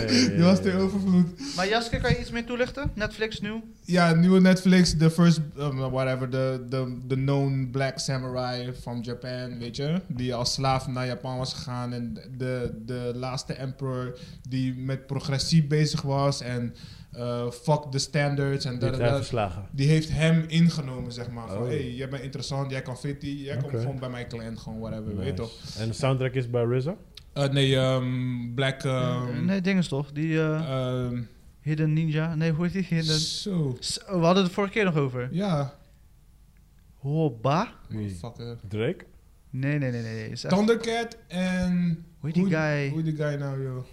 [SPEAKER 3] Die was te overvloed.
[SPEAKER 2] Maar Jaske, kan je iets meer toelichten? Netflix, nieuw?
[SPEAKER 3] Ja, nieuwe Netflix, de first, um, whatever, de, de, de known black samurai van Japan, weet je. Die als slaaf naar Japan was gegaan. En de, de laatste emperor die met progressie bezig was. En eh, fuck the standards. En
[SPEAKER 1] Die
[SPEAKER 3] dat
[SPEAKER 1] heeft
[SPEAKER 3] en
[SPEAKER 1] hij
[SPEAKER 3] dat.
[SPEAKER 1] verslagen.
[SPEAKER 3] Die heeft hem ingenomen, zeg maar. Van,
[SPEAKER 1] Oh.
[SPEAKER 3] hey, jij bent interessant, jij kan fitty, jij
[SPEAKER 1] Oké.
[SPEAKER 3] komt gewoon bij mijn client, gewoon whatever, weet je
[SPEAKER 1] Nice.
[SPEAKER 3] toch?
[SPEAKER 1] En de soundtrack is bij RZA.
[SPEAKER 3] Eh, nee, ehm, Black... ehm,
[SPEAKER 2] nee, dingen toch? Die eh,
[SPEAKER 3] ehm,
[SPEAKER 2] Hidden Ninja. Nee, hoe heet die? Hidden...
[SPEAKER 3] zo.
[SPEAKER 2] S- We hadden het de vorige keer nog over.
[SPEAKER 3] Ja.
[SPEAKER 2] Hoba?
[SPEAKER 1] Wie?
[SPEAKER 3] Fucker.
[SPEAKER 1] Drake?
[SPEAKER 2] Nee, nee, nee, nee. nee. Is echt-
[SPEAKER 3] Thundercat en...
[SPEAKER 2] Hoe heet die
[SPEAKER 3] hoe-
[SPEAKER 2] guy?
[SPEAKER 3] Hoe die guy nou, joh?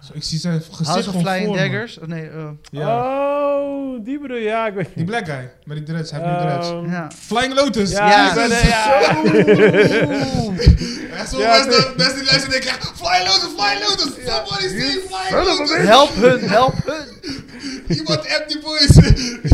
[SPEAKER 3] Zo, ik zie zijn gezicht
[SPEAKER 2] House of
[SPEAKER 3] gewoon voor
[SPEAKER 2] Flying
[SPEAKER 3] me.
[SPEAKER 2] Daggers? Of nee, eh,
[SPEAKER 3] Ja.
[SPEAKER 1] Oh, die bedoel je. Ja, ik weet
[SPEAKER 3] Die black guy, met die dreads. Hij heeft nu dreads.
[SPEAKER 1] Ehm,
[SPEAKER 2] ja.
[SPEAKER 3] Flying Lotus!
[SPEAKER 1] Ja,
[SPEAKER 2] Ja,
[SPEAKER 3] dat is
[SPEAKER 2] nee, ja.
[SPEAKER 3] Echt zo
[SPEAKER 1] Ja,
[SPEAKER 3] mensen mensen die luisteren denken, ja, Flying Lotus, Flying Lotus! Somebody see Flying Lotus!
[SPEAKER 2] Help hun, help hun.
[SPEAKER 3] Iemand appt die boys!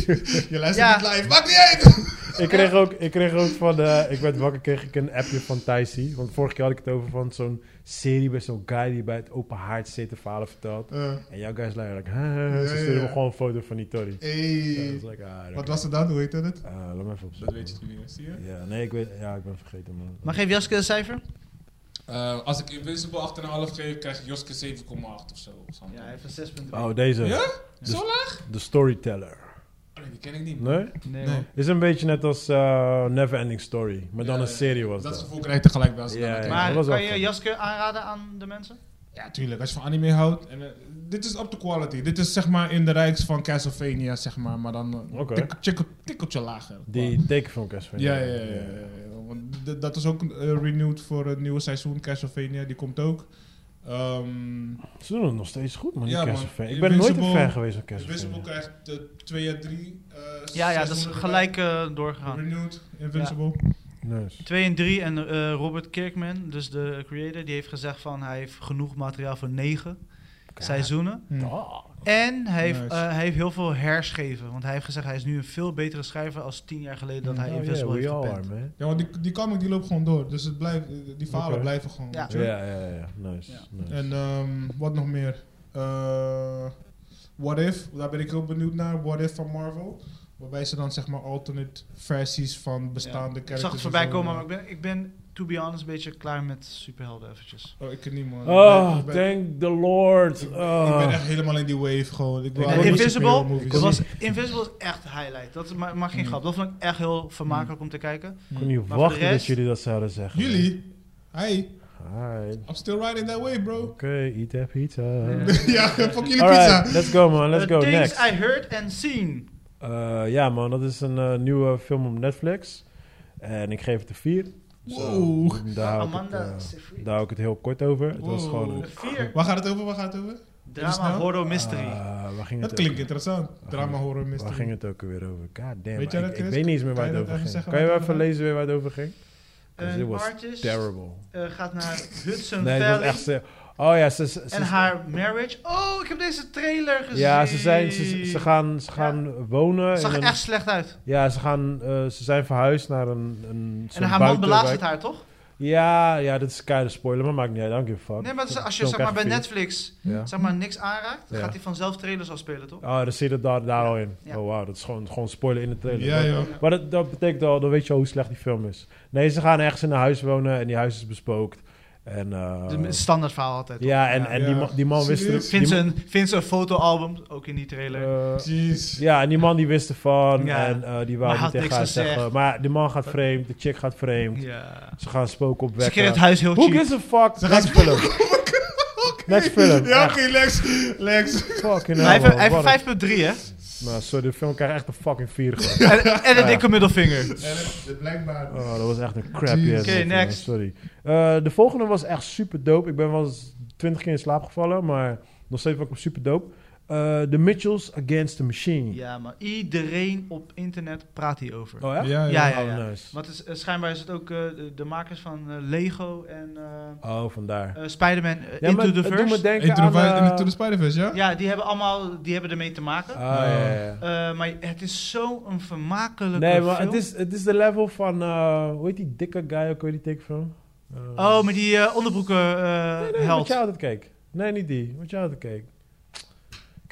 [SPEAKER 3] Je luistert
[SPEAKER 2] Ja.
[SPEAKER 3] niet live, maakt niet uit!
[SPEAKER 1] Ik kreeg ook, ik kreeg ook van, eh, ik werd wakker, kreeg ik een appje van Taisi. Want vorige keer had ik het over van zo'n serie bij zo'n guy die bij het open haard zit de verhalen vertelt.
[SPEAKER 3] Eh,
[SPEAKER 1] En jouw guy is like, huh,
[SPEAKER 3] Ja,
[SPEAKER 1] ze
[SPEAKER 3] ja,
[SPEAKER 1] sturen me
[SPEAKER 3] ja.
[SPEAKER 1] gewoon een foto van die Tori. Ja, dat
[SPEAKER 3] Hey.
[SPEAKER 1] is like, ah, dat-
[SPEAKER 3] Wat was het dan? Hoe heette het?
[SPEAKER 1] Ah, laat me even op
[SPEAKER 3] Dat weet je natuurlijk niet meer, zie je?
[SPEAKER 1] Ja, nee, ik weet, ja, ik ben vergeten man.
[SPEAKER 2] Maar geef Jaske een cijfer?
[SPEAKER 6] Eh, als ik Invincible 8,5 geef, krijg Joske 7,8 of zo.
[SPEAKER 2] Ja, even 6
[SPEAKER 1] Oh, deze.
[SPEAKER 6] Ja?
[SPEAKER 1] De,
[SPEAKER 6] Zo
[SPEAKER 1] De storyteller.
[SPEAKER 3] Ah,
[SPEAKER 6] Oh, nee, die ken ik niet.
[SPEAKER 1] Nee?
[SPEAKER 2] Nee,
[SPEAKER 3] Nee.
[SPEAKER 2] hoor.
[SPEAKER 1] Is een beetje net als eh Never Ending Story. Maar dan
[SPEAKER 6] Ja,
[SPEAKER 1] een
[SPEAKER 6] ja.
[SPEAKER 1] serie was
[SPEAKER 3] Dat
[SPEAKER 1] dat.
[SPEAKER 3] gevoel krijg je tegelijk bij als ik
[SPEAKER 1] Ja,
[SPEAKER 3] dan
[SPEAKER 1] ja.
[SPEAKER 3] kijk.
[SPEAKER 1] dat
[SPEAKER 2] Maar
[SPEAKER 1] was wel
[SPEAKER 2] kan je
[SPEAKER 1] fun.
[SPEAKER 2] Jaske aanraden aan de mensen?
[SPEAKER 3] Ja, tuurlijk. Als je van anime houdt. En, eh, dit is up to quality. Dit is zeg maar in de rijks van Castlevania, zeg maar. Maar dan eh,
[SPEAKER 1] Oké.
[SPEAKER 3] tik- tikkel- tikkeltje lager.
[SPEAKER 1] Die tekenfilm Castlevania.
[SPEAKER 3] Ja, ja, ja. ja, ja, ja. Want d- dat is ook eh, renewed voor het nieuwe seizoen Castlevania. Die komt ook. Ehm
[SPEAKER 1] Ze doen het nog steeds goed, man. die
[SPEAKER 3] Ja, man.
[SPEAKER 1] Castlevania. Ik ben nooit een
[SPEAKER 3] Invincible-
[SPEAKER 1] fan geweest van
[SPEAKER 3] Invincible
[SPEAKER 1] Castlevania.
[SPEAKER 3] krijgt 2 à 3
[SPEAKER 2] Ja, ja, dat is gelijk eh, doorgegaan.
[SPEAKER 3] Renewed, Invincible.
[SPEAKER 1] Nice.
[SPEAKER 2] 2 en 3 en eh, Robert Kirkman, dus de creator, die heeft gezegd van hij heeft genoeg materiaal voor 9 seizoenen.
[SPEAKER 3] Hm.
[SPEAKER 1] Ah.
[SPEAKER 2] En hij heeft,
[SPEAKER 3] Nice.
[SPEAKER 2] eh, hij heeft heel veel herschreven, want hij heeft gezegd hij is nu een veel betere schrijver als 10 jaar geleden dat hij
[SPEAKER 1] Oh,
[SPEAKER 2] Invisible
[SPEAKER 1] yeah, we
[SPEAKER 2] heeft
[SPEAKER 1] all
[SPEAKER 2] gepend.
[SPEAKER 1] are, man.
[SPEAKER 3] Ja, want die, die comic die loopt gewoon door. Dus het blijft, die verhalen
[SPEAKER 1] Oké.
[SPEAKER 3] blijven gewoon.
[SPEAKER 2] Ja.
[SPEAKER 3] weet je.
[SPEAKER 1] Ja, ja, ja. Nice.
[SPEAKER 2] Ah, Ja.
[SPEAKER 1] nice.
[SPEAKER 3] En ehm, wat nog meer? Eh, What If, daar ben ik heel benieuwd naar. What If van Marvel. Waarbij ze dan zeg maar alternate versies van bestaande
[SPEAKER 2] Ik
[SPEAKER 3] characters...
[SPEAKER 2] zag het voorbij
[SPEAKER 3] en zo,
[SPEAKER 2] komen, maar
[SPEAKER 3] eh,
[SPEAKER 2] ik ben, ik ben, to be honest, een beetje klaar met superhelden eventjes.
[SPEAKER 3] Oh, ik kan niet man.
[SPEAKER 1] Oh,
[SPEAKER 3] ik ben, ik ben-
[SPEAKER 1] thank the Lord.
[SPEAKER 3] ik- ik ben
[SPEAKER 1] Ah.
[SPEAKER 3] echt helemaal in die wave gewoon. Ik wil
[SPEAKER 1] Ja,
[SPEAKER 3] alleen maar
[SPEAKER 2] Invisible,
[SPEAKER 3] superhero movies.
[SPEAKER 2] dat was, Invisible is echt highlight, dat mag, mag geen
[SPEAKER 3] Mm.
[SPEAKER 2] grap. Dat vond ik echt heel vermakelijk om te kijken.
[SPEAKER 1] Ik kon niet
[SPEAKER 2] Maar voor de
[SPEAKER 1] wachten dat
[SPEAKER 2] rest-
[SPEAKER 1] jullie dat zouden zeggen.
[SPEAKER 3] Jullie? Hey,
[SPEAKER 1] Alright.
[SPEAKER 3] I'm still riding that wave bro.
[SPEAKER 1] Oké, eat that pizza.
[SPEAKER 3] ja, fuck jullie pizza.
[SPEAKER 1] Alright, let's go man, let's
[SPEAKER 2] The
[SPEAKER 1] go,
[SPEAKER 2] Things
[SPEAKER 1] next.
[SPEAKER 2] I heard and seen.
[SPEAKER 1] Eh, ja man, dat is een eh, nieuwe film op Netflix. En ik geef het een 4.
[SPEAKER 3] Wow.
[SPEAKER 1] daar, hou ik het,
[SPEAKER 2] Ah, Oh, Amanda
[SPEAKER 1] eh,
[SPEAKER 2] Seyfried.
[SPEAKER 1] daar hou ik het heel kort over. Het was
[SPEAKER 3] Wow.
[SPEAKER 1] gewoon een...
[SPEAKER 2] De Vier.
[SPEAKER 3] Waar gaat het over, waar gaat het over?
[SPEAKER 2] Drama, horror, mystery.
[SPEAKER 1] Eh, waar ging het
[SPEAKER 3] Dat klinkt
[SPEAKER 1] over?
[SPEAKER 3] interessant. Drama, horror,
[SPEAKER 1] Waar
[SPEAKER 3] mystery.
[SPEAKER 1] ging het ook weer over? God damn,
[SPEAKER 3] Weet jij
[SPEAKER 1] ik,
[SPEAKER 3] dat,
[SPEAKER 1] ik
[SPEAKER 3] Chris?
[SPEAKER 1] weet niet eens meer
[SPEAKER 3] Kan
[SPEAKER 1] waar het
[SPEAKER 3] je dat
[SPEAKER 1] over
[SPEAKER 3] even
[SPEAKER 1] ging.
[SPEAKER 3] zeggen
[SPEAKER 1] Kan je
[SPEAKER 3] waar
[SPEAKER 1] wel
[SPEAKER 3] het
[SPEAKER 1] even
[SPEAKER 3] over
[SPEAKER 1] lezen weer waar het over ging? Dus dit
[SPEAKER 2] een
[SPEAKER 1] was
[SPEAKER 2] artist
[SPEAKER 1] Terrible.
[SPEAKER 2] eh, gaat naar Hudson
[SPEAKER 1] Nee, het was
[SPEAKER 2] Valley
[SPEAKER 1] echt... ze- Oh ja, ze... ze- ze-
[SPEAKER 2] en haar marriage. Oh, ik heb deze trailer gezien.
[SPEAKER 1] Ja, ze, zijn, ze, ze gaan, ze gaan wonen.
[SPEAKER 2] Zag
[SPEAKER 1] in
[SPEAKER 2] er
[SPEAKER 1] een-
[SPEAKER 2] echt slecht uit.
[SPEAKER 1] Ja, ze, gaan, eh, ze zijn verhuisd naar een. een
[SPEAKER 2] En haar man belazert
[SPEAKER 1] belaagde
[SPEAKER 2] haar, toch?
[SPEAKER 1] Ja, ja, dat is keiharde spoiler, maar maakt niet uit. Dank je, fuck.
[SPEAKER 2] Nee, maar het is- als je
[SPEAKER 1] Film
[SPEAKER 2] zeg maar, bij
[SPEAKER 1] krijg
[SPEAKER 2] Netflix
[SPEAKER 1] je vier. Ja.
[SPEAKER 2] zeg maar, niks aanraakt,
[SPEAKER 1] Ja.
[SPEAKER 2] gaat hij vanzelf trailers afspelen, toch?
[SPEAKER 1] Oh, dan zit het daar, daar al in.
[SPEAKER 2] Ja.
[SPEAKER 1] Oh, wauw, dat is gewoon, gewoon spoiler in de trailer.
[SPEAKER 3] Ja,
[SPEAKER 1] Dat-
[SPEAKER 3] joh.
[SPEAKER 1] Maar dat, dat betekent al, dan weet je al hoe slecht die film is. Nee, ze gaan ergens in een huis wonen en die huis is bespookt. En, eh,
[SPEAKER 2] Het is standaard verhaal altijd. toch?
[SPEAKER 1] ja, en, en
[SPEAKER 3] Ja.
[SPEAKER 1] Die, man, die man wist er...
[SPEAKER 3] Serieus?
[SPEAKER 1] die
[SPEAKER 2] Vindt ze,
[SPEAKER 1] man-
[SPEAKER 2] een, vindt ze een fotoalbum, ook in die trailer.
[SPEAKER 1] eh,
[SPEAKER 3] Jeez.
[SPEAKER 1] ja, en die man die wist ervan
[SPEAKER 2] Ja.
[SPEAKER 1] en eh, die
[SPEAKER 2] Maar
[SPEAKER 1] wou niet
[SPEAKER 2] had
[SPEAKER 1] tegen
[SPEAKER 2] niks
[SPEAKER 1] haar
[SPEAKER 2] gezegd.
[SPEAKER 1] zeggen. Maar die man gaat vreemd, de chick gaat vreemd.
[SPEAKER 2] ja.
[SPEAKER 1] Ze gaan spook
[SPEAKER 2] Ze
[SPEAKER 1] opwekken.
[SPEAKER 2] kreeg het huis heel
[SPEAKER 1] Who
[SPEAKER 2] cheap.
[SPEAKER 1] gives a fuck? Next film. Next film.
[SPEAKER 3] Ja,
[SPEAKER 1] Echt,
[SPEAKER 3] oké, Lex. Lex.
[SPEAKER 1] fucking
[SPEAKER 2] Hij
[SPEAKER 1] hell,
[SPEAKER 2] heeft-
[SPEAKER 1] man.
[SPEAKER 2] hij
[SPEAKER 1] Nou, Wat een-
[SPEAKER 2] heeft 5.3, hè?
[SPEAKER 1] Nou, sorry, de film krijgt echt een fucking 4 gewoon.
[SPEAKER 2] En, en een
[SPEAKER 1] Ja.
[SPEAKER 2] dikke middelvinger.
[SPEAKER 3] En het- het blijkbaar.
[SPEAKER 1] Oh, dat was echt een crappy
[SPEAKER 3] Jeez.
[SPEAKER 1] ass
[SPEAKER 2] Oké,
[SPEAKER 1] movie, man.
[SPEAKER 2] next.
[SPEAKER 1] Sorry. Eh, de volgende was echt super dope. Ik ben wel eens 20 keer in slaap gevallen, maar nog steeds was ik hem super dope. Eh, The Mitchells Against the Machine.
[SPEAKER 2] Ja, maar iedereen op internet praat hierover.
[SPEAKER 1] Oh ja?
[SPEAKER 3] Ja,
[SPEAKER 2] Ja,
[SPEAKER 3] ja.
[SPEAKER 2] ja, ja.
[SPEAKER 1] Oh, nice.
[SPEAKER 2] Want het is, eh, schijnbaar is het ook eh, de, de makers van eh, Lego en eh
[SPEAKER 1] Oh, vandaar.
[SPEAKER 2] eh, Spider-Man eh,
[SPEAKER 1] Ja, maar
[SPEAKER 2] Into the
[SPEAKER 1] het doet me
[SPEAKER 2] Verse.
[SPEAKER 1] denken
[SPEAKER 3] Into the,
[SPEAKER 1] aan...
[SPEAKER 3] Vi-
[SPEAKER 1] eh,
[SPEAKER 3] Into the Spider-Verse, ja?
[SPEAKER 2] Ja, die hebben allemaal, die hebben ermee te maken.
[SPEAKER 1] Ah, ja, ja, ja.
[SPEAKER 2] Eh, maar het is zo'n vermakelijke
[SPEAKER 1] Nee, maar
[SPEAKER 2] film.
[SPEAKER 1] het is, het is de level van... eh, hoe heet die dikke guy ook? Hoe heet die tekenfilm? Eh,
[SPEAKER 2] Oh, met die eh, onderbroeken eh,
[SPEAKER 1] Nee, nee,
[SPEAKER 2] held.
[SPEAKER 1] wat jij altijd keek. Nee, niet die. Wat jij altijd keek.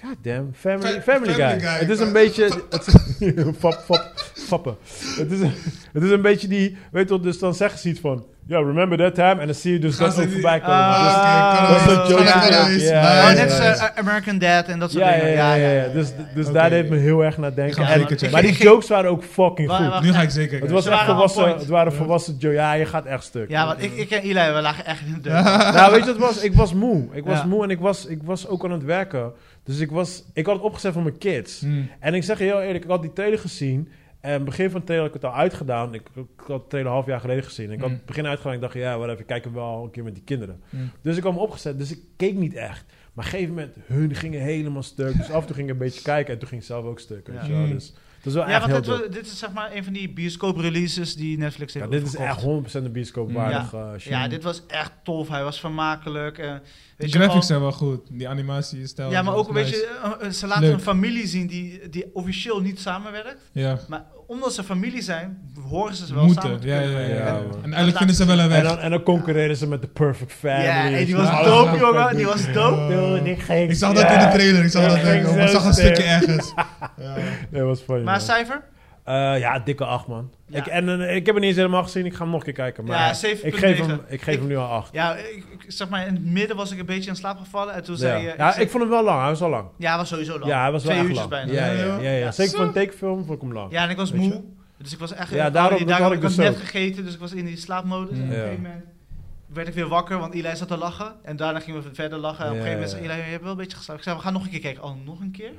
[SPEAKER 1] God damn. Family,
[SPEAKER 3] Fa-
[SPEAKER 1] family,
[SPEAKER 3] Family
[SPEAKER 1] guy.
[SPEAKER 3] Guy.
[SPEAKER 1] Het is een beetje... het- fap, fap, fappen. Het is, een- het is een beetje die... Weet je wat, dus dan zeggen ze iets van... Ja, remember that time? En dan zie je dus
[SPEAKER 3] Gaan
[SPEAKER 1] dat
[SPEAKER 3] ze
[SPEAKER 1] ook
[SPEAKER 3] die-
[SPEAKER 1] voorbij komen.
[SPEAKER 2] Ah,
[SPEAKER 1] Dus-
[SPEAKER 2] dat is een joke.
[SPEAKER 3] Ja,
[SPEAKER 2] Ja,
[SPEAKER 3] ja,
[SPEAKER 1] Ja,
[SPEAKER 2] ja. oh,
[SPEAKER 1] ja,
[SPEAKER 2] net als
[SPEAKER 1] ja,
[SPEAKER 2] eh, American Dad en dat soort
[SPEAKER 1] ja, ja,
[SPEAKER 2] dingen.
[SPEAKER 1] ja, ja, ja. Dus, dus
[SPEAKER 3] Oké,
[SPEAKER 1] daar
[SPEAKER 3] oké.
[SPEAKER 1] deed me heel erg naar
[SPEAKER 3] Ik
[SPEAKER 1] denken.
[SPEAKER 3] ga
[SPEAKER 1] En-
[SPEAKER 3] zeker checken.
[SPEAKER 1] maar die jokes waren ook fucking
[SPEAKER 2] Wa-
[SPEAKER 1] goed.
[SPEAKER 2] wa-
[SPEAKER 3] Nu ga ik zeker
[SPEAKER 1] Het
[SPEAKER 3] kijken.
[SPEAKER 1] was
[SPEAKER 2] ze
[SPEAKER 1] echt
[SPEAKER 2] waren on
[SPEAKER 1] volwassen,
[SPEAKER 2] point.
[SPEAKER 1] het waren volwassen jokes. Ja, je gaat echt stuk.
[SPEAKER 2] Ja, want ik, ik en Eli, we lagen echt in de deur.
[SPEAKER 1] Nou, weet je wat het was? Ik was moe. Ik was
[SPEAKER 2] Ja.
[SPEAKER 1] moe en ik was, ik was ook aan het werken. Dus ik, was, ik had het opgezet voor mijn kids.
[SPEAKER 3] Hmm.
[SPEAKER 1] En ik zeg je heel eerlijk, ik had die trailer gezien. En begin van de trailer had ik het al uitgedaan. Ik, ik had de trailer half jaar geleden gezien. Ik had
[SPEAKER 3] Mm.
[SPEAKER 1] het begin uitgedaan. Ik dacht, ja, whatever, ik kijk hem wel een keer met die kinderen.
[SPEAKER 3] Mm.
[SPEAKER 1] Dus ik had hem opgezet, dus ik keek niet echt. Maar op een gegeven moment, hun gingen helemaal stuk. Dus af en toe ging ik een beetje kijken. En toen ging ik zelf ook stuk. Weet
[SPEAKER 2] Ja.
[SPEAKER 1] je wel.
[SPEAKER 3] Mm.
[SPEAKER 1] Dus het was wel
[SPEAKER 2] Ja,
[SPEAKER 1] echt
[SPEAKER 2] want
[SPEAKER 1] heel
[SPEAKER 2] dit,
[SPEAKER 1] dope.
[SPEAKER 2] wa- dit is zeg maar een van die bioscoop-releases die Netflix
[SPEAKER 1] Ja,
[SPEAKER 2] heeft
[SPEAKER 1] dit is
[SPEAKER 2] opgekocht.
[SPEAKER 1] echt 100% een bioscoop waardig eh, shit.
[SPEAKER 2] Ja, dit was echt tof. Hij was vermakelijk. eh,
[SPEAKER 3] De
[SPEAKER 2] weet je,
[SPEAKER 3] graphics
[SPEAKER 2] gewoon-
[SPEAKER 3] zijn wel goed. Die animatie is stijl.
[SPEAKER 2] Ja, maar ook een
[SPEAKER 3] nice.
[SPEAKER 2] beetje... eh, eh, ze laten
[SPEAKER 3] Leuk.
[SPEAKER 2] een familie zien die, die officieel niet samenwerkt.
[SPEAKER 3] Ja.
[SPEAKER 2] Maar omdat ze familie zijn, horen ze ze wel
[SPEAKER 3] Moeten.
[SPEAKER 2] samen te
[SPEAKER 3] Ja, ja,
[SPEAKER 2] kunnen
[SPEAKER 3] ja, ja.
[SPEAKER 2] werken.
[SPEAKER 1] Ja,
[SPEAKER 3] En
[SPEAKER 1] man.
[SPEAKER 3] eigenlijk vinden ze wel een
[SPEAKER 1] En
[SPEAKER 3] weg.
[SPEAKER 1] dan, en dan concurreren ze met de Perfect Family.
[SPEAKER 2] Ja, en die was
[SPEAKER 3] Ja.
[SPEAKER 2] dope, jongen. Die was dope.
[SPEAKER 1] Dude, ik ging-
[SPEAKER 3] Ik zag dat in de trailer. Ik zag
[SPEAKER 1] Ja,
[SPEAKER 3] dat
[SPEAKER 1] ging
[SPEAKER 3] ik-
[SPEAKER 1] zo
[SPEAKER 3] Ik zag een
[SPEAKER 1] sterk.
[SPEAKER 3] stukje ergens. Ja.
[SPEAKER 1] Nee, was funny.
[SPEAKER 2] Maar
[SPEAKER 1] man.
[SPEAKER 2] cijfer?
[SPEAKER 1] Eh, ja, dikke 8 man.
[SPEAKER 2] Ja.
[SPEAKER 1] Ik, en eh, ik heb hem niet eens helemaal gezien, ik ga hem nog een keer kijken. Maar
[SPEAKER 2] Ja,
[SPEAKER 1] ik geef,
[SPEAKER 2] 7,9.
[SPEAKER 1] hem, ik geef hem nu al 8.
[SPEAKER 2] Ja, ik, ik- zeg maar, in het midden was ik een beetje in slaap gevallen. En toen
[SPEAKER 1] ja,
[SPEAKER 2] zei je...
[SPEAKER 1] ja, ik vond hem wel lang, hij was al lang.
[SPEAKER 2] ja, was sowieso lang.
[SPEAKER 1] Ja, hij was wel
[SPEAKER 2] Twee
[SPEAKER 1] echt
[SPEAKER 2] uurtjes
[SPEAKER 1] lang.
[SPEAKER 2] bijna.
[SPEAKER 1] Ja, ja, ja, ja,
[SPEAKER 2] Ja,
[SPEAKER 1] Zeker
[SPEAKER 3] zo.
[SPEAKER 1] voor een tekenfilm vond ik hem lang.
[SPEAKER 2] Ja, en ik was
[SPEAKER 1] Weet
[SPEAKER 2] moe. Dus ik was echt...
[SPEAKER 1] Ja, daarom-
[SPEAKER 2] ik,
[SPEAKER 1] dat had ik
[SPEAKER 2] had
[SPEAKER 1] dus
[SPEAKER 2] net
[SPEAKER 1] ook.
[SPEAKER 2] gegeten, dus ik was in die slaapmodus. En op een
[SPEAKER 1] Ja.
[SPEAKER 2] gegeven moment werd ik weer wakker, want Eli zat te lachen. En daarna gingen we verder lachen. En op een
[SPEAKER 1] Ja,
[SPEAKER 2] gegeven moment
[SPEAKER 1] ja.
[SPEAKER 2] zei Eli, je hebt wel een beetje geslapen. Ik zei, we gaan nog een keer kijken. Oh, nog een keer?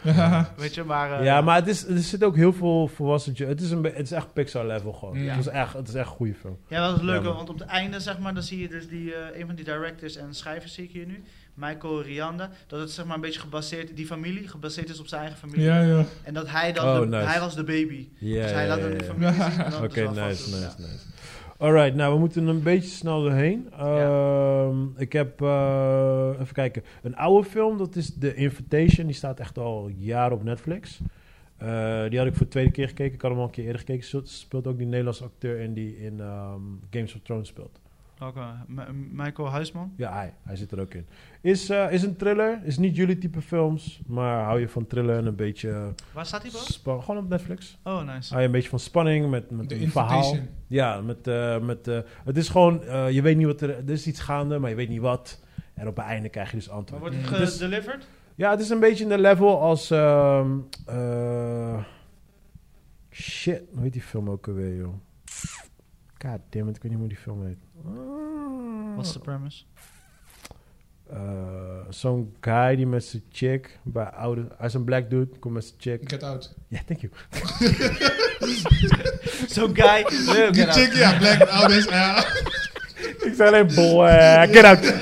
[SPEAKER 2] Weet je, maar... eh,
[SPEAKER 1] Ja, maar het is, er zit ook heel veel volwassen... jo- Het is, een, be- het is echt Pixar level gewoon.
[SPEAKER 3] Ja.
[SPEAKER 1] Het, is echt, het is echt een goede film.
[SPEAKER 2] Ja, dat is
[SPEAKER 1] Ja,
[SPEAKER 2] leuk,
[SPEAKER 1] man.
[SPEAKER 2] want op het einde, zeg maar, dan zie je dus die, eh, een van die directors en schrijvers, zie ik hier nu, Michael Rianda, dat het zeg maar een beetje gebaseerd, die familie, gebaseerd is op zijn eigen familie.
[SPEAKER 3] Ja, ja.
[SPEAKER 2] En dat hij dan,
[SPEAKER 1] Oh,
[SPEAKER 2] de-
[SPEAKER 1] nice.
[SPEAKER 2] hij was de baby.
[SPEAKER 1] Ja,
[SPEAKER 2] dus
[SPEAKER 1] ja,
[SPEAKER 2] hij laat
[SPEAKER 1] ja,
[SPEAKER 2] hem de
[SPEAKER 1] ja.
[SPEAKER 2] familie zien. en dan
[SPEAKER 1] Oké,
[SPEAKER 2] is wel
[SPEAKER 1] nice,
[SPEAKER 2] vast.
[SPEAKER 1] nice, nice. Alright, nou we moeten een beetje snel doorheen. Ehm, Ik heb, eh, even kijken, een oude film, dat is The Invitation. Die staat echt al jaren op Netflix. Eh, die had ik voor de tweede keer gekeken. Ik had hem al een keer eerder gekeken. Speelt- Speelt ook die Nederlandse acteur in die in ehm, Games of Thrones speelt.
[SPEAKER 2] Ja. Oké, M- Michael Huisman.
[SPEAKER 1] Ja, hij, hij zit er ook in. Is, eh, is een thriller. Is niet jullie type films. Maar hou je van thriller en een beetje...
[SPEAKER 2] Waar staat hij, bro?
[SPEAKER 1] span- Gewoon op Netflix.
[SPEAKER 2] Oh, nice.
[SPEAKER 1] Hou je een beetje van spanning met, met
[SPEAKER 3] De
[SPEAKER 1] een verhaal.
[SPEAKER 3] invitation.
[SPEAKER 1] Ja, met, eh, met, eh, het is gewoon, eh, je weet niet wat er, er is iets gaande, maar je weet niet wat. En op het einde krijg je dus
[SPEAKER 2] Maar
[SPEAKER 1] antwoord.
[SPEAKER 2] Oh, wordt het
[SPEAKER 3] Mm.
[SPEAKER 1] Dus-
[SPEAKER 2] gedelivered?
[SPEAKER 1] Ja, het is een beetje in de level als, ehm, eh, shit, hoe heet die film ook alweer, joh? God damn it, ik weet niet hoe die film heet.
[SPEAKER 2] What's the premise?
[SPEAKER 1] Eh, Zo'n guy die met zijn chick bij oude... Hij is een black dude, komt met zijn chick.
[SPEAKER 3] Get out.
[SPEAKER 1] Ja, thank you.
[SPEAKER 2] Zo'n guy. Leuk,
[SPEAKER 3] Die
[SPEAKER 2] get out.
[SPEAKER 3] chick, ja, black ouders. Ja.
[SPEAKER 1] Ik zei alleen black, get out.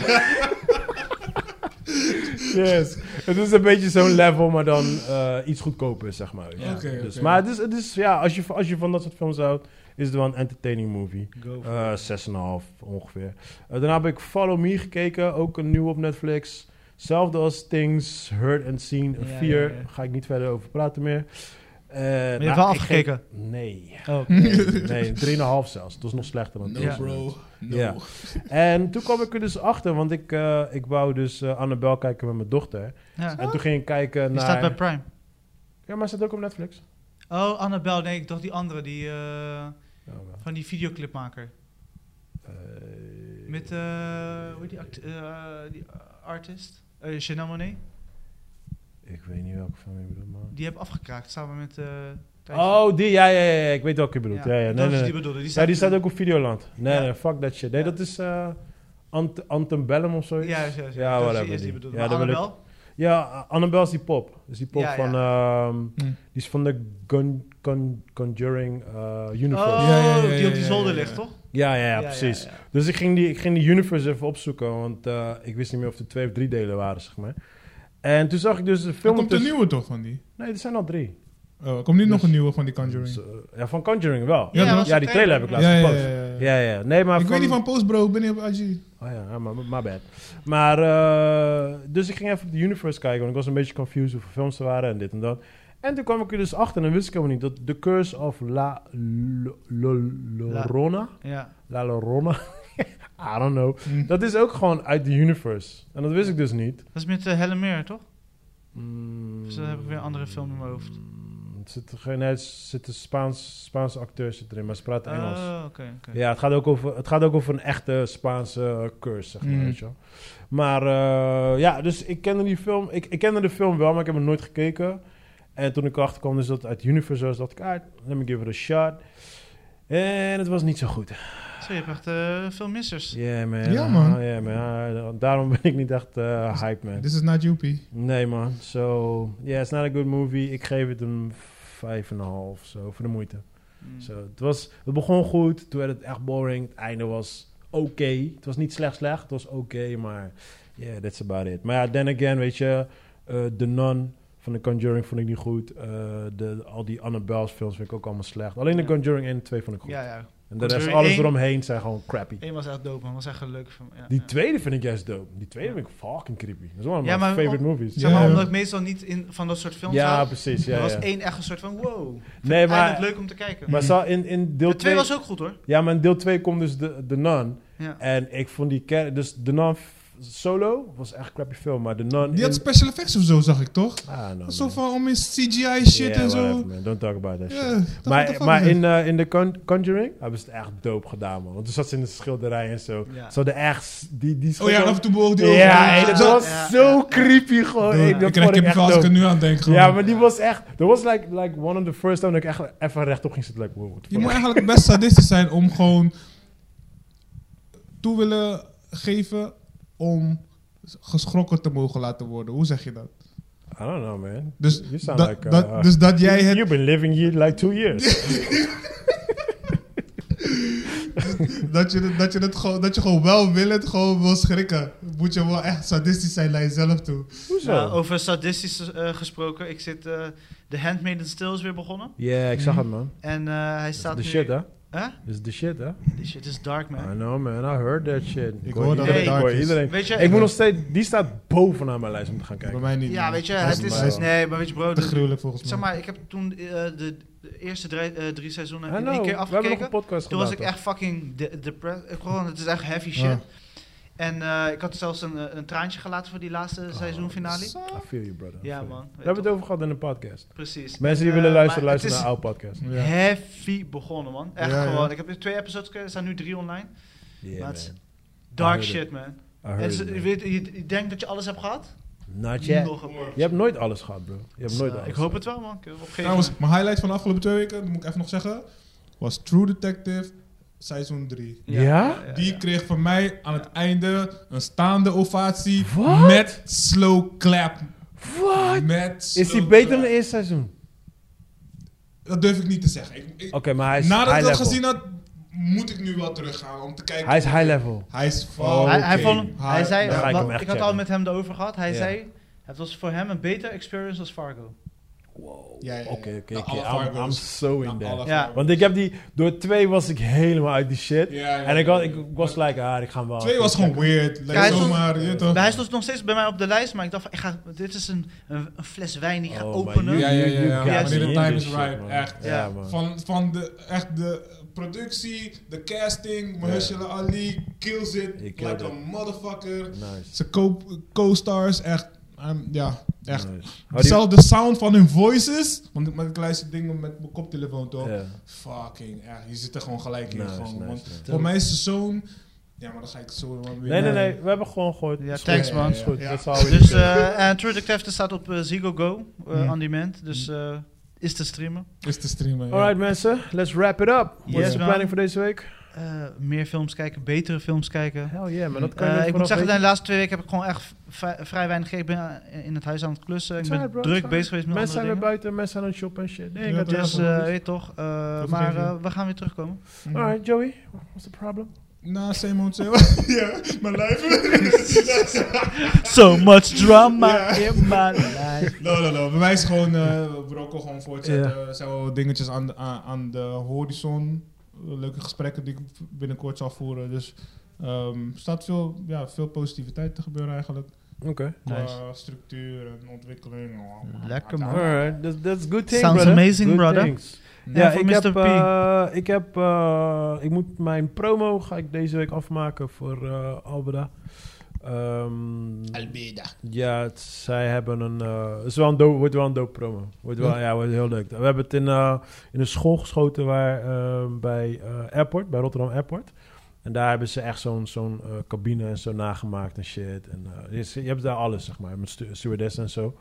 [SPEAKER 1] yes. Het is een beetje zo'n level, maar dan eh, iets goedkoper, zeg maar. weet je.
[SPEAKER 3] Oké, oké.
[SPEAKER 1] Dus, maar het is, het is, ja, als je, als je van dat soort films houdt, is het wel een entertaining movie.
[SPEAKER 2] Go for
[SPEAKER 1] Eh, 6,5 ongeveer. Eh, daarna heb ik Follow Me gekeken, ook een nieuw op Netflix. Hetzelfde als Things, Heard and Seen,
[SPEAKER 2] Ja,
[SPEAKER 1] 4.
[SPEAKER 2] ja, ja.
[SPEAKER 1] Ga ik niet verder over praten meer. Eh,
[SPEAKER 2] het.
[SPEAKER 1] nou,
[SPEAKER 2] Maar je hebt wel
[SPEAKER 1] ik geef-
[SPEAKER 2] afgekeken.
[SPEAKER 1] Nee,
[SPEAKER 2] Oh,
[SPEAKER 1] nee 3,5 zelfs. Dat is nog slechter dan
[SPEAKER 3] No,
[SPEAKER 1] Things.
[SPEAKER 3] bro. No.
[SPEAKER 1] Ja. En toen kwam ik er dus achter, want ik, eh, ik wou dus eh, Annabel kijken met mijn dochter.
[SPEAKER 2] ja.
[SPEAKER 1] En toen ging ik kijken
[SPEAKER 2] Oh. Die
[SPEAKER 1] naar...
[SPEAKER 2] staat bij Prime.
[SPEAKER 1] Ja, maar staat ook op Netflix.
[SPEAKER 2] Oh, Annabel, nee, ik dacht die andere, die eh,
[SPEAKER 1] Ja, Oh, wel.
[SPEAKER 2] van die videoclipmaker.
[SPEAKER 1] Eh,
[SPEAKER 2] Met, eh, hoe heet die, act- eh, die eh, artist? Eh Chanel Monet.
[SPEAKER 1] Ik weet niet welke film je bedoelt, man.
[SPEAKER 2] Die heb afgekraakt samen met... eh, Thijs.
[SPEAKER 1] Oh, die, ja, ja, ja, ja, ik weet welke je bedoelt. Ja, ja,
[SPEAKER 2] dat
[SPEAKER 1] nee,
[SPEAKER 2] is
[SPEAKER 1] nee,
[SPEAKER 2] die
[SPEAKER 1] nee.
[SPEAKER 2] bedoelde. Die staat,
[SPEAKER 1] Ja, die staat ook op Videoland. Nee,
[SPEAKER 2] Ja.
[SPEAKER 1] nee, fuck dat shit. Nee,
[SPEAKER 2] Ja.
[SPEAKER 1] dat is eh Ant Antebellum of zoiets.
[SPEAKER 2] Ja, ja, ja.
[SPEAKER 1] Ja,
[SPEAKER 2] dat is
[SPEAKER 1] whatever
[SPEAKER 2] die eerste die
[SPEAKER 1] die.
[SPEAKER 2] bedoelde.
[SPEAKER 1] Ja,
[SPEAKER 2] Maar
[SPEAKER 1] dat wil ik-
[SPEAKER 2] Annabel?
[SPEAKER 1] Ja, Annabelle is die pop. Is die pop
[SPEAKER 2] Ja, ja.
[SPEAKER 1] van... ehm,
[SPEAKER 3] Hm.
[SPEAKER 1] Die is van de Gun- Con- Conjuring eh Universe.
[SPEAKER 2] Oh,
[SPEAKER 3] Ja, ja, ja,
[SPEAKER 2] die op die
[SPEAKER 3] ja,
[SPEAKER 2] zolder
[SPEAKER 3] ja, ja.
[SPEAKER 2] ligt, toch?
[SPEAKER 1] Ja, ja, ja, precies.
[SPEAKER 2] ja, ja.
[SPEAKER 1] Dus ik ging, die, ik ging die universe even opzoeken, want eh, ik wist niet meer of er twee of drie delen waren, zeg maar. En toen zag ik dus de
[SPEAKER 3] Er
[SPEAKER 1] film...
[SPEAKER 3] komt een
[SPEAKER 1] tussen-
[SPEAKER 3] nieuwe toch van die?
[SPEAKER 1] Nee, er zijn al drie.
[SPEAKER 3] Oh, er komt niet nog
[SPEAKER 1] Dus-
[SPEAKER 3] een nieuwe van die Conjuring.
[SPEAKER 1] Dus, eh, ja, van Conjuring wel.
[SPEAKER 3] Ja,
[SPEAKER 1] Ja,
[SPEAKER 3] dat was
[SPEAKER 1] die trailer heb ik laatst
[SPEAKER 3] ja, ja,
[SPEAKER 1] gepost.
[SPEAKER 3] ja, ja, ja.
[SPEAKER 1] Ja, ja. Nee, maar
[SPEAKER 3] ik weet niet van post, bro. Ik ben niet op IG.
[SPEAKER 1] Oh ja, maar my bad. Maar, eh, dus ik ging even op de Universe kijken, want ik was een beetje confused hoeveel films er waren en dit en dat. En toen kwam ik er dus achter, en dan wist ik helemaal niet, dat The Curse of La Lo- Lo- Llorona,
[SPEAKER 2] Ja.
[SPEAKER 1] La Llorona, I don't know, dat is ook gewoon uit de Universe. En dat wist ik dus niet.
[SPEAKER 2] Dat is met eh, Helen Mirren, toch?
[SPEAKER 1] Mm,
[SPEAKER 2] Dus dan heb ik weer een andere film in mijn hoofd.
[SPEAKER 1] Het zit, geen- nee, het zit een Spaans, Spaanse acteur zit erin, maar ze praten Engels.
[SPEAKER 2] Oh, oké. oké.
[SPEAKER 1] Ja, het gaat, ook over, het gaat ook over een echte Spaanse cursus, zeg maar.
[SPEAKER 3] Mm.
[SPEAKER 1] Weet je wel. Maar eh, ja, dus ik kende die film. Ik, ik kende de film wel, maar ik heb hem nooit gekeken. En toen ik erachter kwam, dus dat het uit Universe was, dacht ik, ah, let me give it a shot. En het was niet zo goed.
[SPEAKER 2] Zo, je hebt echt eh, veel missers.
[SPEAKER 1] Yeah, man.
[SPEAKER 3] Ja, man.
[SPEAKER 1] Ah, yeah, man. Ah, daarom ben ik niet echt eh, hype, man.
[SPEAKER 3] Hm. This is not Joepie.
[SPEAKER 1] Nee, man. So, yeah, it's not a good movie. Ik geef het een 5,5 of zo, voor de moeite.
[SPEAKER 2] Mm.
[SPEAKER 1] Zo, het, was, het begon goed, toen werd het echt boring. Het einde was oké. Het was niet slecht slecht, het was oké, maar yeah, that's about it. Maar ja, then again, weet je, eh The Nun van The Conjuring vond ik niet goed. Eh, de, al die Annabelle's films vind ik ook allemaal slecht. Alleen The
[SPEAKER 2] Ja.
[SPEAKER 1] Conjuring 1 en 2 vond ik goed.
[SPEAKER 2] Ja, ja.
[SPEAKER 1] En de rest,
[SPEAKER 2] Conjuring
[SPEAKER 1] alles
[SPEAKER 2] 1.
[SPEAKER 1] eromheen zijn gewoon crappy.
[SPEAKER 2] Eén was echt dope, man. Was echt een leuke film. Ja,
[SPEAKER 1] Die
[SPEAKER 2] ja.
[SPEAKER 1] tweede vind ik juist dope. Die tweede vind ik fucking creepy. Dat is wel een
[SPEAKER 2] Ja,
[SPEAKER 1] van mijn
[SPEAKER 2] maar
[SPEAKER 1] favorite
[SPEAKER 2] om-
[SPEAKER 1] movies.
[SPEAKER 2] Zeg maar,
[SPEAKER 3] Ja.
[SPEAKER 2] omdat ik meestal niet in, van dat soort films
[SPEAKER 1] Ja,
[SPEAKER 2] hou.
[SPEAKER 1] precies.
[SPEAKER 2] er
[SPEAKER 1] Ja,
[SPEAKER 2] was
[SPEAKER 1] ja.
[SPEAKER 2] één echt een soort van wow.
[SPEAKER 1] Nee,
[SPEAKER 2] Eigenlijk
[SPEAKER 1] maar,
[SPEAKER 2] leuk om te kijken.
[SPEAKER 1] maar zo in, in deel 2...
[SPEAKER 2] de twee was ook goed, hoor.
[SPEAKER 1] Ja, maar in deel 2 komt dus de, de Nun.
[SPEAKER 2] Ja.
[SPEAKER 1] En ik vond die kerk, dus de Nun f- solo was echt een crappy film, maar de Nun.
[SPEAKER 3] Die had
[SPEAKER 1] in-
[SPEAKER 3] special effects of zo, zag ik toch?
[SPEAKER 1] Ah, no,
[SPEAKER 3] Zo
[SPEAKER 1] man.
[SPEAKER 3] van om in CGI shit
[SPEAKER 1] Yeah,
[SPEAKER 3] en zo.
[SPEAKER 1] whatever, man. Don't talk about that
[SPEAKER 3] Ja,
[SPEAKER 1] shit.
[SPEAKER 3] dat- what the
[SPEAKER 1] Maar,
[SPEAKER 3] fuck
[SPEAKER 1] maar
[SPEAKER 3] is
[SPEAKER 1] in,
[SPEAKER 3] het?
[SPEAKER 1] eh, in de Con- Conjuring hebben ze het echt dope gedaan, man. Want toen zat ze in de schilderij en zo.
[SPEAKER 2] Ja.
[SPEAKER 1] Ze hadden echt... Die, die
[SPEAKER 3] Oh ja,
[SPEAKER 1] schilder-
[SPEAKER 3] af en toe bewoog die
[SPEAKER 1] Ja,
[SPEAKER 2] ogen.
[SPEAKER 1] en dat
[SPEAKER 2] Ja,
[SPEAKER 1] was
[SPEAKER 2] ja,
[SPEAKER 1] zo
[SPEAKER 2] ja.
[SPEAKER 1] creepy gewoon. Ik, dat
[SPEAKER 3] Ik krijg
[SPEAKER 1] vond ik echt
[SPEAKER 3] kippenvel als ik
[SPEAKER 1] dope.
[SPEAKER 3] er nu aan denk. Gewoon.
[SPEAKER 1] Ja, maar die was echt... Dat was like, like one of the first time dat ik echt even rechtop ging zitten. Like, wow, what the
[SPEAKER 3] Je
[SPEAKER 1] fuck?
[SPEAKER 3] moet eigenlijk best sadistisch zijn om gewoon toe willen geven om geschrokken te mogen laten worden. Hoe zeg je dat?
[SPEAKER 1] I don't know, man.
[SPEAKER 3] Dus,
[SPEAKER 1] You sound
[SPEAKER 3] dat-
[SPEAKER 1] like, uh,
[SPEAKER 3] dat, dus dat jij het,
[SPEAKER 1] You've been living here like two years.
[SPEAKER 3] dat, je, het- dat, je het gewoon, dat je gewoon wel willend gewoon wil schrikken. Moet je wel echt sadistisch zijn naar jezelf toe.
[SPEAKER 1] Hoezo?
[SPEAKER 2] Ja, Nou, over sadistisch eh, gesproken. Ik zit... eh The Handmaid's Tale is weer begonnen.
[SPEAKER 1] Ja, ik zag het, man.
[SPEAKER 2] En eh, hij
[SPEAKER 1] Dat
[SPEAKER 2] staat
[SPEAKER 1] is de
[SPEAKER 2] nu...
[SPEAKER 1] shit, hè? Ah,
[SPEAKER 2] Huh?
[SPEAKER 1] Dat is de shit, hè?
[SPEAKER 2] Die shit is dark, man.
[SPEAKER 1] I know, man. I heard that shit. Ik,
[SPEAKER 3] hoor dat
[SPEAKER 1] iedereen.
[SPEAKER 2] het dark
[SPEAKER 1] hoor
[SPEAKER 3] is.
[SPEAKER 1] iedereen.
[SPEAKER 2] Weet je,
[SPEAKER 1] Ik moet nog steeds... Die staat bovenaan mijn lijst om te gaan
[SPEAKER 3] Bij
[SPEAKER 1] kijken.
[SPEAKER 3] mij niet.
[SPEAKER 2] Ja,
[SPEAKER 3] man.
[SPEAKER 2] weet je,
[SPEAKER 3] Dat
[SPEAKER 2] het
[SPEAKER 3] voor
[SPEAKER 2] is...
[SPEAKER 3] mij wel.
[SPEAKER 2] Nee, maar weet je, bro...
[SPEAKER 3] te
[SPEAKER 2] de-
[SPEAKER 3] gruwelijk volgens mij.
[SPEAKER 2] Zeg maar, ik heb toen eh, de, de eerste drie, eh, drie seizoenen
[SPEAKER 1] I
[SPEAKER 2] in één
[SPEAKER 1] know.
[SPEAKER 2] keer
[SPEAKER 1] We hebben nog een
[SPEAKER 2] afgekeken.
[SPEAKER 1] podcast Ah.
[SPEAKER 2] Toen
[SPEAKER 1] gedaan,
[SPEAKER 2] was ik
[SPEAKER 1] toch?
[SPEAKER 2] echt fucking de- depressed. Ik Gewoon, het is echt heavy shit.
[SPEAKER 3] Ja.
[SPEAKER 2] En eh, ik had zelfs een, eh, een traantje gelaten voor die laatste seizoenfinale.
[SPEAKER 1] I feel you, brother. I
[SPEAKER 2] Ja,
[SPEAKER 1] feel you.
[SPEAKER 2] man. Weet
[SPEAKER 1] Oh, We hebben het
[SPEAKER 2] toch?
[SPEAKER 1] over gehad in de podcast.
[SPEAKER 2] Precies.
[SPEAKER 1] Mensen die
[SPEAKER 2] En,
[SPEAKER 1] willen
[SPEAKER 2] eh,
[SPEAKER 1] luisteren,
[SPEAKER 2] maar het
[SPEAKER 1] luisteren naar
[SPEAKER 2] is
[SPEAKER 1] oude podcast.
[SPEAKER 3] Ja.
[SPEAKER 2] Heavy begonnen, man. Echt
[SPEAKER 3] Ja, ja.
[SPEAKER 2] gewoon. Ik heb twee episodes gekeken. Er staan nu drie online.
[SPEAKER 1] Yeah,
[SPEAKER 2] maar
[SPEAKER 1] man.
[SPEAKER 2] het is
[SPEAKER 1] I
[SPEAKER 2] dark
[SPEAKER 1] heard
[SPEAKER 2] shit, man.
[SPEAKER 1] I
[SPEAKER 2] En
[SPEAKER 1] heard
[SPEAKER 2] het is-
[SPEAKER 1] it, man.
[SPEAKER 2] je, weet, je, je denkt dat je alles hebt gehad?
[SPEAKER 1] Not yet.
[SPEAKER 2] Nog een woord.
[SPEAKER 1] Je hebt nooit alles gehad, bro. Je hebt
[SPEAKER 2] Dus,
[SPEAKER 1] nooit
[SPEAKER 2] eh,
[SPEAKER 1] alles
[SPEAKER 2] ik hoop het wel, man. Ik- Op een gegeven
[SPEAKER 3] Trouwens,
[SPEAKER 2] moment.
[SPEAKER 3] mijn highlight van de afgelopen twee weken, dat moet ik even nog zeggen, was True Detective seizoen 3.
[SPEAKER 1] Ja?
[SPEAKER 3] Die kreeg van mij aan het einde een staande ovatie
[SPEAKER 1] Wat?
[SPEAKER 3] met slow clap.
[SPEAKER 1] What?
[SPEAKER 3] Met
[SPEAKER 1] Is die
[SPEAKER 3] slow
[SPEAKER 1] beter dan
[SPEAKER 3] clap.
[SPEAKER 1] het eerste seizoen?
[SPEAKER 3] Dat durf ik niet te zeggen. Ik, ik-
[SPEAKER 1] Oké, maar hij is
[SPEAKER 3] nadat ik
[SPEAKER 1] high
[SPEAKER 3] dat
[SPEAKER 1] level.
[SPEAKER 3] gezien had, moet ik nu wel teruggaan om te kijken.
[SPEAKER 1] Hij is high level.
[SPEAKER 3] Hij is fucking
[SPEAKER 2] Hij,
[SPEAKER 3] Oh,
[SPEAKER 2] hij, vond, hij
[SPEAKER 3] high
[SPEAKER 2] zei,
[SPEAKER 1] Dan ga ik
[SPEAKER 2] wat-
[SPEAKER 1] hem
[SPEAKER 2] ik,
[SPEAKER 1] echt
[SPEAKER 2] had al
[SPEAKER 1] checken.
[SPEAKER 2] met hem erover gehad. Hij
[SPEAKER 1] Ja.
[SPEAKER 2] zei, het was voor hem een betere experience als Fargo.
[SPEAKER 1] Wow.
[SPEAKER 3] Ja, ja, ja.
[SPEAKER 1] Oké, oké,
[SPEAKER 3] Nou, alle
[SPEAKER 1] oké. I'm- I'm
[SPEAKER 3] Fargo's.
[SPEAKER 1] so in
[SPEAKER 3] Nou,
[SPEAKER 1] there.
[SPEAKER 3] alle
[SPEAKER 2] Ja.
[SPEAKER 3] Fargo's.
[SPEAKER 1] Want ik heb die... Door twee was ik helemaal uit die shit.
[SPEAKER 3] Ja, ja,
[SPEAKER 1] En ik,
[SPEAKER 3] ja,
[SPEAKER 1] had,
[SPEAKER 3] ja.
[SPEAKER 1] ik was like, ah, ik ga hem wel...
[SPEAKER 3] Twee was gewoon weird. Like,
[SPEAKER 2] Ja, hij is
[SPEAKER 3] zomaar, je toch?
[SPEAKER 2] Maar hij stond nog steeds bij mij op de lijst, maar ik dacht, van, ik ga, dit is een, een, een fles wijn die ik ga
[SPEAKER 1] Oh, maar
[SPEAKER 2] openen.
[SPEAKER 1] you-
[SPEAKER 3] Ja, ja, ja,
[SPEAKER 1] you
[SPEAKER 3] ja.
[SPEAKER 1] got
[SPEAKER 2] Ja,
[SPEAKER 1] me
[SPEAKER 2] wanneer
[SPEAKER 3] de
[SPEAKER 1] in
[SPEAKER 3] time
[SPEAKER 1] this
[SPEAKER 3] is
[SPEAKER 1] shit,
[SPEAKER 3] right,
[SPEAKER 1] man.
[SPEAKER 3] echt.
[SPEAKER 1] Ja, man.
[SPEAKER 3] Van, van de, echt de productie, de casting, Mahershala Ali kills it
[SPEAKER 1] He killed
[SPEAKER 3] like a
[SPEAKER 1] it.
[SPEAKER 3] motherfucker.
[SPEAKER 1] Nice.
[SPEAKER 3] Ze co- co-stars, echt, ehm, ja, echt.
[SPEAKER 1] nice. Oh, die-
[SPEAKER 3] Zelfs de sound van hun voices, want ik, maar ik luister dingen met mijn koptelefoon toch.
[SPEAKER 1] Ja.
[SPEAKER 3] Fucking, echt, je zit er gewoon gelijk in.
[SPEAKER 1] Nice,
[SPEAKER 3] gewoon,
[SPEAKER 1] nice,
[SPEAKER 3] want
[SPEAKER 1] nice.
[SPEAKER 3] Voor mij is de zoon, ja, maar dan ga ik zo wel weer
[SPEAKER 1] Nee, nee,
[SPEAKER 3] naar-
[SPEAKER 1] nee. We hebben gewoon gehoord.
[SPEAKER 2] Ja,
[SPEAKER 1] Is goed.
[SPEAKER 2] thanks, man.
[SPEAKER 1] Is goed.
[SPEAKER 3] Ja.
[SPEAKER 1] Dat is all we
[SPEAKER 2] Dus,
[SPEAKER 1] do.
[SPEAKER 2] eh en True Detective staat op eh, Ziggo Go, eh,
[SPEAKER 3] Hmm.
[SPEAKER 2] on demand. Dus eh, is te streamen.
[SPEAKER 3] Is te streamen. ja.
[SPEAKER 1] Alright, mensen. Let's wrap it up. Wat
[SPEAKER 2] Yes,
[SPEAKER 1] is de
[SPEAKER 2] man.
[SPEAKER 1] planning voor deze week?
[SPEAKER 2] Eh, meer films kijken, betere films kijken.
[SPEAKER 1] Hell yeah, man. Dat kan
[SPEAKER 2] Eh,
[SPEAKER 1] je
[SPEAKER 2] ik moet zeggen, dat in de laatste twee weken heb ik gewoon echt v- vrij weinig gekeken. Ik ben eh, in het huis aan het klussen. Ik ben
[SPEAKER 1] Saai, bro,
[SPEAKER 2] druk
[SPEAKER 1] saai.
[SPEAKER 2] bezig geweest met
[SPEAKER 1] Mensen zijn
[SPEAKER 2] andere
[SPEAKER 1] weer buiten.
[SPEAKER 2] dingen.
[SPEAKER 1] Mensen zijn aan het shoppen en shit. Nee,
[SPEAKER 3] Ja,
[SPEAKER 1] ik had
[SPEAKER 3] toch?
[SPEAKER 1] juist...
[SPEAKER 2] Dus, eh, weet je toch. eh,
[SPEAKER 3] Dat
[SPEAKER 2] maar
[SPEAKER 3] vergeet je.
[SPEAKER 2] eh, we gaan weer terugkomen.
[SPEAKER 3] Mhm.
[SPEAKER 1] Alright, Joey. What's the problem?
[SPEAKER 3] Na Same Old Same Ja, mijn lijf.
[SPEAKER 2] So much drama in my life.
[SPEAKER 3] No, no, no. Bij mij is gewoon, eh we rocken gewoon voortzetten. Er zijn wel dingetjes aan, de- aan, aan de horizon. Leuke gesprekken die ik binnenkort zal voeren. Dus ehm, er staat veel, ja, veel positiviteit te gebeuren eigenlijk.
[SPEAKER 1] Oké.
[SPEAKER 3] Qua
[SPEAKER 2] Nice.
[SPEAKER 3] structuur en ontwikkeling.
[SPEAKER 2] Lekker,
[SPEAKER 1] Nou,
[SPEAKER 2] man.
[SPEAKER 1] Alright, that's, that's good thing,
[SPEAKER 2] Sounds
[SPEAKER 1] brother.
[SPEAKER 2] amazing,
[SPEAKER 1] Good
[SPEAKER 2] brother.
[SPEAKER 1] things.
[SPEAKER 2] Ja,
[SPEAKER 1] Ja,
[SPEAKER 2] voor
[SPEAKER 1] ik heb,
[SPEAKER 2] Mr. P.
[SPEAKER 1] eh, ik heb, eh, ik moet mijn promo ga ik deze week afmaken voor eh Albeda. Ehm,
[SPEAKER 4] Albeda.
[SPEAKER 1] ja, het- zij hebben een, eh, het is wel een dope, wordt wel een dope promo. Wordt wel, ja. wordt heel leuk. We hebben het in, eh, in een school geschoten waar, eh, bij eh, Airport, bij Rotterdam Airport. En daar hebben ze echt zo'n zo'n eh, cabine en zo nagemaakt en shit. En, eh, je- je hebt daar alles, zeg maar, met stu- stewardess en zo.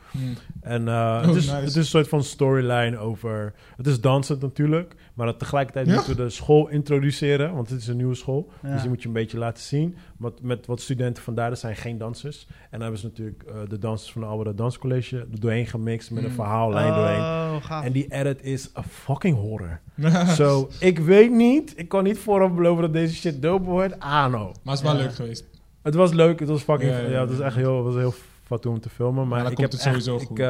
[SPEAKER 1] En eh, het,
[SPEAKER 3] Oh,
[SPEAKER 1] is,
[SPEAKER 3] nice.
[SPEAKER 1] het is een soort van storyline over. Het is dansend natuurlijk, maar dat tegelijkertijd
[SPEAKER 3] Ja.
[SPEAKER 1] moeten we de school introduceren, want het is een nieuwe school.
[SPEAKER 2] Ja.
[SPEAKER 1] Dus die moet je een beetje laten zien. Met, met wat studenten vandaar, dat zijn geen dansers. En dan hebben ze natuurlijk eh, de dansers van de Alberta Danscollege er doorheen gemixt met een
[SPEAKER 3] Mm.
[SPEAKER 1] verhaallijn doorheen.
[SPEAKER 2] Oh, gaaf.
[SPEAKER 1] En die edit is a fucking horror.
[SPEAKER 3] maar
[SPEAKER 1] so, ik weet niet, ik kan niet vooraf beloven dat deze shit dope wordt. Ah no.
[SPEAKER 3] het is wel
[SPEAKER 2] Ja.
[SPEAKER 3] leuk geweest.
[SPEAKER 1] Het was leuk, het was fucking. Ja,
[SPEAKER 3] Ja, ja,
[SPEAKER 1] het was
[SPEAKER 3] ja.
[SPEAKER 1] echt heel, het was heel fat om te filmen. Maar
[SPEAKER 3] Maar dan
[SPEAKER 1] ik
[SPEAKER 3] komt
[SPEAKER 1] heb
[SPEAKER 3] het sowieso
[SPEAKER 1] echt, Ik,
[SPEAKER 3] goed.
[SPEAKER 1] eh,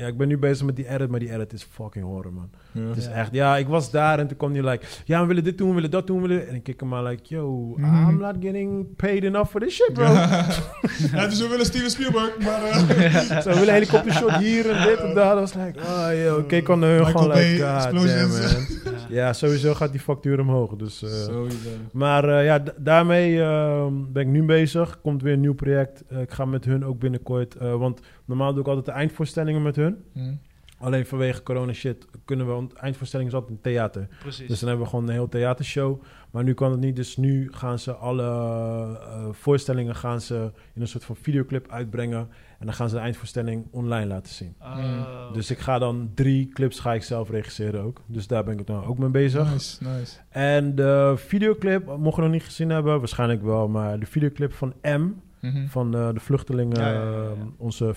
[SPEAKER 1] ja, ik ben nu bezig met die edit, maar die edit is fucking horror, man. Het is
[SPEAKER 2] Ja.
[SPEAKER 1] echt, ja, ik was daar en toen kwam die like, ja, we willen dit doen, we willen dat doen, we willen... En ik kijk hem aan like, yo,
[SPEAKER 3] Mhm.
[SPEAKER 1] I'm not getting paid enough for this shit, bro.
[SPEAKER 3] ja, dus we willen Steven Spielberg, maar eh,
[SPEAKER 1] Zo, we willen helikoptershot hier en dit en daar. Dat was like, oh, yo, ik keek aan hun
[SPEAKER 3] Michael
[SPEAKER 1] gewoon like, god
[SPEAKER 3] Bay,
[SPEAKER 1] damn,
[SPEAKER 3] explosions."
[SPEAKER 1] man. Ja, sowieso gaat die factuur omhoog, dus... eh,
[SPEAKER 3] Sowieso.
[SPEAKER 1] Maar eh, ja, d- daarmee eh, ben ik nu bezig. Komt weer een nieuw project. Eh, ik ga met hun ook binnenkort. eh, want normaal doe ik altijd de eindvoorstellingen met hun.
[SPEAKER 3] Hm.
[SPEAKER 1] Alleen vanwege corona shit kunnen we. Want eindvoorstelling is altijd een theater.
[SPEAKER 2] Precies.
[SPEAKER 1] Dus dan hebben we gewoon een heel theatershow. Maar nu kan het niet. Dus nu gaan ze alle eh, voorstellingen gaan ze in een soort van videoclip uitbrengen. En dan gaan ze de eindvoorstelling online laten zien.
[SPEAKER 2] Oh.
[SPEAKER 1] Dus ik ga dan drie clips ga ik zelf regisseren ook. Dus daar ben ik nou ook mee bezig.
[SPEAKER 3] Nice, nice.
[SPEAKER 1] En de videoclip, mocht je nog niet gezien hebben, waarschijnlijk wel, maar de videoclip van M,
[SPEAKER 3] Mhm.
[SPEAKER 1] van eh, de vluchtelingen,
[SPEAKER 2] Ja, ja, ja, ja.
[SPEAKER 1] eh, onze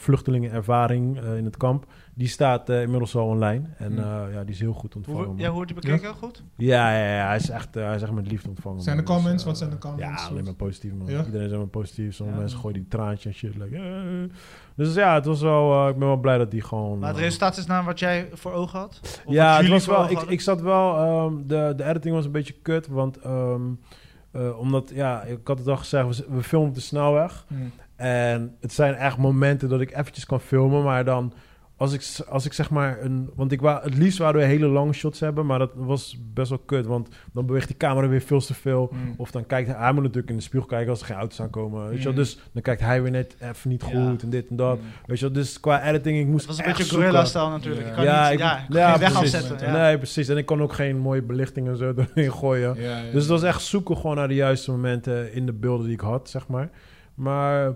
[SPEAKER 1] vluchtelingenervaring eh, in het kamp, die staat eh, inmiddels al online. En
[SPEAKER 3] Hmm.
[SPEAKER 1] eh, ja, die is heel goed
[SPEAKER 2] Hoe,
[SPEAKER 1] ontvangen.
[SPEAKER 2] wordt-
[SPEAKER 1] man.
[SPEAKER 2] Mhm. ja, hoe wordt die bekeken? Goed?
[SPEAKER 1] Ja, ja, ja, hij is echt, eh, hij is echt met liefde ontvangen.
[SPEAKER 3] Zijn
[SPEAKER 1] man.
[SPEAKER 3] er comments?
[SPEAKER 1] eh,
[SPEAKER 3] Wat zijn de comments?
[SPEAKER 1] Ja, alleen maar positief, man.
[SPEAKER 3] Ja?
[SPEAKER 1] Iedereen is helemaal positief. Sommige
[SPEAKER 2] Ja.
[SPEAKER 1] mensen gooien die traantje en shit. Like, eh. Dus ja, het was wel, eh, ik ben wel blij dat die gewoon...
[SPEAKER 2] Maar het
[SPEAKER 1] eh,
[SPEAKER 2] resultaat is naar wat jij voor ogen had? Of wat
[SPEAKER 1] ja, het
[SPEAKER 2] jullie
[SPEAKER 1] was
[SPEAKER 2] voor
[SPEAKER 1] wel.
[SPEAKER 2] ogen
[SPEAKER 1] Ik,
[SPEAKER 2] hadden?
[SPEAKER 1] ik zat wel. ehm, de, de editing was een beetje kut. Want ehm, eh, omdat, ja, ik had het al gezegd, we, z- we filmen op de snelweg.
[SPEAKER 3] Hmm.
[SPEAKER 1] En het zijn echt momenten dat ik eventjes kan filmen. Maar dan, als ik, s- als ik zeg maar een. Want ik wou, het liefst zouden we hele lange shots hebben. Maar dat was best wel kut. Want dan beweegt die camera weer veel te veel.
[SPEAKER 3] Hmm.
[SPEAKER 1] Of dan kijkt hij, hij moet natuurlijk in de spiegel kijken als er geen auto's aankomen. Weet je wel?
[SPEAKER 3] Mm.
[SPEAKER 1] Dus dan kijkt hij weer net even niet
[SPEAKER 2] Ja. Mm.
[SPEAKER 1] goed en dit en dat.
[SPEAKER 3] Mhm.
[SPEAKER 1] Weet je wel? Dus qua editing, ik moest
[SPEAKER 2] Het was een
[SPEAKER 1] echt
[SPEAKER 2] beetje
[SPEAKER 1] zoeken.
[SPEAKER 2] gorilla-stijl natuurlijk. Je
[SPEAKER 3] Ja.
[SPEAKER 2] kan
[SPEAKER 1] Ja,
[SPEAKER 2] niet,
[SPEAKER 1] ik-
[SPEAKER 2] ja, ik kan
[SPEAKER 1] ja,
[SPEAKER 2] geen weg
[SPEAKER 1] precies.
[SPEAKER 2] afzetten.
[SPEAKER 3] Ja.
[SPEAKER 2] Ja.
[SPEAKER 1] Nee, precies. En ik kon ook geen mooie belichtingen zo doorheen gooien.
[SPEAKER 3] Ja, ja, ja.
[SPEAKER 1] Dus het was echt zoeken gewoon naar de juiste momenten in de beelden die ik had, zeg maar. Maar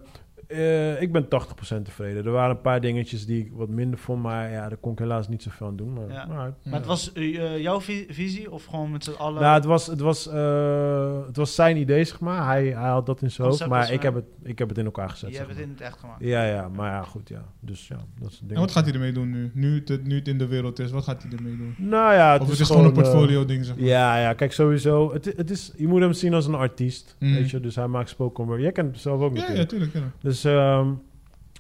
[SPEAKER 1] eh, ik ben 80% tevreden. Er waren een paar dingetjes die ik wat minder vond, maar ja, daar kon ik helaas niet zoveel aan doen. Maar,
[SPEAKER 2] Ja.
[SPEAKER 1] maar-
[SPEAKER 2] Maar het was eh, eh, jouw vi- visie of gewoon met z'n allen?
[SPEAKER 1] nou, het was, het, was, eh, het was zijn idee, zeg maar. Hij, hij had dat in zijn hoofd,
[SPEAKER 2] Concept was
[SPEAKER 1] maar ik heb,
[SPEAKER 2] fijn.
[SPEAKER 1] het, ik heb het in elkaar gezet.
[SPEAKER 2] je
[SPEAKER 1] zeg
[SPEAKER 2] hebt het
[SPEAKER 1] maar.
[SPEAKER 2] in het echt gemaakt.
[SPEAKER 1] Ja, ja, maar ja, goed, ja. Dus ja, dat is het ding.
[SPEAKER 3] En wat gaat hij ermee doen nu? Nu het, nu het in de wereld is, wat gaat hij ermee doen?
[SPEAKER 1] Nou ja, het
[SPEAKER 3] of
[SPEAKER 1] is,
[SPEAKER 3] het is gewoon een
[SPEAKER 1] eh,
[SPEAKER 3] portfolio ding, zeg maar.
[SPEAKER 1] Ja, ja, kijk sowieso. Het, het is, je moet hem zien als een artiest.
[SPEAKER 3] Mm.
[SPEAKER 1] Weet je, dus hij maakt spoken word. Jij kent hem zelf ook
[SPEAKER 3] Ja,
[SPEAKER 1] natuurlijk.
[SPEAKER 3] ja, tuurlijk. Ja.
[SPEAKER 1] Dus ehm,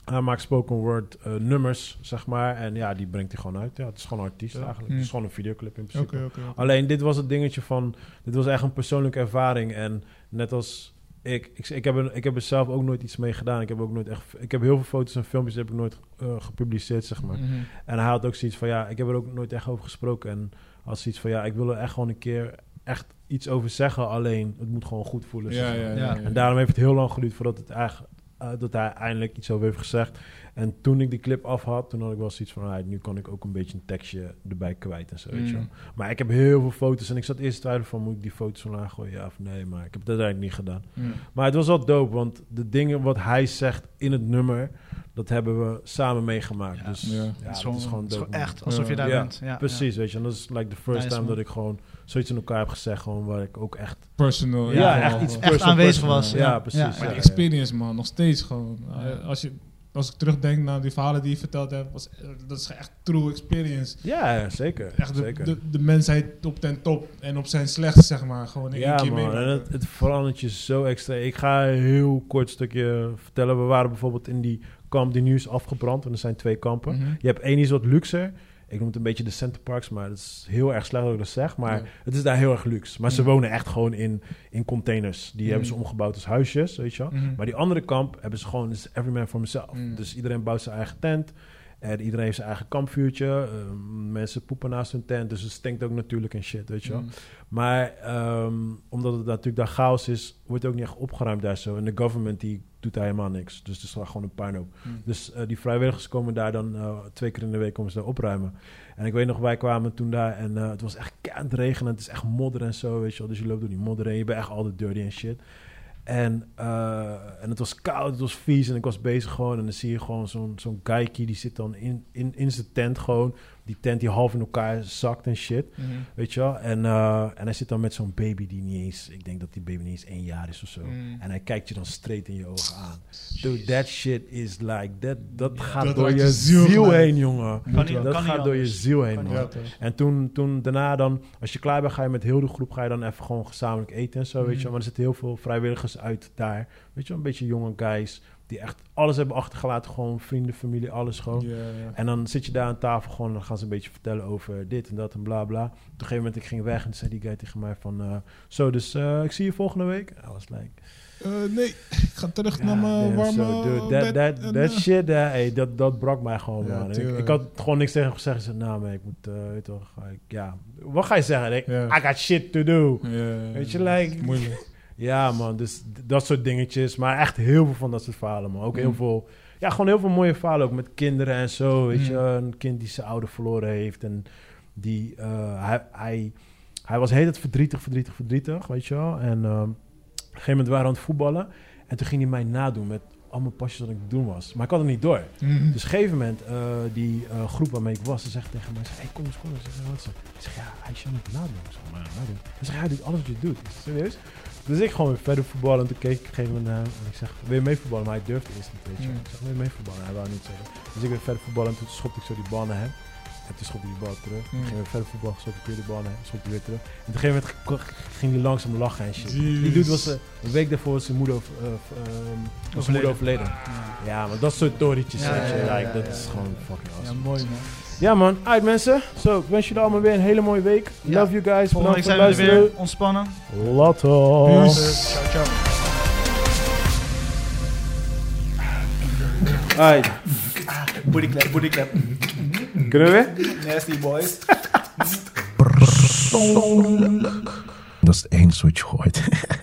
[SPEAKER 1] hij maakt spoken word eh, nummers, zeg maar. En ja, die brengt hij gewoon uit. Ja, het is gewoon een artiest
[SPEAKER 2] Ja.
[SPEAKER 1] eigenlijk.
[SPEAKER 3] Mm.
[SPEAKER 1] Het is gewoon een videoclip in principe.
[SPEAKER 3] Oké, oké. oké.
[SPEAKER 1] Alleen dit was het dingetje van... Dit was echt een persoonlijke ervaring. En net als ik... Ik, ik, heb, er, ik heb er zelf ook nooit iets mee gedaan. Ik heb ook nooit echt... Ik heb heel veel foto's en filmpjes heb ik nooit eh, gepubliceerd, zeg maar.
[SPEAKER 3] Mhm.
[SPEAKER 1] En hij had ook zoiets van, ja, ik heb er ook nooit echt over gesproken. En als zoiets van, ja, ik wil er echt gewoon een keer echt iets over zeggen. Alleen, het moet gewoon goed voelen. zeg
[SPEAKER 3] Ja,
[SPEAKER 1] maar.
[SPEAKER 3] ja,
[SPEAKER 2] Ja.
[SPEAKER 3] ja.
[SPEAKER 1] En daarom heeft het heel lang geduurd voordat het eigenlijk, eh, dat hij eindelijk iets over heeft gezegd. En toen ik die clip af had, toen had ik wel zoiets van... ah, nu kan ik ook een beetje een tekstje erbij kwijt en zo, weet je wel.
[SPEAKER 3] Mm.
[SPEAKER 1] Maar ik heb heel veel foto's en ik zat eerst te twijfelen van... moet ik die foto's online gooien, ja of nee? Maar ik heb dat eigenlijk niet gedaan.
[SPEAKER 3] Mm.
[SPEAKER 1] Maar het was wel dope, want de dingen wat hij zegt in het nummer... dat hebben we samen meegemaakt.
[SPEAKER 2] Ja.
[SPEAKER 1] Dus
[SPEAKER 3] Ja.
[SPEAKER 1] ja,
[SPEAKER 3] Het
[SPEAKER 2] Het
[SPEAKER 1] dat
[SPEAKER 2] is gewoon,
[SPEAKER 1] is gewoon
[SPEAKER 2] het is
[SPEAKER 1] dope.
[SPEAKER 2] gewoon
[SPEAKER 1] man.
[SPEAKER 2] echt, alsof je
[SPEAKER 3] Ja.
[SPEAKER 2] daar
[SPEAKER 1] Ja,
[SPEAKER 2] bent. Ja,
[SPEAKER 1] Precies, weet je. En dat is like the first
[SPEAKER 2] Nice,
[SPEAKER 1] time
[SPEAKER 2] man.
[SPEAKER 1] dat ik gewoon zoiets in elkaar heb gezegd... gewoon waar ik ook echt...
[SPEAKER 3] Personal.
[SPEAKER 1] Ja, echt iets
[SPEAKER 2] Echt
[SPEAKER 1] personal,
[SPEAKER 2] aanwezig
[SPEAKER 1] personal.
[SPEAKER 2] was.
[SPEAKER 1] Ja, precies.
[SPEAKER 3] Maar
[SPEAKER 1] Ja,
[SPEAKER 3] die
[SPEAKER 1] ja.
[SPEAKER 3] experience, man, nog steeds gewoon. Als je,
[SPEAKER 4] als ik terugdenk naar die verhalen die je verteld hebt, was, eh, dat is echt true experience.
[SPEAKER 1] Ja, zeker.
[SPEAKER 4] Echt de,
[SPEAKER 1] zeker.
[SPEAKER 4] de, de mensheid op ten top en op zijn slechtst, zeg maar. Gewoon in één
[SPEAKER 1] ja,
[SPEAKER 4] keer
[SPEAKER 1] man, en
[SPEAKER 4] meemaken.
[SPEAKER 1] het, het verandert je zo extra. Ik ga een heel kort stukje vertellen. We waren bijvoorbeeld in die kamp die nu is afgebrand. En er zijn twee kampen.
[SPEAKER 4] Mhm.
[SPEAKER 1] Je hebt één die is wat luxer. Ik noem het een beetje de Center Parks, maar dat is heel erg slecht dat ik dat zeg. Maar
[SPEAKER 4] Ja.
[SPEAKER 1] het is daar heel erg luxe. Maar ze
[SPEAKER 4] Mhm.
[SPEAKER 1] wonen echt gewoon in, in containers. Die
[SPEAKER 4] Mhm.
[SPEAKER 1] hebben ze omgebouwd als huisjes, weet je wel.
[SPEAKER 4] Mhm.
[SPEAKER 1] Maar die andere kamp hebben ze gewoon, is every man voor mezelf.
[SPEAKER 4] Mm.
[SPEAKER 1] Dus iedereen bouwt zijn eigen tent. En iedereen heeft zijn eigen kampvuurtje. Ehm, mensen poepen naast hun tent. Dus het stinkt ook natuurlijk en shit, weet je wel.
[SPEAKER 4] Mm.
[SPEAKER 1] Maar ehm, omdat het natuurlijk daar chaos is, wordt het ook niet echt opgeruimd daar zo. En de government die doet daar helemaal niks. Dus het is daar gewoon een puinhoop.
[SPEAKER 4] Mm.
[SPEAKER 1] Dus eh, die vrijwilligers komen daar dan eh, twee keer in de week komen ze daar opruimen. En ik weet nog, wij kwamen toen daar en eh, het was echt keihard regen. En het is echt modder en zo, weet je wel. Dus je loopt door die modder heen. Je bent echt altijd dirty en shit. En, eh, en het was koud, het was vies en ik was bezig gewoon. En dan zie je gewoon zo'n zo'n geikie, die zit dan in, in, in zijn tent gewoon. Die tent die half in elkaar zakt en shit.
[SPEAKER 4] Mhm.
[SPEAKER 1] Weet je wel? En, eh, en hij zit dan met zo'n baby die niet eens... Ik denk dat die baby niet eens één jaar is of zo.
[SPEAKER 4] Mm.
[SPEAKER 1] En hij kijkt je dan straight in je ogen aan. Dude, that shit is like... That, dat gaat
[SPEAKER 4] dat
[SPEAKER 1] door
[SPEAKER 4] raakt
[SPEAKER 1] je
[SPEAKER 4] je ziel
[SPEAKER 1] ziel,
[SPEAKER 4] gelijk.
[SPEAKER 1] heen, jongen.
[SPEAKER 2] Kan niet-
[SPEAKER 1] dat
[SPEAKER 2] kan niet
[SPEAKER 1] gaat door je
[SPEAKER 2] anders.
[SPEAKER 1] ziel heen,
[SPEAKER 2] Kan
[SPEAKER 1] man.
[SPEAKER 2] niet
[SPEAKER 4] Ja,
[SPEAKER 1] En toen, toen daarna dan... Als je klaar bent, ga je met heel de groep... Ga je dan even gewoon gezamenlijk eten en zo, weet
[SPEAKER 2] Mhm.
[SPEAKER 1] je wel. Maar er zitten heel veel vrijwilligers uit daar. Weet je wel, een beetje jonge guys... Die echt alles hebben achtergelaten. Gewoon vrienden, familie, alles gewoon.
[SPEAKER 4] Ja, ja.
[SPEAKER 1] En dan zit je daar aan tafel gewoon en dan gaan ze een beetje vertellen over dit en dat en bla bla. Op een gegeven moment ik ging weg en toen zei die guy tegen mij van... eh, Zo, dus eh, ik zie je volgende week. I was like...
[SPEAKER 4] Eh, nee, ik ga terug naar mijn
[SPEAKER 1] damn,
[SPEAKER 4] warme
[SPEAKER 1] so, dude,
[SPEAKER 4] bed
[SPEAKER 1] that, that,
[SPEAKER 4] en,
[SPEAKER 1] that
[SPEAKER 4] eh,
[SPEAKER 1] shit, eh, hey, dat, dat brak mij gewoon,
[SPEAKER 4] Ja,
[SPEAKER 1] man. Ik,
[SPEAKER 4] tuurlijk.
[SPEAKER 1] ik had gewoon niks tegen hem gezegd. Ik zei, nou man, ik moet... eh, weet toch, ik, ja. Wat ga je zeggen? Ik,
[SPEAKER 4] Ja.
[SPEAKER 1] I got shit to do.
[SPEAKER 4] Ja,
[SPEAKER 1] Weet je, like-
[SPEAKER 4] Moeilijk.
[SPEAKER 1] Ja, man. Dus d- dat soort dingetjes. Maar echt heel veel van dat soort verhalen, man. Ook heel
[SPEAKER 4] Mm.
[SPEAKER 1] veel... Ja, gewoon heel veel mooie verhalen. Ook met kinderen en zo. Weet
[SPEAKER 4] Mm.
[SPEAKER 1] je, een kind die zijn ouder verloren heeft. En die... eh, hij, hij, hij was heel het verdrietig, verdrietig, verdrietig. Weet je wel. En ehm, op een gegeven moment waren we aan het voetballen. En toen ging hij mij nadoen met allemaal pasjes wat ik aan het doen was. Maar ik had het niet door.
[SPEAKER 4] Mhm.
[SPEAKER 1] Dus op een gegeven moment, eh, die eh, groep waarmee ik was, ze zegt tegen mij, ze zegt, hey, kom eens, kom eens. Ik zeg, wat is er? Ik zeg, ja, hij is jou niet nadoen. Ik zeg, maar nadoen. Hij zegt, hij doet alles wat je doet. Ik zeg, serieus? Dus ik gewoon weer verder voetballen. En toen keek ik op een gegeven moment naar hem en ik zeg, wil je mee voetballen? Maar hij durfde eerst niet, weet je.
[SPEAKER 4] Mm.
[SPEAKER 1] Ik zeg, wil je mee voetballen? Hij wou niet zeggen. Dus ik weer verder voetballen en toen schopte ik zo die bal naar hem. En toen schopte hij die bal terug.
[SPEAKER 4] Mm.
[SPEAKER 1] Toen ging weer verder voetballen, schopte ik weer die bal naar hem, schopte hij weer terug. En op een gegeven moment g- g- ging hij langzaam lachen en shit. Die dude was eh, een week daarvoor was zijn moeder, over- eh, v- ehm, was zijn moeder overleden. Ja, maar dat soort torentjes,
[SPEAKER 2] Ja,
[SPEAKER 1] weet je,
[SPEAKER 2] ja, ja,
[SPEAKER 1] like, dat
[SPEAKER 2] ja,
[SPEAKER 1] is
[SPEAKER 2] ja.
[SPEAKER 1] gewoon fucking
[SPEAKER 4] Ja,
[SPEAKER 1] awesome.
[SPEAKER 4] mooi man.
[SPEAKER 1] Ja man, uit mensen. Zo, ik wens jullie allemaal weer een hele mooie week.
[SPEAKER 2] Ja.
[SPEAKER 1] Love you guys.
[SPEAKER 2] Volgende
[SPEAKER 1] Bedankt
[SPEAKER 2] week
[SPEAKER 1] Nou, voor het
[SPEAKER 2] zijn we
[SPEAKER 1] luisteren.
[SPEAKER 2] er weer. Ontspannen.
[SPEAKER 1] Later.
[SPEAKER 4] Peace.
[SPEAKER 2] Ciao, ciao.
[SPEAKER 1] Alright,
[SPEAKER 2] Booty clap, booty clap.
[SPEAKER 1] kunnen we weer?
[SPEAKER 2] Nasty boys.
[SPEAKER 7] Dat is het enige wat je hoort.